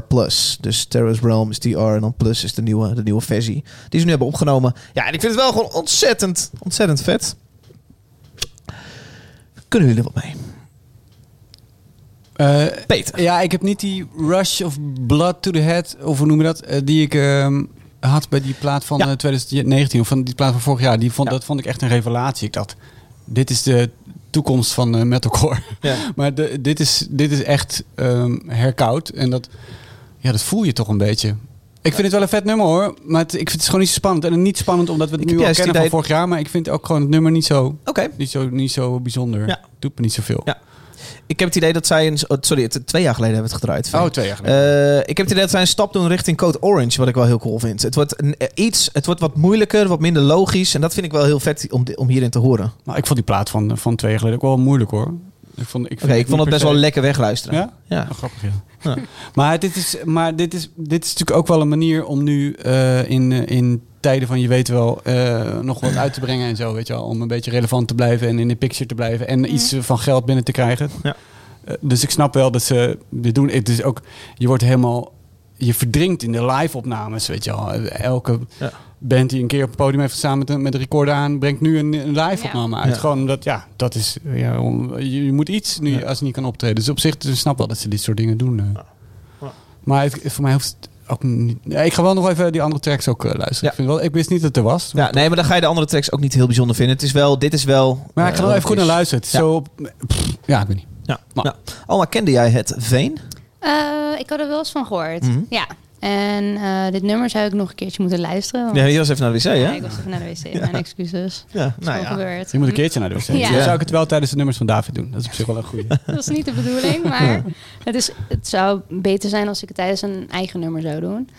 Speaker 1: Dus Terror's Realm is TR en dan Plus is de nieuwe, de nieuwe versie. Die ze nu hebben opgenomen. Ja, en ik vind het wel gewoon ontzettend, ontzettend vet. Kunnen jullie er wat mee?
Speaker 3: Eh,
Speaker 1: Peter.
Speaker 3: ja, ik heb niet die rush of blood to the head, of hoe noem je dat, eh, die ik ehm, had bij die plaat van
Speaker 1: Ja.
Speaker 3: eh, 2019, of van die plaat van vorig jaar. Die vond,
Speaker 1: Ja.
Speaker 3: Dat vond ik echt een revelatie. Ik dacht, dit is de toekomst van eh, metalcore.
Speaker 1: Ja.
Speaker 3: *laughs* maar de- dit, is, dit is echt ehm, herkoud en dat, ja, dat voel je toch een beetje. Ik vind het wel een vet nummer hoor, maar het, ik vind het gewoon niet zo spannend. En niet spannend omdat we het
Speaker 1: Ik heb
Speaker 3: nu al
Speaker 1: juist
Speaker 3: kennen
Speaker 1: het
Speaker 3: van
Speaker 1: idee-
Speaker 3: vorig jaar, maar ik vind ook gewoon het nummer niet zo,
Speaker 1: Oké.
Speaker 3: niet zo, niet zo bijzonder.
Speaker 1: Ja.
Speaker 3: Doet me niet zoveel.
Speaker 1: Ja. Ik heb het idee dat zij... Een, oh, sorry, het, twee jaar geleden hebben we het gedraaid.
Speaker 3: Oh, twee jaar geleden.
Speaker 1: Eh, ik heb het idee dat zij een stap doen richting Code Orange, wat ik wel heel cool vind. Het wordt, een, eh, iets, het wordt wat moeilijker, wat minder logisch. En dat vind ik wel heel vet om, di- om hierin te horen. Oké,
Speaker 3: Maar Nou, ik vond die plaat van, van twee jaar geleden ook wel moeilijk hoor. Ik vond, ik vind
Speaker 1: ik vond het
Speaker 3: niet
Speaker 1: best
Speaker 3: per
Speaker 1: wel
Speaker 3: se-
Speaker 1: lekker wegluisteren.
Speaker 3: Ja?
Speaker 1: Ja.
Speaker 3: Oh, grappig ja.
Speaker 1: Ja.
Speaker 3: Maar, dit is, maar dit, is, dit is natuurlijk ook wel een manier om nu eh, in, eh, in tijden van je weet wel eh, nog wat uit te brengen en zo. Weet je wel, om een beetje relevant te blijven en in de picture te blijven en iets eh, van geld binnen te krijgen.
Speaker 1: Mhm. Ja.
Speaker 3: Eh, dus ik snap wel dat ze dit doen. Het is ook, je wordt helemaal, je verdrinkt in de live opnames weet je wel. Elke
Speaker 1: Ja.
Speaker 3: band die een keer op het podium heeft gestaan met een, met een recorder aan, brengt nu een, een
Speaker 2: Ja.
Speaker 3: live opname uit.
Speaker 1: Ja.
Speaker 3: Gewoon omdat, ja, dat is, ja, om- je, je moet iets nu als je niet kan optreden. Dus op zich dus ik snap wel dat ze dit soort dingen doen. eh. Maar het, voor mij hoeft het ook niet... Ja, ik ga wel nog even die andere tracks ook eh, luisteren.
Speaker 1: Ja.
Speaker 3: Ik, vind wel, ik wist niet dat het er was.
Speaker 1: Ja, nee, maar dan ga je de andere tracks ook niet heel bijzonder vinden. Het is wel, dit is wel...
Speaker 3: maar
Speaker 1: eh,
Speaker 3: ik ga
Speaker 1: wat
Speaker 3: er wel
Speaker 1: het
Speaker 3: even goed
Speaker 1: is.
Speaker 3: naar luisteren. Het
Speaker 1: Ja.
Speaker 3: is zo... pff, ja, ik weet niet.
Speaker 1: Ja.
Speaker 3: Maar-
Speaker 1: Nou, Alma, kende jij het Veen?
Speaker 2: Eh, ik had er wel eens van gehoord.
Speaker 1: Mhm.
Speaker 2: Ja. En eh, dit nummer zou ik nog een keertje moeten luisteren.
Speaker 3: Oh.
Speaker 2: want-
Speaker 1: Ja, je was even naar de wc, hè?
Speaker 2: Ja, ik was even naar de wc. Mijn excuses.
Speaker 1: Ja,
Speaker 2: Dat
Speaker 1: nou
Speaker 2: is wel
Speaker 1: ja.
Speaker 2: gebeurd.
Speaker 3: Je moet een keertje naar de wc.
Speaker 2: Ja.
Speaker 3: Dan zou ik het wel tijdens de nummers van David doen. Dat is op zich wel een *laughs* goede.
Speaker 2: Dat is niet de
Speaker 1: *laughs*
Speaker 2: bedoeling, maar het, is, het zou beter zijn als ik het tijdens een eigen nummer zou doen.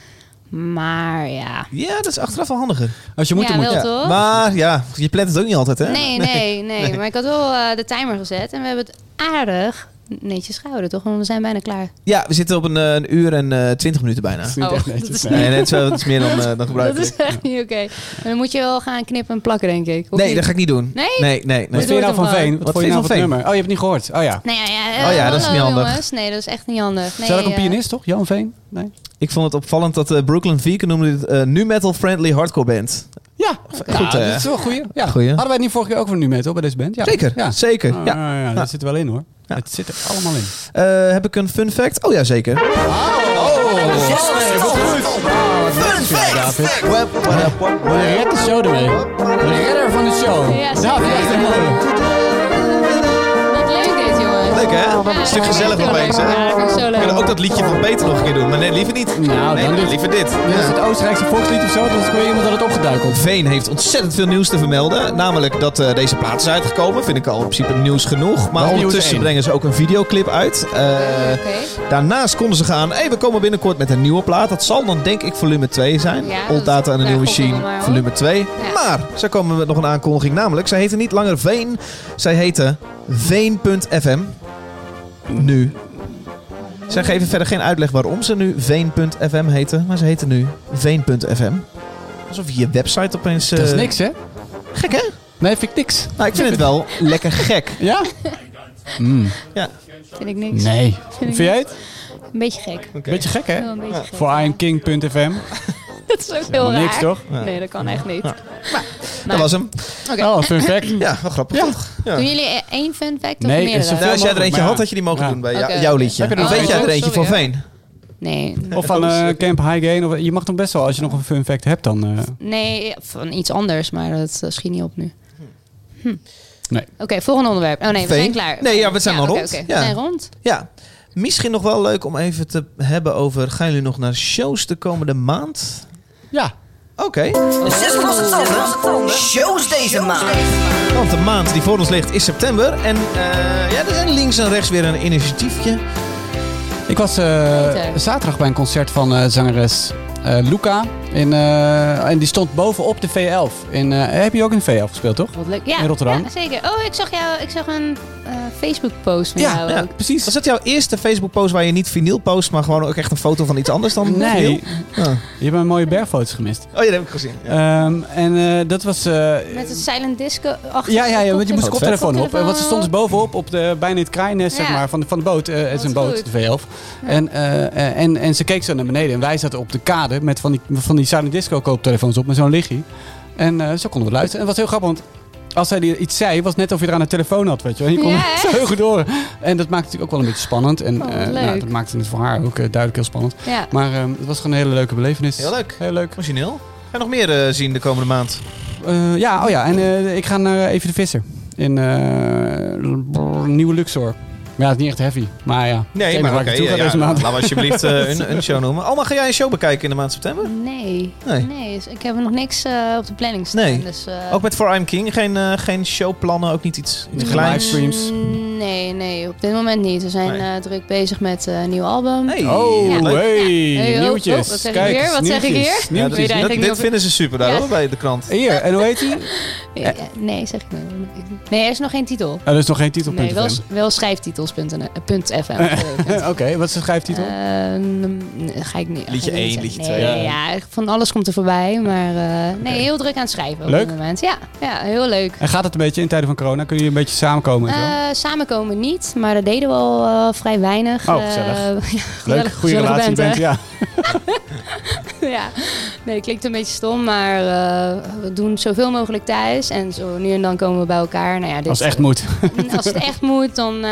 Speaker 2: Maar ja.
Speaker 1: Ja, dat is achteraf wel handiger.
Speaker 3: Als je
Speaker 2: Ja,
Speaker 3: moet, dan moet
Speaker 2: Ah, wel.
Speaker 3: je.
Speaker 1: Ja,
Speaker 2: toch?
Speaker 1: Maar ja, je plant het ook niet altijd, hè?
Speaker 2: Nee, nee, nee, Maar ik had wel eh, de timer gezet en we hebben het aardig netjes gehouden, toch? Want we zijn bijna klaar.
Speaker 1: Ja, we zitten op een, eh, een uur en twintig minuten bijna.
Speaker 3: Dat is niet
Speaker 2: Oh,
Speaker 3: echt
Speaker 2: dat
Speaker 3: netjes.
Speaker 2: is
Speaker 3: nee.
Speaker 1: Nee, net zo, dat is meer dan, eh, dan
Speaker 2: Dat
Speaker 1: gebruikelijk.
Speaker 2: is echt niet oké. En Dan moet je wel gaan knippen en plakken, denk ik. Of
Speaker 1: Nee,
Speaker 2: niet?
Speaker 1: dat ga ik niet doen.
Speaker 2: Nee?
Speaker 1: Nee, nee,
Speaker 3: Wat
Speaker 1: nee.
Speaker 2: Doe
Speaker 3: vind je nou
Speaker 2: het
Speaker 3: van
Speaker 2: dan maar.
Speaker 3: Veen? Wat,
Speaker 1: Wat
Speaker 3: vond je
Speaker 1: vind je
Speaker 3: nou
Speaker 1: van
Speaker 3: van
Speaker 1: Veen?
Speaker 3: nummer? Oh, je hebt het niet gehoord. Oh ja.
Speaker 2: Nee, Nou ja, ja, eh,
Speaker 1: Oh ja, dat is
Speaker 2: hallo,
Speaker 1: niet handig.
Speaker 2: jongens. Nee, dat is echt niet handig. Nee,
Speaker 3: Is dat ook een
Speaker 2: eh,
Speaker 3: pianist, toch? Jan Veen? Nee.
Speaker 1: Ik vond het opvallend dat eh, Brooklyn Vegan noemde dit eh, nu metal friendly hardcore band.
Speaker 3: Ja,
Speaker 1: goed,
Speaker 3: dat
Speaker 1: eh.
Speaker 3: is wel een goeie. Ja.
Speaker 1: Goeie.
Speaker 3: Hadden wij het niet vorige keer ook voor nu metal bij deze band? Ja.
Speaker 1: Zeker,
Speaker 3: Ja.
Speaker 1: zeker.
Speaker 3: Ah,
Speaker 1: Ja.
Speaker 3: ja, ja,
Speaker 1: Ja.
Speaker 3: dat zit er wel in hoor.
Speaker 1: Ja.
Speaker 3: Het zit er allemaal in.
Speaker 1: Eh, heb ik een fun fact? Oh ja, zeker. Wap, wap, wap, wap.
Speaker 3: We redden de show ermee. De redder van de show.
Speaker 2: Ja, zeker.
Speaker 3: David Achtermolen.
Speaker 2: Wat leuk dit, jongens.
Speaker 1: Leuk hè?
Speaker 2: Ja,
Speaker 1: Een stuk
Speaker 2: dat
Speaker 1: gezellig
Speaker 2: vind ik
Speaker 1: opeens
Speaker 2: heel leuk.
Speaker 1: hè?
Speaker 2: Ja, dat vind ik zo
Speaker 1: We kunnen ook
Speaker 2: leuk.
Speaker 1: dat liedje van Peter nog een keer doen, maar nee, liever niet.
Speaker 3: Nou,
Speaker 1: nee,
Speaker 3: dan dit.
Speaker 1: liever dit.
Speaker 3: Dit is
Speaker 1: Ja.
Speaker 3: het Oostenrijkse volkslied of zo. Dat is weer iemand dat het opgeduikeld.
Speaker 1: Veen heeft ontzettend veel nieuws te vermelden. Namelijk dat eh, deze plaat is uitgekomen. Vind ik al in principe nieuws genoeg. Maar
Speaker 3: is nieuws
Speaker 1: ondertussen
Speaker 3: één.
Speaker 1: brengen ze ook een videoclip uit. Eh,
Speaker 2: Oké.
Speaker 1: Daarnaast konden ze gaan. Hey, we komen binnenkort met een nieuwe plaat. Dat zal dan denk ik volume 2 zijn.
Speaker 2: Ja,
Speaker 1: Old
Speaker 2: dat-
Speaker 1: Data en een
Speaker 2: daar
Speaker 1: nieuwe
Speaker 2: gokken we
Speaker 1: machine,
Speaker 2: maar op.
Speaker 1: volume 2.
Speaker 2: eh, Ja.
Speaker 1: Maar ze komen met nog een aankondiging. Namelijk, zij heten niet langer Veen. Zij heten Veen.fm. Nu. Zij geven verder geen uitleg waarom ze nu Veen.fm heten. Maar ze heten nu Veen.fm. Alsof je je website opeens... eh,
Speaker 3: Dat is niks hè?
Speaker 1: Gek hè?
Speaker 3: Nee, vind ik niks.
Speaker 1: Nou, ik vind het
Speaker 3: *laughs*
Speaker 1: wel lekker gek.
Speaker 3: Ja?
Speaker 2: Vind ik niks.
Speaker 3: Nee.
Speaker 2: ik
Speaker 3: Vind jij het?
Speaker 2: Een beetje gek.
Speaker 3: Beetje gek hè?
Speaker 2: Wel een beetje gek.
Speaker 3: Voor IamKing.fm.
Speaker 2: Dat is ook heel raar.
Speaker 3: Niks toch?
Speaker 2: Nee, dat kan echt niet.
Speaker 1: Dat was hem.
Speaker 3: Oh, fun
Speaker 2: *laughs*
Speaker 3: fact.
Speaker 1: Ja, wel grappig toch? Ja.
Speaker 2: Doen jullie eh, één fun fact of
Speaker 3: Nee,
Speaker 2: meerdere?
Speaker 3: zoveel-
Speaker 1: Nou, als jij er eentje
Speaker 3: Maar ja.
Speaker 1: had, had je die mogen
Speaker 3: Ja.
Speaker 1: doen bij jou-
Speaker 2: Oké.
Speaker 1: jouw liedje.
Speaker 3: Heb je er nog
Speaker 1: Weet jij
Speaker 2: eentje?
Speaker 1: er eentje van
Speaker 2: Sorry, hè.
Speaker 1: Veen?
Speaker 2: Nee,
Speaker 3: Of van
Speaker 1: dat is,
Speaker 3: eh,
Speaker 1: eh,
Speaker 3: Camp High Gain. Of, je mag dan best wel, als je nog een fun fact hebt, dan... eh,
Speaker 2: nee, van iets anders, maar dat eh, schiet niet op nu. Hm.
Speaker 3: Nee.
Speaker 2: Oké, volgende onderwerp. Oh nee, we
Speaker 1: Veen?
Speaker 2: zijn klaar.
Speaker 1: Nee, ja, we zijn al
Speaker 2: oké,
Speaker 1: rond.
Speaker 2: oké.
Speaker 1: Ja.
Speaker 2: We zijn rond.
Speaker 1: Ja. Misschien nog wel leuk om even te hebben over... Gaan jullie nog naar shows de komende maand?
Speaker 3: Ja.
Speaker 1: Oké.
Speaker 7: Zes losse tanden. Shows deze maand.
Speaker 1: Want de maand die voor ons ligt is september. En eh, ja, er zijn links en rechts weer een initiatiefje.
Speaker 3: Ik was eh,
Speaker 2: Peter.
Speaker 3: zaterdag bij een concert van eh, zangeres eh, Luca. In, eh, en die stond bovenop de V11. In, eh, heb je ook in de V11 gespeeld, toch?
Speaker 2: Wat leuk. Ja,
Speaker 3: In Rotterdam.
Speaker 2: ja, zeker. Oh, ik zag, jou, ik zag een eh, Facebook-post van jou. ook.
Speaker 3: precies.
Speaker 1: Was dat jouw eerste Facebook-post waar je niet vinyl post, maar gewoon ook echt een foto van iets anders dan
Speaker 3: Nee,
Speaker 1: vinyl? Ah.
Speaker 3: je hebt mijn mooie bergfoto's gemist.
Speaker 1: Oh, ja, dat heb ik gezien. Ja.
Speaker 3: Ehm, en eh, dat was... eh,
Speaker 2: Met een silent disco achter.
Speaker 3: ja, ja, ja, want je moest de koptelefoon op.
Speaker 2: Koptelefoon
Speaker 3: Want ze stond dus bovenop, op de, bijna in het kraaines zeg
Speaker 2: Ja.
Speaker 3: maar, van de, van de boot. Eh, het is
Speaker 2: Wat
Speaker 3: een boot,
Speaker 2: goed.
Speaker 3: de V11. En, eh, eh, en, en ze keek zo naar beneden. En wij zaten op de kade met van die, van die silent disco kooptelefoons op, met zo'n liggie. En eh, zo konden we luisteren. En het was heel grappig, want als zij die iets zei, was het net of je eraan een telefoon had, weet je wel. En je kon
Speaker 2: Ja,
Speaker 3: het *laughs* zo goed horen. En dat maakt het natuurlijk ook wel een beetje spannend. En
Speaker 2: Oh, wat
Speaker 3: eh, nou,
Speaker 2: leuk.
Speaker 3: dat maakte het voor haar ook eh, duidelijk heel spannend.
Speaker 2: Ja.
Speaker 3: Maar ehm, het was gewoon een hele leuke belevenis.
Speaker 1: Heel leuk.
Speaker 3: Heel leuk.
Speaker 1: Origineel. Ga je nog meer eh, zien de komende maand?
Speaker 3: Eh, ja, oh ja, en eh, ik ga naar Even de Visser. In eh, brrr, Nieuwe Luxor. Maar ja, het is niet echt heavy. Maar ja, het
Speaker 1: Nee,
Speaker 3: enige
Speaker 1: maar
Speaker 3: waar
Speaker 1: oké.
Speaker 3: ik naartoe
Speaker 1: ja,
Speaker 3: ga
Speaker 1: ja,
Speaker 3: deze maand.
Speaker 1: Laten we alsjeblieft *laughs* eh, een, een show noemen. Alma, ga jij een show bekijken in de maand september?
Speaker 2: Nee.
Speaker 1: Nee.
Speaker 2: nee. dus ik heb nog niks eh, op de planning staan.
Speaker 1: Nee.
Speaker 2: Dus, eh,
Speaker 1: Ook met For I'm King? Geen, eh, geen showplannen, ook niet iets, iets
Speaker 3: Geen
Speaker 1: kleins?
Speaker 3: livestreams.
Speaker 2: Mm, Nee, nee, op dit moment niet. We zijn
Speaker 1: Nee.
Speaker 2: eh, druk bezig met eh, een nieuw album.
Speaker 1: Hey,
Speaker 3: Oh,
Speaker 1: leuk.
Speaker 3: hey,
Speaker 2: Hey, oh,
Speaker 3: nieuwtjes.
Speaker 2: oh, wat zeg ik
Speaker 3: Kijk
Speaker 2: hier?
Speaker 3: eens,
Speaker 2: Wat zeg ik
Speaker 3: nieuwtjes,
Speaker 2: hier?
Speaker 1: Ja,
Speaker 2: Weet je
Speaker 1: dit
Speaker 3: nieuwtjes.
Speaker 2: eigenlijk
Speaker 1: dit
Speaker 2: niet of-
Speaker 1: vinden ze super daar
Speaker 2: Ja.
Speaker 1: hoor, bij de krant.
Speaker 3: Hier, en hoe heet
Speaker 2: *laughs*
Speaker 3: die? Oh,
Speaker 2: Ja, nee, zeg ik nou niet. Nee, er is nog geen titel.
Speaker 3: Ah, er is nog geen titelpunt.
Speaker 2: Nee, wel,
Speaker 3: FM.
Speaker 2: wel eh, schrijftitels.fm.
Speaker 3: Eh, *laughs* Oké, wat is de schrijftitel?
Speaker 2: Eh. Ehm, ga ik niet. ga ik
Speaker 1: Liedje
Speaker 2: niet
Speaker 1: één,
Speaker 2: zeggen.
Speaker 1: liedje
Speaker 2: Nee,
Speaker 1: twee.
Speaker 2: Ja, ja, ja, van alles komt er voorbij. Maar eh, nee, heel druk aan het schrijven op
Speaker 3: Leuk.
Speaker 2: dit moment. Ja, ja heel leuk.
Speaker 3: En gaat het een beetje in tijden van corona? Kunnen jullie een beetje samenkomen? en zo?
Speaker 2: Eh, samenkomen niet, maar dat deden we al eh, vrij weinig.
Speaker 3: Oh, gezellig.
Speaker 2: Eh, *laughs* ja,
Speaker 3: leuk,
Speaker 2: gezellig-
Speaker 3: goede
Speaker 2: gezellige
Speaker 3: relatie.
Speaker 2: band, hè?
Speaker 3: bent, ja.
Speaker 2: *laughs* ja, nee, klinkt een beetje stom, maar eh, we doen zoveel mogelijk thuis. En zo nu en dan komen we bij elkaar. Nou ja, dit,
Speaker 3: Als het echt moet.
Speaker 2: En als het echt moet, dan... eh,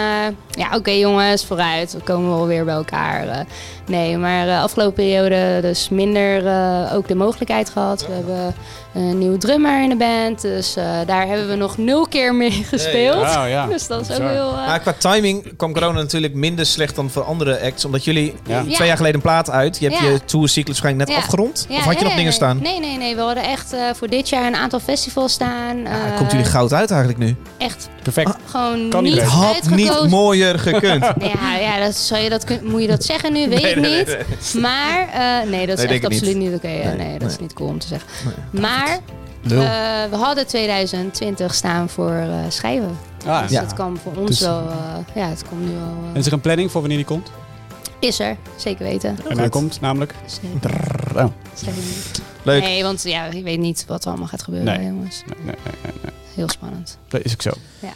Speaker 2: ja, oké jongens, vooruit. Dan komen we alweer bij elkaar. eh. nee, maar eh, afgelopen periode dus minder eh, ook de mogelijkheid gehad. We hebben een nieuwe drummer in de band. Dus eh, daar hebben we nog nul keer mee gespeeld.
Speaker 3: Oh, ja.
Speaker 2: *laughs* Dus dat is ook
Speaker 3: Bizar.
Speaker 2: heel... eh,
Speaker 1: Ah, Maar qua timing kwam corona natuurlijk minder slecht dan voor andere acts. Omdat jullie
Speaker 3: Ja.
Speaker 1: twee
Speaker 2: Ja.
Speaker 1: jaar geleden een plaat uit. Je hebt
Speaker 2: Ja.
Speaker 1: je tourcyclus waarschijnlijk net
Speaker 2: Ja.
Speaker 1: afgerond.
Speaker 2: ja,
Speaker 1: of had je
Speaker 2: nee,
Speaker 1: nog dingen
Speaker 2: nee,
Speaker 1: staan?
Speaker 2: Nee, nee, nee. We hadden echt eh, voor dit jaar een aantal festivals staan.
Speaker 1: Ja,
Speaker 2: Eh,
Speaker 1: Ah, komt jullie goud uit eigenlijk nu?
Speaker 2: Echt
Speaker 3: Perfect.
Speaker 2: gewoon
Speaker 3: Kan niet
Speaker 2: niet
Speaker 1: Het had
Speaker 2: uitgekozen.
Speaker 1: niet mooier gekund.
Speaker 2: Ja, ja dat, zou je dat, kun- moet je dat zeggen nu? Weet
Speaker 1: Nee,
Speaker 2: ik
Speaker 1: nee, nee,
Speaker 2: niet. Maar eh, nee, dat is
Speaker 1: denk ik
Speaker 2: echt absoluut
Speaker 1: niet.
Speaker 2: niet, oké. Ja,
Speaker 1: Nee,
Speaker 2: nee, dat is niet cool om te zeggen.
Speaker 1: Nee.
Speaker 2: maar
Speaker 1: Lul.
Speaker 2: eh, we hadden 2020 staan voor eh, schrijven.
Speaker 3: Ah,
Speaker 2: Dus
Speaker 3: ja.
Speaker 2: dat kwam voor ons
Speaker 3: Dus-
Speaker 2: wel... eh, ja, het komt nu al...
Speaker 3: En is er een planning voor wanneer die komt?
Speaker 2: is er, zeker weten.
Speaker 3: en hij komt namelijk...
Speaker 2: Zeker,
Speaker 3: Oh.
Speaker 2: zeker weten.
Speaker 1: Leuk.
Speaker 2: Nee, want ja, ik weet niet wat er allemaal gaat gebeuren,
Speaker 3: Nee.
Speaker 2: jongens.
Speaker 3: Nee, nee, nee, nee.
Speaker 2: Heel spannend.
Speaker 3: Dat is ook zo.
Speaker 2: Ja.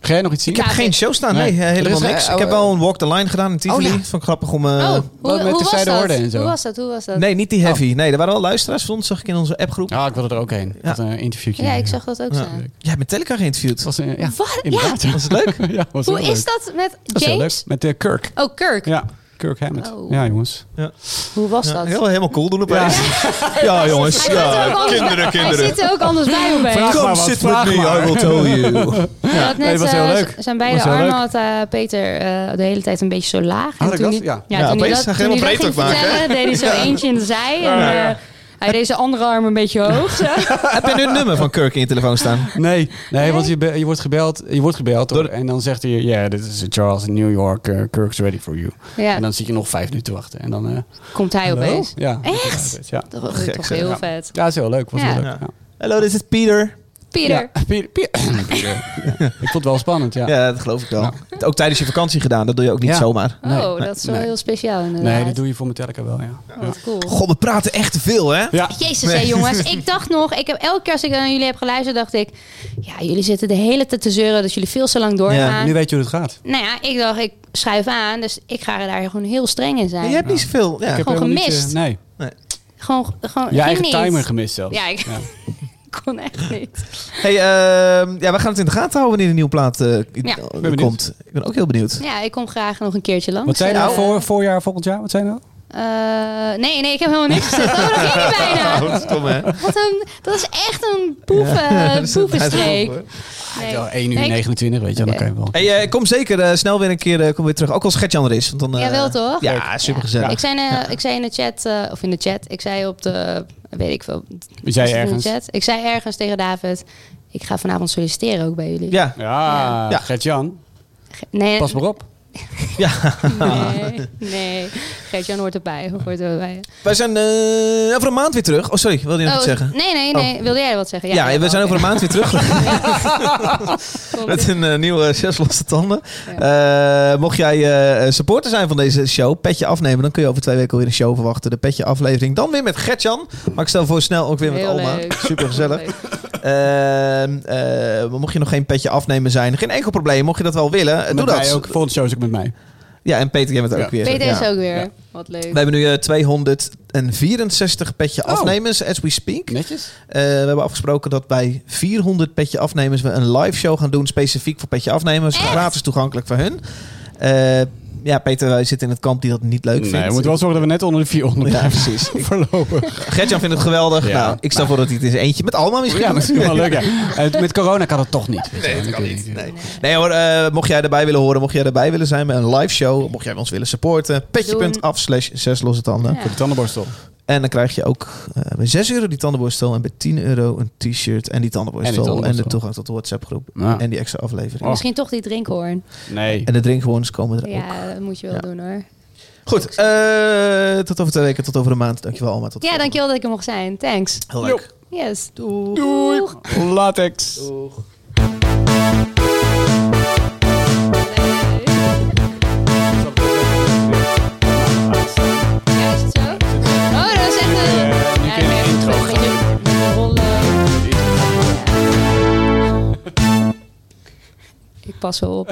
Speaker 3: Ga jij nog iets zien?
Speaker 1: Ik heb
Speaker 2: Ja,
Speaker 1: geen
Speaker 2: dit-
Speaker 1: show staan.
Speaker 3: Nee.
Speaker 1: Nee, eh,
Speaker 3: Er
Speaker 1: helemaal
Speaker 3: is geen-
Speaker 1: niks.
Speaker 3: oh,
Speaker 1: Ik heb
Speaker 3: eh,
Speaker 1: wel een Walk the Line gedaan in Tivoli.
Speaker 3: Oh, ja.
Speaker 1: Vond ik grappig om... eh,
Speaker 2: oh, hoe,
Speaker 3: met de
Speaker 2: hoe, was
Speaker 3: zijde
Speaker 2: dat?
Speaker 3: hoorden en zo.
Speaker 2: hoe was dat? Hoe was dat?
Speaker 1: Nee, niet die heavy. Nee, er waren al luisteraars van ons, zag ik in onze appgroep.
Speaker 3: Ah, ik wilde er ook heen. Ik
Speaker 1: Ja.
Speaker 3: had een interviewtje.
Speaker 2: Ja, ik zag dat ook
Speaker 1: Ja.
Speaker 2: staan.
Speaker 1: Jij hebt Metallica geïnterviewd.
Speaker 3: Het was een... Ja,
Speaker 2: Wat? Ja,
Speaker 3: inderdaad. *laughs* Ja.
Speaker 1: Was het leuk?
Speaker 3: ja, was
Speaker 2: hoe
Speaker 3: heel leuk.
Speaker 2: is dat met
Speaker 3: Dat is heel leuk.
Speaker 2: James?
Speaker 3: Met de Kirk.
Speaker 2: Oh, Kirk.
Speaker 3: Ja, Kirk Hammett.
Speaker 2: Oh.
Speaker 3: Ja, jongens.
Speaker 2: Hoe was
Speaker 1: Ja,
Speaker 2: dat?
Speaker 1: heel, helemaal cool doen opeens. *laughs* Ja, jongens.
Speaker 2: Hij zit er ook anders- Hij zit er ook anders bij opeens.
Speaker 3: Vraag
Speaker 1: Come
Speaker 3: maar wat,
Speaker 1: sit
Speaker 3: vraag
Speaker 1: with me,
Speaker 3: maar.
Speaker 1: I will tell
Speaker 3: *laughs*
Speaker 1: you.
Speaker 2: Hij had
Speaker 3: nee,
Speaker 2: net,
Speaker 3: dat was heel
Speaker 2: eh,
Speaker 3: leuk.
Speaker 2: z- Zijn
Speaker 3: Dat
Speaker 2: beide
Speaker 3: was heel
Speaker 2: armen
Speaker 3: leuk.
Speaker 2: had eh, Peter eh, de hele tijd een beetje zo laag.
Speaker 3: Had ik dat?
Speaker 2: hij-
Speaker 3: Ja.
Speaker 1: Ja,
Speaker 2: toen
Speaker 1: opeens
Speaker 2: hij
Speaker 1: zag
Speaker 2: dat,
Speaker 1: je
Speaker 2: toen hij
Speaker 1: helemaal
Speaker 2: dat ging
Speaker 1: breed ook maken, hè?
Speaker 2: vertellen, deed hij
Speaker 3: *laughs*
Speaker 2: zo eentje in de zij. En, eh, hij deed zijn andere arm een beetje hoog.
Speaker 3: *laughs*
Speaker 2: Zo.
Speaker 1: Heb je nu het nummer van Kirk in je telefoon staan?
Speaker 3: Nee, nee, want je, be- je wordt gebeld, je wordt gebeld hoor,
Speaker 1: Door-
Speaker 3: en dan zegt hij, ja, dit is Charles in New York, eh, Kirk's ready for you.
Speaker 2: Ja,
Speaker 3: En dan zit je nog vijf minuten te wachten. En dan, eh,
Speaker 2: komt hij
Speaker 3: hallo?
Speaker 2: opeens.
Speaker 3: Ja.
Speaker 2: Echt?
Speaker 3: Ja.
Speaker 2: Dat was
Speaker 1: Gek,
Speaker 2: toch
Speaker 1: zeg.
Speaker 2: heel
Speaker 3: Ja.
Speaker 2: vet.
Speaker 3: ja, is heel leuk. Was
Speaker 2: Ja.
Speaker 3: heel leuk.
Speaker 1: Ja.
Speaker 3: Ja.
Speaker 1: Hallo, dit is Peter.
Speaker 2: Peter.
Speaker 3: Ja, eh, Pieter, Pieter.
Speaker 2: *laughs*
Speaker 3: Pieter. Ja. Ik vond het wel spannend, ja.
Speaker 1: Ja, dat geloof ik wel. Ook tijdens je vakantie gedaan, dat doe je ook niet
Speaker 3: Ja.
Speaker 1: zomaar.
Speaker 3: Nee,
Speaker 2: oh,
Speaker 3: nee,
Speaker 2: dat is wel
Speaker 3: nee.
Speaker 2: heel speciaal inderdaad.
Speaker 3: Nee, dat doe je voor Metallica wel, ja.
Speaker 2: Wat cool.
Speaker 1: God, we praten echt te veel, hè?
Speaker 3: Ja,
Speaker 2: Jezus, hè, jongens. Ik dacht nog, ik heb elke keer als ik aan jullie heb geluisterd, dacht ik... Ja, jullie zitten de hele tijd te zeuren dat jullie veel te lang doorgaan.
Speaker 3: nu weet je hoe het gaat.
Speaker 2: Nou ja, ik dacht, ik schuif aan. Dus ik ga daar gewoon heel streng in zijn.
Speaker 1: Je hebt niet zoveel. Ja.
Speaker 3: Ik heb
Speaker 2: Gewoon
Speaker 3: helemaal niet, eh,
Speaker 2: gemist.
Speaker 3: nee,
Speaker 2: Gewoon, gewoon
Speaker 3: je
Speaker 2: ging
Speaker 3: eigen
Speaker 2: niet.
Speaker 3: timer gemist zelfs.
Speaker 2: Ja, *laughs* ik
Speaker 3: Ja.
Speaker 2: kon echt niet.
Speaker 1: Hey, ehm, ja, we gaan het in de gaten houden wanneer de nieuwe plaat eh,
Speaker 3: benieuwd.
Speaker 1: komt. Ik ben ook heel benieuwd.
Speaker 2: Ja, ik kom graag nog een keertje langs.
Speaker 3: Wat zijn nou
Speaker 2: Eh,
Speaker 3: voor, voorjaar, volgend jaar? Wat zijn nou?
Speaker 2: eh, nee, nee, ik heb helemaal niks gezegd. Oh, dat ging je bijna.
Speaker 3: *laughs*
Speaker 1: Kom, hè?
Speaker 2: Wat een, dat is echt een boeven,
Speaker 3: *laughs*
Speaker 2: boevenstreek. Nee.
Speaker 3: Ja, 1 uur
Speaker 2: Nee, ik-
Speaker 3: 29, weet je, dan
Speaker 2: Oké.
Speaker 3: kan je wel.
Speaker 1: Hey, eh, kom zeker eh, snel weer een keer eh, kom weer terug. Ook als Gertjan er is. Want dan, eh,
Speaker 2: Ja, wel toch?
Speaker 1: Ja, super
Speaker 2: Ja. Ik,
Speaker 1: gezellig.
Speaker 2: zei, eh, ik zei in de chat, eh, of in de chat, ik zei op de, weet ik veel,
Speaker 3: Wie zei
Speaker 2: was het in de
Speaker 3: ergens?
Speaker 2: chat? Ik zei ergens tegen David, ik ga vanavond solliciteren ook bij jullie.
Speaker 1: Ja.
Speaker 3: Ja,
Speaker 1: Ja.
Speaker 3: Gert-Jan,
Speaker 2: Ge- Nee,
Speaker 3: pas maar op.
Speaker 1: Ja.
Speaker 2: *laughs* Nee, nee. Geert-Jan hoort erbij. Hoort erbij.
Speaker 1: Wij zijn eh, over een maand weer terug. Oh, sorry. Wilde je nog
Speaker 2: Oh,
Speaker 1: iets zeggen?
Speaker 2: Nee, nee, nee. Wilde jij wat zeggen?
Speaker 1: Ja, we zijn over een maand weer terug.
Speaker 2: *laughs*
Speaker 1: *laughs* Met een eh, nieuwe Zes Losse Tanden. Eh, mocht jij eh, supporter zijn van deze show, petje afnemen, dan kun je over twee weken alweer een show verwachten. De petje aflevering. Dan weer met Gertjan. Maar ik stel voor snel ook weer met
Speaker 2: Heel
Speaker 1: Alma.
Speaker 2: *laughs* leuk.
Speaker 1: Super gezellig. eh, mocht je nog geen petje afnemen zijn, geen enkel probleem. Mocht je dat wel willen, eh, doe
Speaker 3: Met mij
Speaker 1: dat.
Speaker 3: ook. Volgende show is ook met mij.
Speaker 1: Ja, en Peter, jij bent er
Speaker 3: Ja.
Speaker 1: ook weer.
Speaker 2: Peter
Speaker 1: Ja.
Speaker 2: is ook weer. Wat leuk.
Speaker 1: We hebben nu eh, 264
Speaker 2: Oh.
Speaker 1: petje afnemers, as we speak.
Speaker 3: Netjes.
Speaker 1: Eh, we hebben afgesproken dat bij 400 petje afnemers we een live show gaan doen. Specifiek voor petje afnemers. Gratis toegankelijk voor hun. Eh, ja, Peter wij zitten in het kamp die dat niet leuk
Speaker 3: nee, we
Speaker 1: vindt.
Speaker 3: moeten wel zorgen dat we net onder de 400
Speaker 1: Ja,
Speaker 3: blijven
Speaker 1: precies.
Speaker 3: *laughs*
Speaker 1: Ik-
Speaker 3: voorlopig.
Speaker 1: Gertjan vindt het geweldig.
Speaker 3: Ja,
Speaker 1: nou, ik stel voor dat hij het eens eentje met Alma misschien.
Speaker 3: Ja, misschien wel leuk. Ja. Eh, Met corona kan het toch niet. Nee, dat kan niet.
Speaker 1: *laughs* Nee, nee hoor, eh, mocht jij erbij willen horen, mocht jij erbij willen zijn bij een live show, mocht jij ons willen supporten, petje.af slash zes losse tanden.
Speaker 2: Ja.
Speaker 3: Voor de tandenborstel.
Speaker 1: En dan krijg je ook eh, bij 6 euro die tandenborstel en bij 10 euro een t-shirt en die tandenborstel. En,
Speaker 3: En die tandenborstel.
Speaker 1: de toegang tot de WhatsApp groep
Speaker 3: Ja. Oh,
Speaker 1: en die extra aflevering.
Speaker 2: Misschien toch die drinkhoorn.
Speaker 3: Nee.
Speaker 1: En de drinkgewoons komen er ook.
Speaker 2: Ja, dat moet je wel
Speaker 1: Ja.
Speaker 2: doen hoor.
Speaker 1: Goed, eh, tot over twee weken, tot over een maand. Dankjewel allemaal. Tot de
Speaker 2: Ja,
Speaker 1: volgende.
Speaker 2: dankjewel dat ik er mocht zijn. Thanks.
Speaker 1: Heel leuk.
Speaker 2: Yes.
Speaker 3: Doei. Latex.
Speaker 2: Ja, is het zo? Oh, dat is echt een...
Speaker 3: nu kun je
Speaker 2: ik
Speaker 3: een
Speaker 2: heb
Speaker 3: intro
Speaker 2: een beetje- rollen. Ik pas wel op.